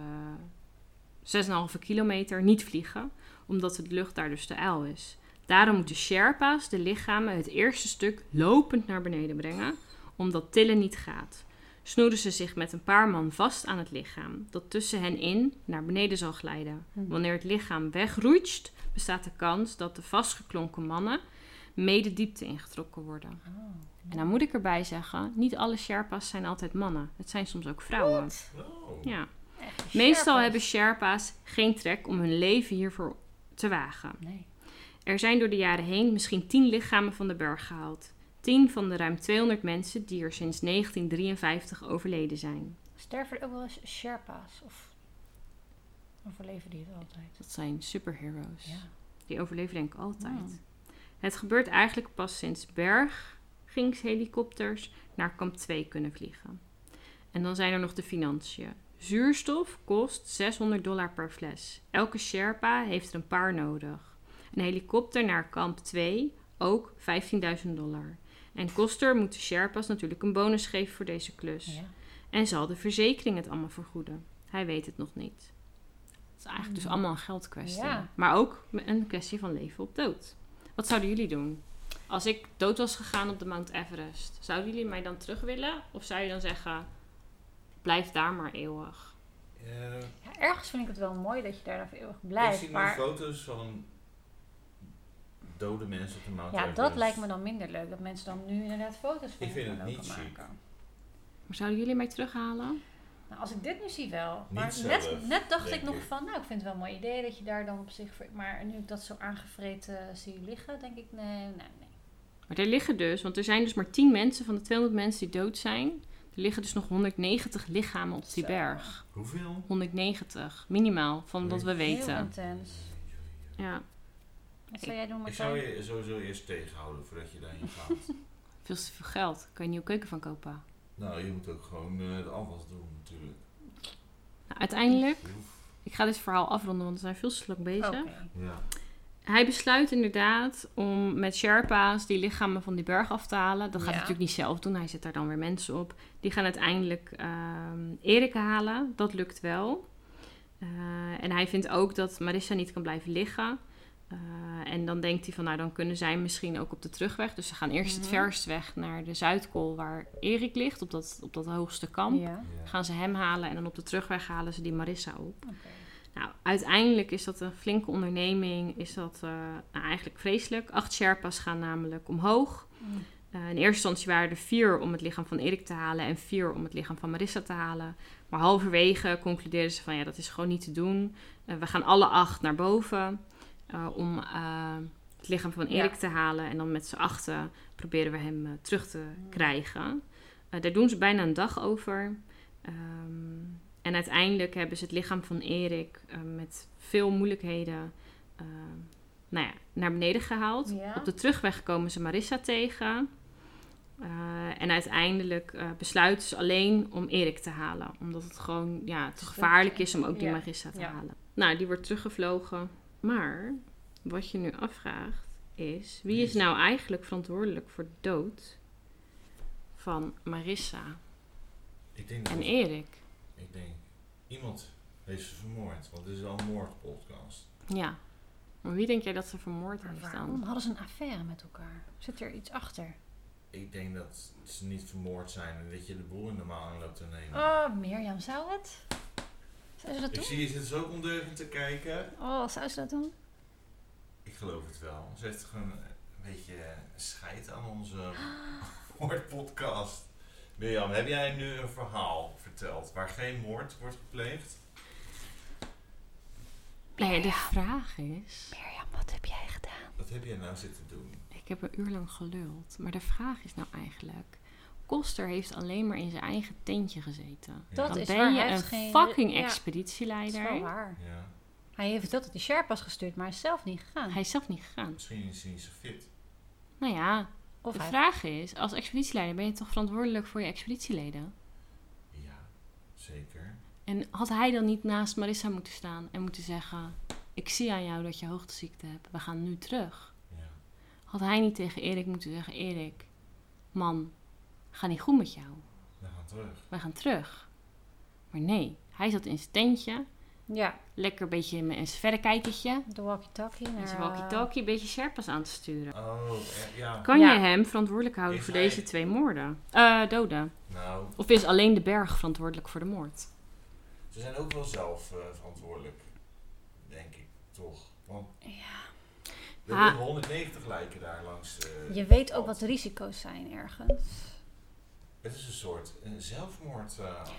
Speaker 1: 6,5 kilometer niet vliegen, omdat de lucht daar dus te ijl is. Daarom moeten Sherpa's de lichamen het eerste stuk lopend naar beneden brengen, omdat tillen niet gaat. Snoeren ze zich met een paar man vast aan het lichaam, dat tussen hen in naar beneden zal glijden. Wanneer het lichaam wegroeit, bestaat de kans dat de vastgeklonken mannen mee de diepte ingetrokken worden.
Speaker 2: Oh.
Speaker 1: En dan moet ik erbij zeggen, niet alle Sherpa's zijn altijd mannen. Het zijn soms ook vrouwen.
Speaker 3: Oh.
Speaker 1: Ja.
Speaker 2: Echt,
Speaker 1: Meestal
Speaker 2: Sherpas.
Speaker 1: hebben Sherpa's geen trek om hun leven hiervoor te wagen.
Speaker 2: Nee.
Speaker 1: Er zijn door de jaren heen misschien 10 lichamen van de berg gehaald. 10 van de ruim 200 mensen die er sinds 1953 overleden zijn.
Speaker 2: Sterven er ook wel eens Sherpa's? Of overleven die het altijd?
Speaker 1: Dat zijn superheroes.
Speaker 2: Ja.
Speaker 1: Die overleven denk ik altijd. Het gebeurt eigenlijk pas sinds bergingshelikopters naar kamp 2 kunnen vliegen. En dan zijn er nog de financiën. Zuurstof kost 600 dollar per fles. Elke Sherpa heeft er een paar nodig. Een helikopter naar kamp 2 ook 15.000 dollar. En koster moet de Sherpas natuurlijk een bonus geven voor deze klus.
Speaker 2: Ja.
Speaker 1: En zal de verzekering het allemaal vergoeden? Hij weet het nog niet. Het is eigenlijk dus allemaal een geldkwestie.
Speaker 2: Ja.
Speaker 1: Maar ook een kwestie van leven op dood. Wat zouden jullie doen? Als ik dood was gegaan op de Mount Everest, zouden jullie mij dan terug willen? Of zou je dan zeggen, blijf daar maar eeuwig?
Speaker 3: Eh,
Speaker 2: Ja, ergens vind ik het wel mooi dat je daar nou voor eeuwig
Speaker 3: ik zie
Speaker 2: blijft.
Speaker 3: nu
Speaker 2: Maar
Speaker 3: foto's van dode mensen op de Mount
Speaker 2: ja, dat
Speaker 3: Everest.
Speaker 2: lijkt me dan minder leuk. Dat mensen dan nu inderdaad foto's van
Speaker 3: Ik vind
Speaker 2: gaan
Speaker 3: het
Speaker 2: lopen
Speaker 3: niet chic.
Speaker 2: maken.
Speaker 1: Maar zouden jullie mij terughalen?
Speaker 2: Nou, als ik dit nu zie wel. Maar
Speaker 3: Niet zelf,
Speaker 2: net, net dacht
Speaker 3: denk
Speaker 2: ik nog
Speaker 3: ik.
Speaker 2: van, nou ik vind het wel een mooi idee dat je daar dan op zich... voor- Maar nu ik dat zo aangevreten zie liggen, denk ik nee, nee, nee.
Speaker 1: Maar er liggen dus, want er zijn dus maar 10 mensen van de 200 mensen die dood zijn. Er liggen dus nog 190 lichamen op die
Speaker 2: Zo.
Speaker 1: berg.
Speaker 3: Hoeveel?
Speaker 1: 190, minimaal, van wat we
Speaker 2: Heel
Speaker 1: weten.
Speaker 2: intens.
Speaker 1: Ja.
Speaker 2: Wat zou jij doen
Speaker 3: Ik
Speaker 2: Martijn?
Speaker 3: zou je sowieso eerst tegenhouden voordat je daarin gaat.
Speaker 1: Veel te veel geld. Kan je een nieuwe keuken van kopen.
Speaker 3: nou, je moet ook gewoon eh, de afwas doen natuurlijk.
Speaker 1: Nou, uiteindelijk,
Speaker 3: Je hoeft-
Speaker 1: ik ga dit verhaal afronden, want we zijn veel te lang bezig.
Speaker 2: Oh, Oké.
Speaker 3: Ja.
Speaker 1: Hij besluit inderdaad om met Sherpa's die lichamen van die berg af te halen. Dat gaat hij
Speaker 2: Ja.
Speaker 1: natuurlijk niet zelf doen, hij zet daar dan weer mensen op. Die gaan uiteindelijk ehm Erik halen, dat lukt wel. Eh, en hij vindt ook dat Marissa niet kan blijven liggen. Eh, en dan denkt hij van, nou dan kunnen zij misschien ook op de terugweg. Dus ze gaan eerst
Speaker 2: Mhm.
Speaker 1: het verst weg naar de Zuidkool waar Erik ligt, op dat, op dat hoogste kamp.
Speaker 2: Ja.
Speaker 3: Ja.
Speaker 1: gaan ze hem halen en dan op de terugweg halen ze die Marissa op.
Speaker 2: Oké.
Speaker 1: Nou, uiteindelijk is dat een flinke onderneming. Is dat eh, nou, eigenlijk vreselijk. Acht Sherpas gaan namelijk omhoog.
Speaker 2: Mm.
Speaker 1: Eh, in eerste instantie waren er vier om het lichaam van Erik te halen en vier om het lichaam van Marissa te halen. Maar halverwege concludeerden ze van ja, dat is gewoon niet te doen. Eh, we gaan alle acht naar boven eh, om eh, het lichaam van
Speaker 2: Ja.
Speaker 1: Erik te halen. En dan met z'n achten proberen we hem eh, terug te
Speaker 2: Mm.
Speaker 1: krijgen. Eh, daar doen ze bijna een dag over. Ehm, en uiteindelijk hebben ze het lichaam van Erik eh, met veel moeilijkheden eh, nou ja, naar beneden gehaald.
Speaker 2: Ja.
Speaker 1: Op de terugweg komen ze Marissa tegen. Eh, en uiteindelijk eh, besluiten ze alleen om Erik te halen. Omdat het gewoon ja, te gevaarlijk is om ook die
Speaker 2: Ja.
Speaker 1: Marissa te
Speaker 2: Ja.
Speaker 1: halen. Nou, die wordt teruggevlogen. Maar wat je nu afvraagt is... Wie is nou eigenlijk verantwoordelijk voor de dood van Marissa
Speaker 3: Ik denk dat
Speaker 1: en Erik?
Speaker 3: Ik denk, iemand heeft ze vermoord, want dit is al een moordpodcast.
Speaker 1: Ja. Maar wie denk jij dat ze vermoord
Speaker 2: Maar
Speaker 1: heeft
Speaker 2: waarom
Speaker 1: dan?
Speaker 2: hadden ze een affaire met elkaar? Zit er iets achter?
Speaker 3: Ik denk dat ze niet vermoord zijn en dat je de boel in de maan loopt te nemen.
Speaker 2: Oh, Mirjam, zou het? Zou ze dat
Speaker 3: Ik
Speaker 2: doen?
Speaker 3: zie je zit zo ondeugend te kijken.
Speaker 2: Oh, zou ze dat doen?
Speaker 3: Ik geloof het wel. Ze heeft gewoon een beetje scheid aan onze moordpodcast. Mirjam, heb jij nu een verhaal verteld waar geen moord wordt gepleegd?
Speaker 1: Nee, Nou de vraag is...
Speaker 2: Mirjam, wat heb jij gedaan?
Speaker 3: Wat heb jij nou zitten doen?
Speaker 1: Ik heb een uur lang geluld. Maar de vraag is nou eigenlijk... Koster heeft alleen maar in zijn eigen tentje gezeten.
Speaker 3: Ja.
Speaker 2: Dat
Speaker 1: Dan
Speaker 2: is
Speaker 1: ben
Speaker 2: waar,
Speaker 1: je
Speaker 2: hij
Speaker 1: een
Speaker 2: heeft geen-
Speaker 1: fucking
Speaker 2: ja, Dat is
Speaker 1: expeditieleider.
Speaker 2: wel waar.
Speaker 3: Ja,
Speaker 2: Hij heeft dat tot die Sherpas gestuurd, maar hij is zelf niet gegaan.
Speaker 1: Hij is zelf niet gegaan.
Speaker 3: misschien is ze niet zo fit.
Speaker 1: Nou ja,
Speaker 2: of
Speaker 1: de
Speaker 2: hij
Speaker 1: vraag is... Als expeditieleider ben je toch verantwoordelijk voor je expeditieleden?
Speaker 3: Ja, zeker.
Speaker 1: En had hij dan niet naast Marissa moeten staan en moeten zeggen... Ik zie aan jou dat je hoogteziekte hebt. We gaan nu terug.
Speaker 3: Ja.
Speaker 1: Had hij niet tegen Erik moeten zeggen: Erik, man, ga niet goed met jou.
Speaker 3: We gaan terug.
Speaker 1: Wij gaan terug. Maar nee, hij zat in zijn tentje.
Speaker 2: Ja,
Speaker 1: Lekker een beetje met een verrekijkertje.
Speaker 2: de walkie-talkie.
Speaker 1: En
Speaker 2: naar,
Speaker 1: zijn
Speaker 2: eh,
Speaker 1: walkie-talkie een beetje Sherpas aan te sturen.
Speaker 3: Oh, eh, ja.
Speaker 1: Kan
Speaker 2: Ja.
Speaker 1: je hem verantwoordelijk houden
Speaker 3: Is
Speaker 1: voor
Speaker 3: hij-
Speaker 1: deze twee moorden? Eh, doden.
Speaker 3: Nou,
Speaker 1: Of is alleen de berg verantwoordelijk voor de moord?
Speaker 3: ze zijn ook wel zelf eh, verantwoordelijk. Denk ik, toch? Want
Speaker 2: Ja.
Speaker 3: we
Speaker 1: Ah.
Speaker 3: hebben 190 lijken daar langs. eh,
Speaker 2: Je weet ook
Speaker 3: pad.
Speaker 2: wat de risico's zijn ergens.
Speaker 3: Het is een soort zelfmoordactie.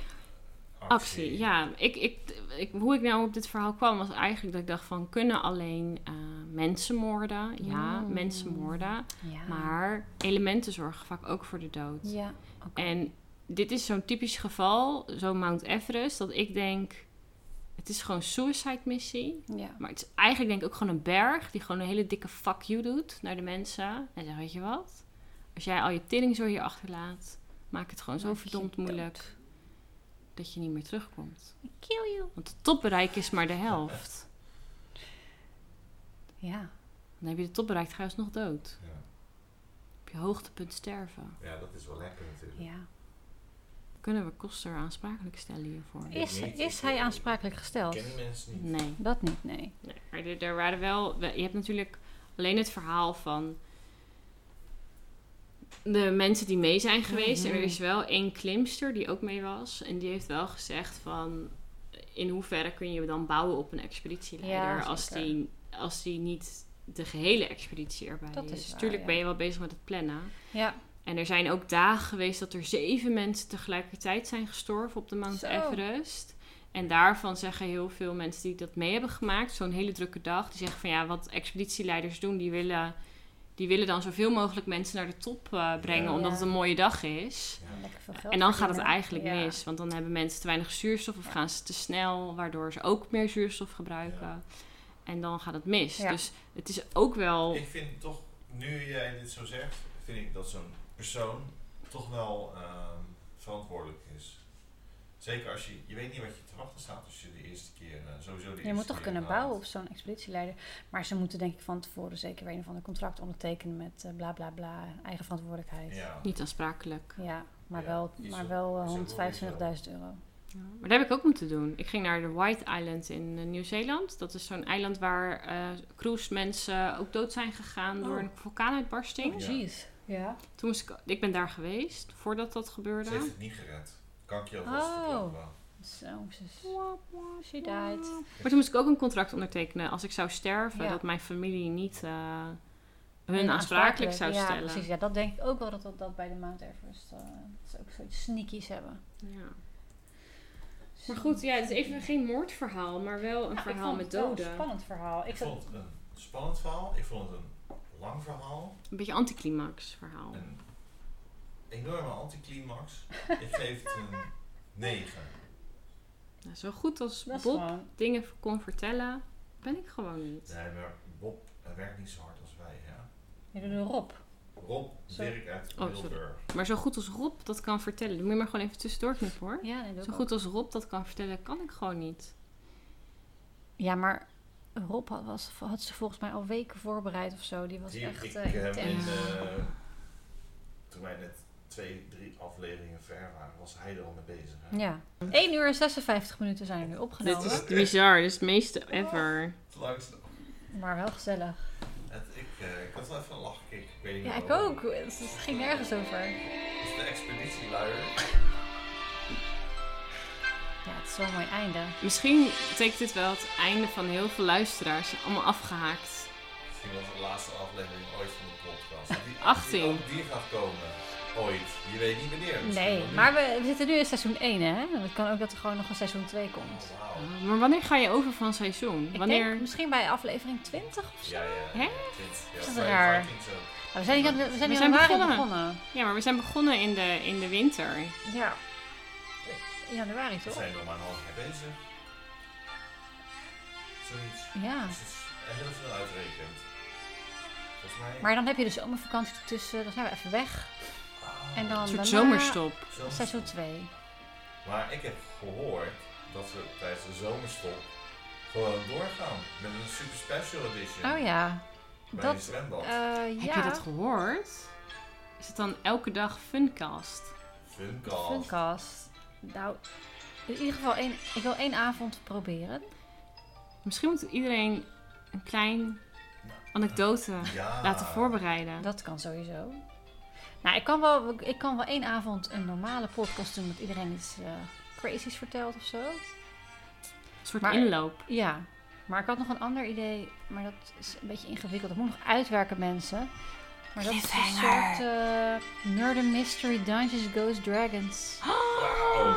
Speaker 1: actie. Ja, ik, ik, ik, hoe ik nou op dit verhaal kwam was eigenlijk dat ik dacht van kunnen alleen eh, mensen moorden? Ja,
Speaker 2: Mm.
Speaker 1: mensen moorden.
Speaker 2: Ja.
Speaker 1: Maar elementen zorgen vaak ook voor de dood.
Speaker 2: Ja. oké.
Speaker 1: En dit is zo'n typisch geval, zo'n Mount Everest, dat ik denk het is gewoon suicide missie.
Speaker 2: Ja.
Speaker 1: Maar het is eigenlijk denk ik ook gewoon een berg die gewoon een hele dikke fuck you doet naar de mensen. En zegt, weet je wat? Als jij al je tering hier achterlaat, maak het gewoon zo
Speaker 2: Maak je
Speaker 1: verdomd
Speaker 2: dood.
Speaker 1: moeilijk dat je niet meer terugkomt.
Speaker 2: Kill you.
Speaker 1: Want het topbereik is maar de helft.
Speaker 2: Ja.
Speaker 1: Dan heb je de top bereikt, ga je alsnog dood.
Speaker 3: Ja.
Speaker 1: Op je hoogtepunt sterven.
Speaker 3: Ja, dat is wel lekker natuurlijk.
Speaker 2: ja.
Speaker 1: Kunnen we Koster aansprakelijk stellen hiervoor?
Speaker 3: Ik
Speaker 2: Is,
Speaker 3: niet,
Speaker 2: is
Speaker 3: ik,
Speaker 2: hij
Speaker 3: eh,
Speaker 2: aansprakelijk gesteld?
Speaker 3: Ik ken die mensen niet.
Speaker 1: Nee.
Speaker 2: Dat niet, nee.
Speaker 1: Nee, maar er, er waren wel. we- Je hebt natuurlijk alleen het verhaal van. De mensen die mee zijn geweest.
Speaker 2: Mhm.
Speaker 1: En er is wel één klimster die ook mee was. En die heeft wel gezegd van... In hoeverre kun je dan bouwen op een expeditieleider...
Speaker 2: Ja,
Speaker 1: als,
Speaker 2: zeker.
Speaker 1: die, als die niet de gehele expeditie erbij
Speaker 2: Dat is
Speaker 1: is.
Speaker 2: waar,
Speaker 1: Tuurlijk
Speaker 2: ja.
Speaker 1: ben je wel bezig met het plannen.
Speaker 2: Ja.
Speaker 1: En er zijn ook dagen geweest dat er zeven mensen tegelijkertijd zijn gestorven op de Mount
Speaker 2: Zo.
Speaker 1: Everest. En daarvan zeggen heel veel mensen die dat mee hebben gemaakt, zo'n hele drukke dag, die zeggen van ja, wat expeditieleiders doen, die willen, die willen dan zoveel mogelijk mensen naar de top eh, brengen,
Speaker 3: Ja.
Speaker 1: omdat
Speaker 2: Ja.
Speaker 1: het een mooie dag is.
Speaker 2: Lekker veel geld
Speaker 1: En dan gaat het
Speaker 2: verdienen.
Speaker 1: eigenlijk
Speaker 2: Ja.
Speaker 1: mis, want dan hebben mensen te weinig zuurstof of
Speaker 2: Ja.
Speaker 1: gaan ze te snel, waardoor ze ook meer zuurstof gebruiken.
Speaker 3: Ja.
Speaker 1: En dan gaat het mis.
Speaker 2: Ja.
Speaker 1: Dus het is ook wel.
Speaker 3: Ik vind toch, nu jij dit zo zegt, vind ik dat zo'n persoon toch wel ehm, verantwoordelijk is. Zeker als je, je weet niet wat je te wachten staat als je de eerste keer, eh, sowieso de eerste
Speaker 2: Je moet toch
Speaker 3: keer
Speaker 2: kunnen
Speaker 3: gaat.
Speaker 2: bouwen op zo'n expeditieleider. Maar ze moeten denk ik van tevoren zeker weer een of ander contract ondertekenen met eh, bla bla bla, eigen verantwoordelijkheid.
Speaker 3: Ja.
Speaker 1: Niet aansprakelijk.
Speaker 2: Ja, maar
Speaker 3: Ja,
Speaker 2: wel,
Speaker 3: is
Speaker 2: maar
Speaker 3: ook-
Speaker 2: wel eh,
Speaker 3: is ook wel weer zo.
Speaker 2: 125.000 euro.
Speaker 1: Ja, Maar daar heb ik ook moeten doen. Ik ging naar de White Island in eh, Nieuw-Zeeland. Dat is zo'n eiland waar eh cruise mensen ook dood zijn gegaan door
Speaker 2: Oh.
Speaker 1: een vulkaanuitbarsting.
Speaker 3: Oh, Ja.
Speaker 2: Jeez. Ja.
Speaker 1: Toen moest ik, ik ben daar geweest voordat dat
Speaker 3: Ze
Speaker 1: gebeurde.
Speaker 3: heeft het niet gered. Kan ik je alvast
Speaker 2: Oh.
Speaker 3: verklappen.
Speaker 2: Zo, zus.
Speaker 1: Wap, wap,
Speaker 2: She
Speaker 1: wap.
Speaker 2: died.
Speaker 1: Maar toen moest ik ook een contract ondertekenen als ik zou sterven,
Speaker 2: Ja.
Speaker 1: dat mijn familie niet eh, hun
Speaker 2: Nee,
Speaker 1: aansprakelijk zou
Speaker 2: ja,
Speaker 1: stellen.
Speaker 2: Precies, ja, dat denk ik ook wel dat dat, dat bij de Mount Everest. eh, dat ze ook zoiets sneakies hebben.
Speaker 1: Ja. Maar goed, ja, het is even geen moordverhaal, maar wel een
Speaker 2: Nou, ik
Speaker 1: verhaal
Speaker 2: vond
Speaker 1: met
Speaker 2: het wel
Speaker 1: doden.
Speaker 2: Een spannend verhaal.
Speaker 3: Ik
Speaker 2: Ik zat,
Speaker 3: vond het een spannend verhaal, ik vond het een lang verhaal,
Speaker 1: Een beetje anticlimax verhaal.
Speaker 3: een enorme anticlimax. ik geef het een 9.
Speaker 1: Nou, zo goed als
Speaker 2: dat is
Speaker 1: Bob
Speaker 2: gewoon.
Speaker 1: dingen kon vertellen, ben ik gewoon niet.
Speaker 3: Nee, maar Bob hij werkt niet zo hard als wij, hè?
Speaker 2: Je doet een Rob.
Speaker 3: Rob
Speaker 2: Zo.
Speaker 3: Dirk uit
Speaker 1: sorry.
Speaker 3: Wilburg.
Speaker 1: Maar zo goed als Rob dat kan vertellen, dan moet je maar gewoon even tussendoor knippen hoor.
Speaker 2: Ja, nee, doe
Speaker 1: Zo
Speaker 2: ik
Speaker 1: goed als Rob dat kan vertellen, kan ik gewoon
Speaker 2: ook.
Speaker 1: niet.
Speaker 2: Ja, maar Rob had, was, had ze volgens mij al weken voorbereid of zo. Die was
Speaker 3: Die,
Speaker 2: echt
Speaker 3: ik
Speaker 2: eh,
Speaker 3: heb in,
Speaker 2: intens.
Speaker 3: eh, toen wij net twee, drie afleveringen ver waren, was hij er al mee bezig. Hè?
Speaker 2: Ja. 1 uur en 56 minuten zijn er nu opgenomen.
Speaker 1: Dit is bizar, dit is het meeste ever.
Speaker 3: Het langste.
Speaker 2: Maar wel gezellig.
Speaker 3: Het, ik, eh, ik had wel even een lachkick. Ik weet niet
Speaker 2: Ja, ik
Speaker 3: waarom.
Speaker 2: ook. Het het ging nergens over.
Speaker 3: Het is de expeditieluier.
Speaker 2: Ja, het is wel een mooi einde.
Speaker 1: Misschien betekent dit wel het einde van heel veel luisteraars, allemaal afgehaakt.
Speaker 3: Misschien was het de laatste aflevering ooit van de podcast. Die,
Speaker 1: 18.
Speaker 3: Die, ook die gaat komen. Ooit. Je weet niet wanneer. Misschien wel
Speaker 2: Nee,
Speaker 3: nu.
Speaker 2: maar we, we zitten nu in seizoen 1, hè? Het kan ook dat er gewoon nog een seizoen 2 komt.
Speaker 3: Oh, wauw.
Speaker 1: Ah, maar wanneer ga je over van seizoen?
Speaker 2: Ik
Speaker 1: Wanneer?
Speaker 2: denk misschien bij aflevering 20 of zo.
Speaker 3: Ja, ja.
Speaker 1: Hè?
Speaker 3: Dit, ja,
Speaker 2: Is dat
Speaker 3: bij
Speaker 2: raar?
Speaker 3: Vikings ook.
Speaker 2: Maar we zijn, niet aan- we zijn
Speaker 1: We
Speaker 2: in
Speaker 1: zijn
Speaker 2: januari begonnen.
Speaker 1: begonnen. Ja, maar we zijn begonnen in de, in de winter.
Speaker 2: Ja. In januari,
Speaker 3: We
Speaker 2: toch?
Speaker 3: zijn nog maar een half jaar bezig. Zoiets.
Speaker 2: Ja.
Speaker 3: Dus het is heel veel uitrekend. Volgens mij.
Speaker 2: Maar dan heb je de zomervakantie ertussen. Dan zijn we even weg.
Speaker 3: Ah,
Speaker 2: En dan
Speaker 1: Een soort
Speaker 2: daarna
Speaker 1: zomerstop.
Speaker 3: zo-
Speaker 2: Seizoen 2.
Speaker 3: Maar ik heb gehoord dat we tijdens de zomerstop gewoon doorgaan met een super special edition
Speaker 2: Oh ja.
Speaker 3: bij een
Speaker 2: Dat,
Speaker 3: zwembad.
Speaker 2: eh, ja.
Speaker 1: Heb je dat gehoord? Is het dan elke dag funcast?
Speaker 3: Funcast.
Speaker 2: Funcast. Nou, in ieder geval één, ik wil één avond proberen.
Speaker 1: Misschien moet iedereen een klein anekdote
Speaker 5: Ja.
Speaker 1: laten voorbereiden.
Speaker 2: Dat kan sowieso. Nou, ik kan wel, ik kan wel één avond een normale podcast doen dat iedereen iets eh crazies vertelt of zo.
Speaker 1: Een soort
Speaker 2: Maar-
Speaker 1: inloop.
Speaker 2: Ja, maar ik had nog een ander idee, maar dat is een beetje ingewikkeld. Dat moet nog uitwerken, mensen. Maar dat is een soort eh Murder Mystery Dungeons Ghosts Dragons.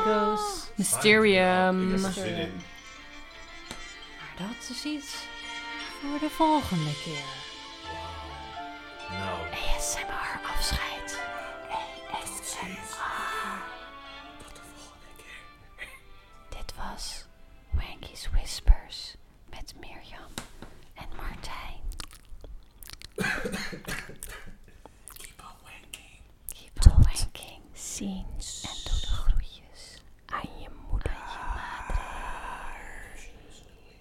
Speaker 2: Ghosts.
Speaker 1: Mysterium.
Speaker 5: Ik heb er zin in.
Speaker 2: Maar dat is iets voor de volgende keer.
Speaker 5: Nou,
Speaker 2: ASMR afscheid. Dit was Wanky's Whispers met Mirjam.